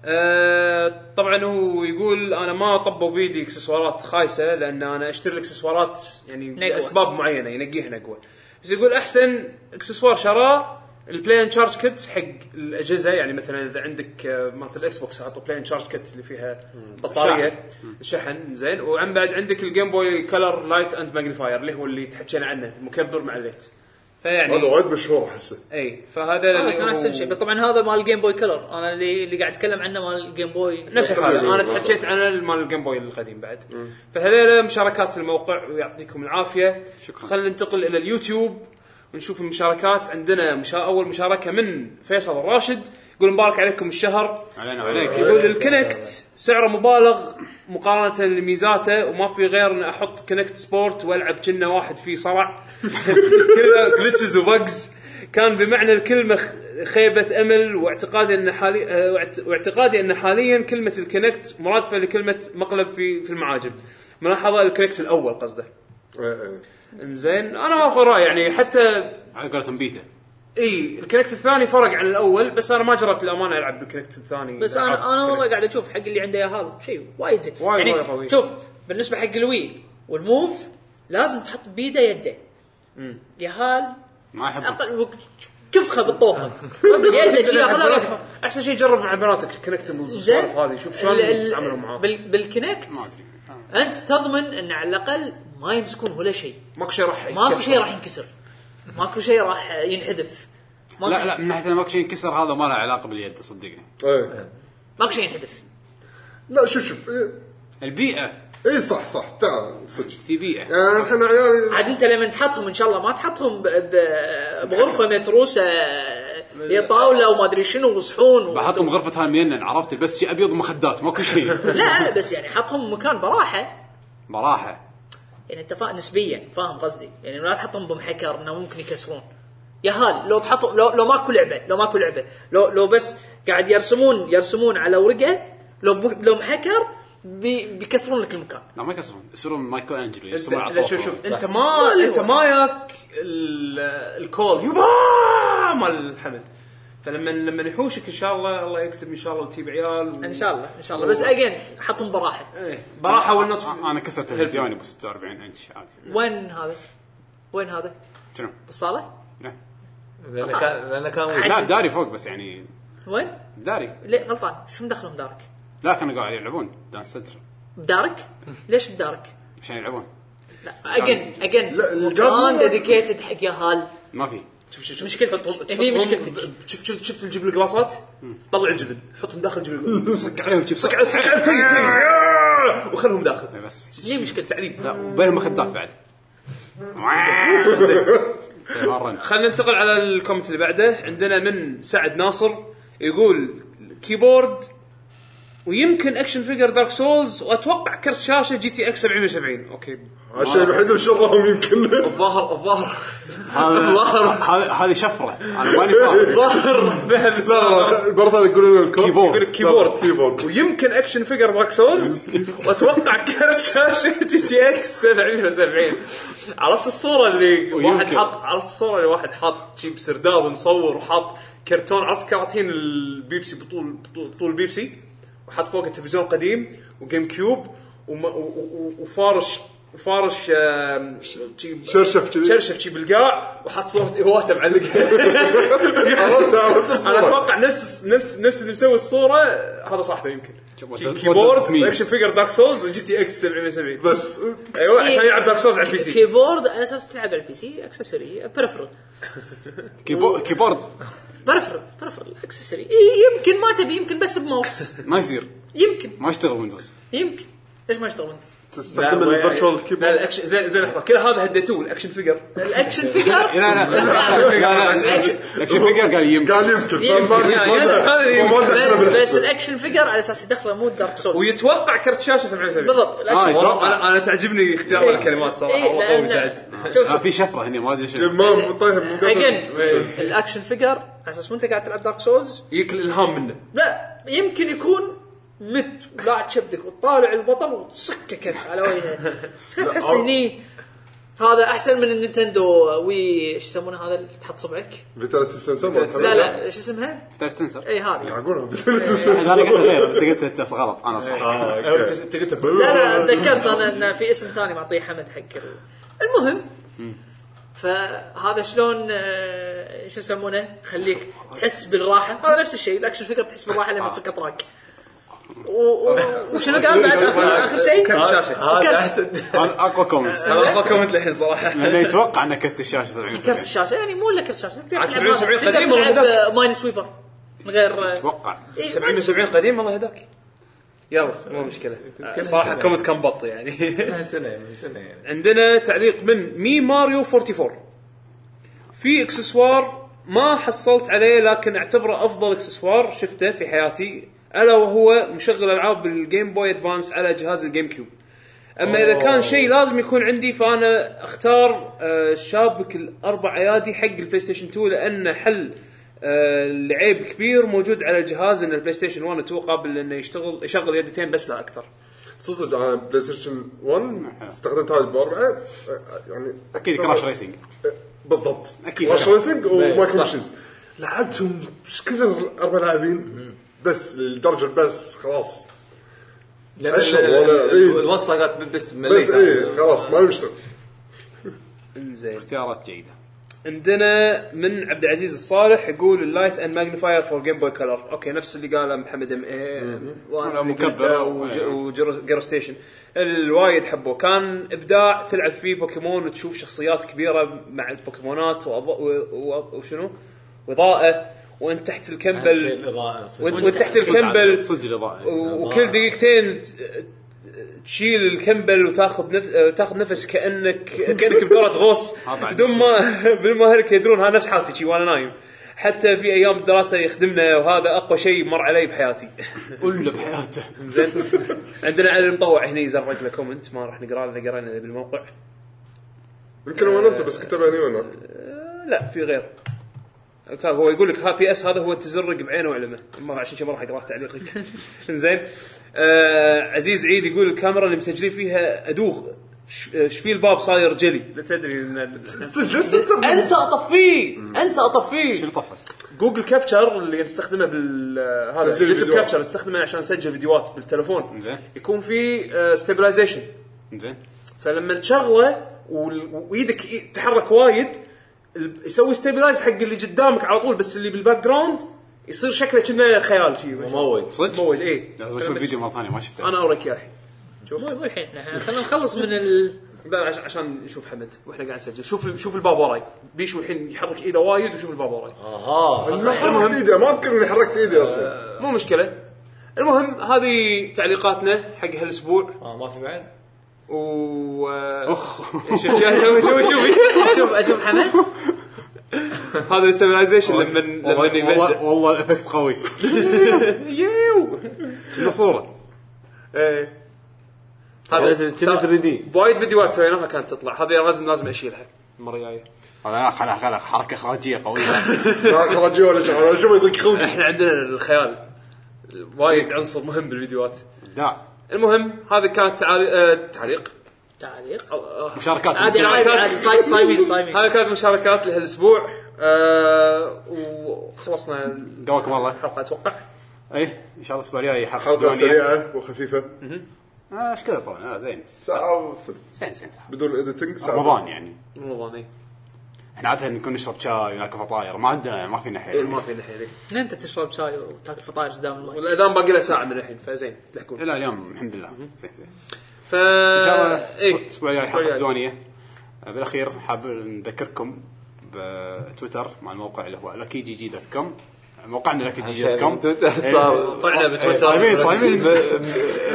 C: آه طبعا هو يقول انا ما طبوا بيدي اكسسوارات خايسه لان انا اشتري الاكسسوارات يعني
E: نقوة.
C: لاسباب معينه ينقيها نقوه بس يقول احسن اكسسوار شراه البلاين تشارج كت حق الاجهزه يعني مثلا اذا عندك آه، مالت الاكس بوكس حطوا بلاين تشارج كت اللي فيها بطاريه شحن زين وعن بعد عندك الجيم بوي كلر لايت اند ماجنيفاير اللي هو اللي تحكينا عنه المكبر مع الليت
B: هذا
C: فيعني
B: وايد مشهور احسه
C: اي فهذا
E: هذا
C: اللي
E: كان
C: هو-
E: احسن شيء بس طبعا هذا مال الجيم بوي كلر انا اللي اللي قاعد اتكلم عنه مال الجيم بوي
C: نفس السالفه
B: طبيعي.
C: انا تحكيت عن مال الجيم بوي القديم بعد فهذول مشاركات الموقع ويعطيكم العافيه
A: شكراً.
C: خلينا ننتقل الى اليوتيوب ونشوف المشاركات عندنا مشا... اول مشاركه من فيصل الراشد يقول مبارك عليكم الشهر
A: علينا وعليك
C: يقول الكنكت سعره مبالغ مقارنه لميزاته وما في غير ان احط كنكت سبورت والعب كنا واحد فيه صرع كله جلتشز وبجز كان بمعنى الكلمه خ- خيبه امل واعتقادي ان حالي آه، واعت- واعتقادي ان حاليا كلمه الكونكت مرادفه لكلمه مقلب في في المعاجم ملاحظه الكونكت الاول قصده
B: إيه، إيه.
C: انزين انا اخذ راي يعني حتى
A: على قولتهم بيتا
C: اي الكونكت الثاني فرق عن الاول بس انا ما جربت الامانه العب بالكونكت الثاني
E: بس
C: ألعب
E: انا انا والله
C: بالكونكت.
E: قاعد اشوف حق اللي عنده يا هذا شيء وايد زين
C: وايد-
E: يعني
C: وايد قوي.
E: شوف بالنسبه حق الوي والموف لازم تحط بيده يده يهال
A: ما احبهم
E: اقل كفخه بالطوفه يده شي ياخذها ويكفى.
C: احسن شيء جرب مع بناتك الكونكتبل
E: زين
C: والسوالف هذه شوف شلون
E: ال- ال-
C: يتعاملوا معاه
E: بال-
A: ما
E: بالكنكت
A: ادري
E: انت تضمن ان على الاقل ما يمسكون ولا شيء
C: ماكو شيء راح
E: ماكو
C: يكسر.
E: شيء راح ينكسر ماكو شيء راح ينحذف ماكو
A: لا لا من ناحيه الماكو شيء انكسر هذا ما له علاقه باليد صدقني
B: إيه.
E: ماكو شيء ينحذف
B: لا شوف شوف إيه.
A: البيئه
B: اي صح صح تعال صدق
A: في بيئه
B: يعني احنا عيالي
E: عاد انت لما تحطهم ان شاء الله ما تحطهم ب- ب- بغرفه متروسه هي طاوله وما ادري شنو وصحون و-
A: بحطهم غرفه هالمينن عرفت بس شيء ابيض ومخدات ماكو شيء
E: لا بس يعني حطهم مكان براحه
A: براحه
E: يعني انت فا... نسبيا فاهم قصدي يعني لا تحطهم بمحكر انه ممكن يكسرون يا هال لو تحطهم لو, لو ماكو لعبه لو ماكو لعبه لو لو بس قاعد يرسمون يرسمون على ورقه لو ب... لو محكر بي... بيكسرون لك المكان
A: لا ما يكسرون يصيرون مايكل انجلو
C: انت
A: يرسمون على
C: لا شوف
A: طوفهم.
C: شوف انت ما
E: لا،
C: انت
E: لا.
C: ما ياك ال- الكول يبا مال حمد فلما لما يحوشك ان شاء الله الله يكتب ان شاء الله وتجيب عيال إيه.
E: ان شاء الله ان شاء الله بس اجين حطهم براحه
C: براحه والنطف
A: آه، انا كسرت تلفزيوني ب 46 انش عادي
E: وين هذا؟ وين هذا؟
A: شنو؟
E: بالصاله؟
A: لا.
D: لانه كان لانه كان ويل.
A: لا داري فوق بس يعني
E: وين؟
A: داري
E: ليه غلطان شو مدخلهم دارك؟
A: لا كانوا قاعد يلعبون دانس ستر
E: بدارك؟ ليش بدارك؟
A: عشان يلعبون
E: لا اجين اجين
B: لا، الجاز
E: مكان
B: مو-
E: ديديكيتد حق يا هال
A: ما في
C: شوف شوف شوف.
E: مشكلتك.
C: تحطهم-
E: هني
C: تحطهم
E: إيه، مشكلتك.
C: ب- شوف شوف شفت الجبل القلاصات طلع الجبن حطهم داخل الجبل القلاصات.
A: صك عليهم شوف
C: صك صك على تي تي وخلهم داخل
A: إيه، بس
E: ليه مشكلة
A: لا وبينهم مخدات بعد طيب، مرن
C: خلينا ننتقل على الكومنت اللي بعده عندنا من سعد ناصر يقول كيبورد ويمكن اكشن فيجر دارك سولز واتوقع كرت شاشه جي تي اكس 770 اوكي
B: الشيء الوحيد اللي شرهم يمكن
C: الظاهر الظاهر
A: هذا- هذا- هذه شفره انا ماني فاهم
C: الظاهر بها بس
B: برضه يقولون لنا الكود
A: كيبورد.
C: يقول لك كيبورد
B: كيبورد.
C: ويمكن اكشن فيجر دارك سولز واتوقع كرت شاشه جي تي اكس 770 عرفت الصوره اللي واحد
A: ويمكن.
C: حط عرفت الصوره اللي واحد حاط شيب سرداب مصور وحاط كرتون عرفت كراتين البيبسي بطول بطول, بطول بيبسي وحط فوقه تلفزيون قديم وجيم كيوب وم- و- و- وفارش فارش آم، شي-
B: شرشف كذي.
C: شرشف شي بالقاع وحط صوره ايواتا معلقه
B: عرفت عرفت
C: انا
B: الصورة.
C: اتوقع نفس نفس نفس اللي مسوي الصوره هذا صاحبه يمكن
A: شوف،
C: كي-
A: ودز-
C: كيبورد
A: ودز مين؟
C: اكشن فيجر دارك سولز وجي تي اكس 770
B: بس
C: ايوه عشان يلعب دارك سولز على البي سي
E: كيبورد على اساس تلعب على البي سي اكسسوري بريفرال
A: كيبو- كيبورد
E: بريفرال بريفرال اكسسوري إي، يمكن ما تبي يمكن بس بماوس
A: ما يصير
E: يمكن
A: ما يشتغل ويندوز
E: يمكن ليش ما يشتغل ويندوز؟
B: تستخدم الفيرتشوال
C: لا
B: كيبورد
C: الاكشن زين زين لحظه كل هذا هديتوه الاكشن فيجر
E: الاكشن
A: لا
E: فيجر
A: لا لا لا لا لكن فيجر قال يمكن
B: قال يمكن
E: يمكن.
B: فما-
C: يا-
B: ما-
C: يا-
B: ما-
C: هذا يمكن.
B: ما دخل
E: بس
B: بالحساب.
E: بس الاكشن فيجر على اساس يدخله مو دارك سولز
C: ويتوقع كرت شاشه 770
E: بالضبط الاكشن
A: آه،
E: فيجر.
A: يتوقع.
C: انا انا تعجبني اختيار الكلمات صراحه
E: إي،
C: والله قوي
E: لأن-
C: سعد
E: شوف إيه،
A: آه،
E: شوف
A: في شفره هنا ما ادري شنو
B: ما مطيهم طيب، من قبل.
E: اجين
C: إيه.
E: الاكشن فيجر على اساس وانت قاعد تلعب دارك سولز
C: يجيك الالهام منه
E: لا يمكن يكون مت ولاعب شبدك وتطالع البطل وتصكه كف على وجهه تحس هني هذا احسن من النينتندو وي ايش يسمونه هذا اللي تحط صبعك
B: فيتاليتي سنسر ما تحب.
E: لا لا ايش اسمها؟
A: تعرف سنسر
E: اي هذه
B: يعقولها فيتاليتي سنسر
A: انا قلت غير انت قلت انت غلط انا صح
B: آه،
C: أو
B: أوكي.
C: أنت- انت قلت
E: لا لا تذكرت انا ان في اسم ثاني معطيه حمد حق ال- المهم فهذا شلون آه، شو يسمونه؟ خليك تحس بالراحه هذا نفس الشيء الاكشن فكر تحس بالراحه لما تسكر تراك و- و- وشنو قال بعد آخر- اخر شيء؟
C: كرت شاشه
D: هذا
E: وكرت.
D: أحسن.
A: هذا اقوى كومنت
C: هذا أفضل كومنت للحين صراحه
A: لانه يتوقع انه كرت الشاشه 70
E: كرت الشاشه يعني مو الا كرت شاشه تقدر
C: عاد
E: تلعب
C: 77
E: هذا.
C: قديم
E: تقدر
C: والله
E: تلعب
C: ذاك.
E: آه، ماين سويبر من غير آه،
A: اتوقع
E: إيه،
C: 70 70 قديم والله هداك يلا مو مشكله صراحه كومنت كان بط يعني
D: من سنه من سنه يعني
C: عندنا تعليق من مي ماريو 44 في اكسسوار ما حصلت عليه لكن اعتبره افضل اكسسوار شفته في حياتي الا وهو مشغل العاب الجيم بوي ادفانس على جهاز الجيم كيوب اما اذا كان شيء لازم يكون عندي فانا اختار آه، شابك الاربع ايادي حق البلاي ستيشن 2 لانه حل آه، لعيب كبير موجود على الجهاز ان البلاي ستيشن 1 و 2 قابل انه يشتغل يشغل يدتين بس لا اكثر
B: صدق انا بلاي ستيشن 1 استخدمت هذه باربعه يعني
A: اكيد كراش ريسنج
B: بالضبط
A: أكيد.
B: كراش ريسنج
D: إيه، صح.
B: وماكروشز لعبتهم ايش كثر اربع لاعبين بس لدرجه بس خلاص
D: لأن
B: أشهر
D: ال- ال-
B: ولا-
D: ال-
B: إيه.
D: الوصله قالت بس مليت
B: بس ايه خلاص ما يشتغل
D: انزين
A: اختيارات جيده
C: عندنا من عبد العزيز الصالح يقول اللايت اند ماجنيفاير فور جيم بوي كلر اوكي نفس اللي قاله محمد إيه، ام
A: ولا
C: اي
A: مكبر.
C: وجير ستيشن الوايد حبوه كان ابداع تلعب فيه بوكيمون وتشوف شخصيات كبيره مع البوكيمونات وأض- و- و- وشنو واضاءه وانت تحت
D: شيء
C: الكمبل
D: الاضاءه صدق.
C: وانت وأنت تحت الكمبل.
A: صدق الاضاءه
C: و- وكل دقيقتين تشيل الكمبل وتاخذ نف... آه، تاخذ نفس كانك كانك بدوره غوص
A: هذا عندي
C: بدون ما بدون ما اهلك يدرون ها نفس حالتي شي وانا نايم حتى في ايام الدراسه يخدمنا وهذا اقوى شيء مر علي بحياتي
A: كله بحياته
C: عندنا علي المطوع هني زرق له كومنت ما راح نقرا لانه قرينا بالموقع
B: يمكن هو نفسه بس كتبها هني وهناك
C: لا في غير كان هو يقول لك ها بي اس هذا هو التزرق بعينه وعلمه ما عشان كذا ما راح اقرا تعليقك زين آه عزيز عيد يقول الكاميرا اللي مسجلين فيها ادوغ ش- آه، شفي الباب صاير جلي لا تدري إن- انسى اطفيه انسى اطفيه
A: شنو طفى؟
C: جوجل كابتشر اللي نستخدمه بال آه، هذا
B: تسجيل
C: يوتيوب
B: الفيديوهات.
C: كابتشر نستخدمه عشان نسجل فيديوهات بالتلفون
A: زين.
C: يكون في آه، ستابلايزيشن
A: زين
C: فلما تشغله وال- وايدك إي- تحرك وايد ال- يسوي ستيبلايز حق اللي قدامك على طول بس اللي بالباك جراوند يصير شكله كنا خيال شيء
D: مموج
A: صدق؟
C: مموج اي
A: لازم اشوف الفيديو مره ثانيه ما شفته
C: انا اوريك اياه الحين
E: مو مو الحين إحنا خلينا نخلص من ال
C: لا، عش- عشان نشوف حمد واحنا قاعد نسجل شوف ال- شوف الباب وراي بيشو الحين يحرك ايده وايد وشوف الباب وراي
D: اها
B: ما حركت ايدي ما اذكر اني حركت ايدي اصلا
C: مو مشكله المهم هذه تعليقاتنا حق هالاسبوع
D: آه، ما في بعد
C: و اخ شوف شوف شوف شوف
E: اشوف اشوف حمد
C: هذا الستابلايزيشن لما لما
A: والله-
C: يبدع
A: والله والله الافكت قوي
C: يو
A: شنو صوره
C: ايه
D: هذا كنا 3 دي
C: وايد فيديوهات سويناها كانت تطلع هذه لازم لازم اشيلها المره الجايه
A: خلاص خلاص خلاص حركه اخراجيه قويه
B: ما خرجي ولا شيء انا شوف يضيق خلقي
C: احنا عندنا الخيال وايد عنصر مهم بالفيديوهات
A: ابداع
C: المهم هذه كانت تعالي... آه... تعليق
E: تعليق
C: آه، آه.
A: مشاركات
E: عادي
A: المستمعين.
E: عادي عادي صاي- صايمين صايمين
C: هذه كانت مشاركات لهالاسبوع آه... وخلصنا
A: قواكم الله
C: الحلقه اتوقع
A: اي ان شاء الله الاسبوع الجاي حلقه
B: حلقه
A: ثمانية.
B: سريعه وخفيفه
A: آه، ايش كذا طبعا آه، زين
B: ساعه وثلث
A: زين زين
B: بدون اديتنج ساعه
A: رمضان يعني
C: رمضان اي
A: احنا عاده نكون نشرب شاي وناكل فطاير ما عندنا إيه، ما فينا حيل
C: ما فينا حيلي
E: إن انت تشرب شاي وتاكل فطاير قدام المايك
C: والاذان باقي له ساعه من الحين فزين تلحقون
A: الى اليوم الحمد لله زين زين
C: ف
A: ان
C: ان
A: شاء الله الأسبوع-
C: اي
A: الاسبوع الجاي حلقه ديوانيه آه، بالاخير حاب نذكركم بتويتر مع الموقع اللي هو لكي جي جي دوت كوم موقعنا لكي جي جي دوت كوم
D: صار
C: طلعنا بتويتر.
A: إيه. صايمين صايمين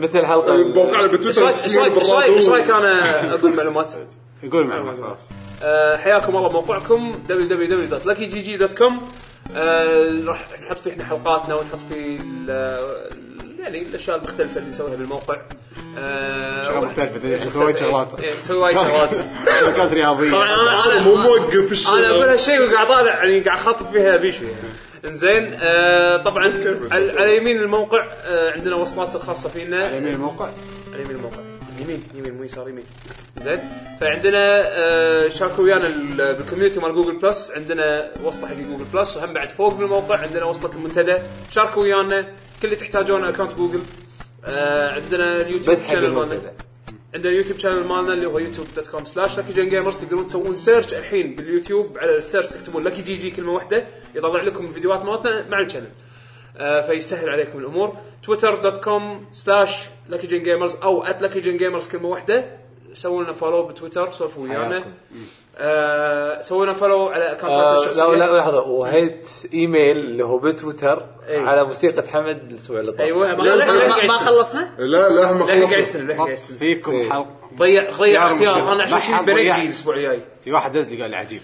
D: مثل حلقه
B: موقعنا
C: ايش
B: بتويتر
C: رايك ايش رايك- إيش رايك ايش رايك انا اقول معلومات
A: قول معنا خلاص
C: آه، حياكم الله موقعكم www.luckygg.com آه، راح نحط فيه احنا حلقاتنا ونحط فيه ال- يعني الاشياء المختلفه اللي نسويها بالموقع آه،
A: شغلات مختلفة، احنا سويت شغلات.
C: إيه، نسوي وايد شغلات
A: شركات
C: طبعا
A: رياضيه
C: انا انا
B: مو موقف الشيء
C: انا اقول هالشيء وقاعد طالع يعني قاعد خاطب فيها بيشو يعني انزين آه، طبعا على على يمين الموقع آه، عندنا وصلات الخاصه فينا
A: على يمين الموقع
C: على يمين الموقع يمين يمين مو يسار يمين زين فعندنا آه، شاركوا ويانا ال- بالكوميونتي مال جوجل بلس عندنا وصله حق جوجل بلس وهم بعد فوق بالموقع عندنا وصله المنتدى شاركوا ويانا كل اللي تحتاجونه اكونت جوجل آه، عندنا اليوتيوب
D: بس حق
C: channel مالنا.
D: المنتدى.
C: عندنا اليوتيوب شانل مالنا اللي هو يوتيوب دوت كوم سلاش لكي جن جيمرز تقدرون تسوون سيرش الحين باليوتيوب على السيرش تكتبون لكي جي جي كلمه واحده يطلع لكم الفيديوهات مالتنا مع الشانل آه فيسهل عليكم الامور تويتر دوت كوم سلاش لكي جن جيمرز او ات لكي جن جيمرز كلمه واحده سووا لنا فولو بتويتر سولفوا ويانا
D: حياكم.
C: آه سووا لنا فولو على اكونتاتنا
D: آه، لا
C: الشخصيه
D: لا لحظه وهيت ايميل اللي هو بتويتر
C: أي.
D: على موسيقى حمد الاسبوع اللي طاف
C: ايوه
E: ما- ما- ما خلصنا
B: لا لا إيه. ما
C: لا
B: خلصنا
C: يستلم لا يستلم
A: فيكم حلقه
C: ضيع ضيع
A: اختيار
C: اختيار انا
A: ما
C: عشان
A: حد
C: كذي بريدي
A: ضيع.
C: الاسبوع الجاي
A: في واحد دز لي قال لي عجيب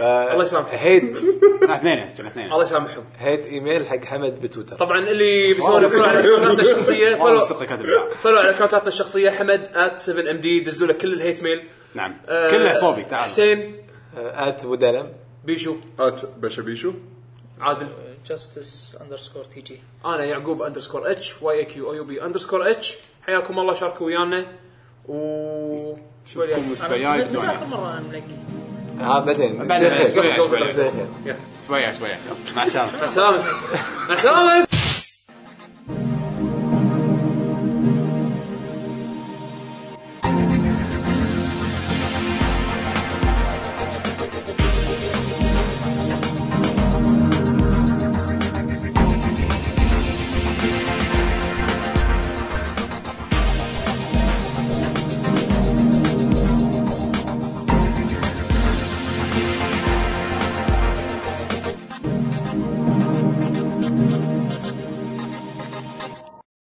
D: الله
C: يسامحك.
D: هيت
A: احنا اثنين كنا اثنين
C: الله يسامحهم
D: هيت ايميل حق حمد بتويتر
C: طبعا اللي بيسوون فولو على اكونتاتنا الشخصيه
A: والله
C: فولو
A: صدق كاتب
C: فولو على اكونتاتنا الشخصيه حمد ات 7 ام دي دزوا له كل الهيت ميل
A: نعم
C: آه،
A: كله صوبي تعال
C: حسين
D: ات آه، ودلم
C: بيشو
B: هات بشبيشو
C: عادل
E: جاستس اندرسكور تي جي
C: انا يعقوب اندرسكور اتش واي كيو او يو بي اندرسكور اتش حياكم الله شاركوا ويانا و شوي
A: شوفكم
C: اليوم.
A: الاسبوع الجاي
E: متى اخر
A: بدون-
E: مره انا منقي
D: ها آه، بعدين
A: بعدين،
D: زين خير.
A: أسبوع، أسبوع.
D: زين خير.
A: اسبوع الجاي، اسبوع الجاي. مع السلامه
C: مع السلامه مع السلامه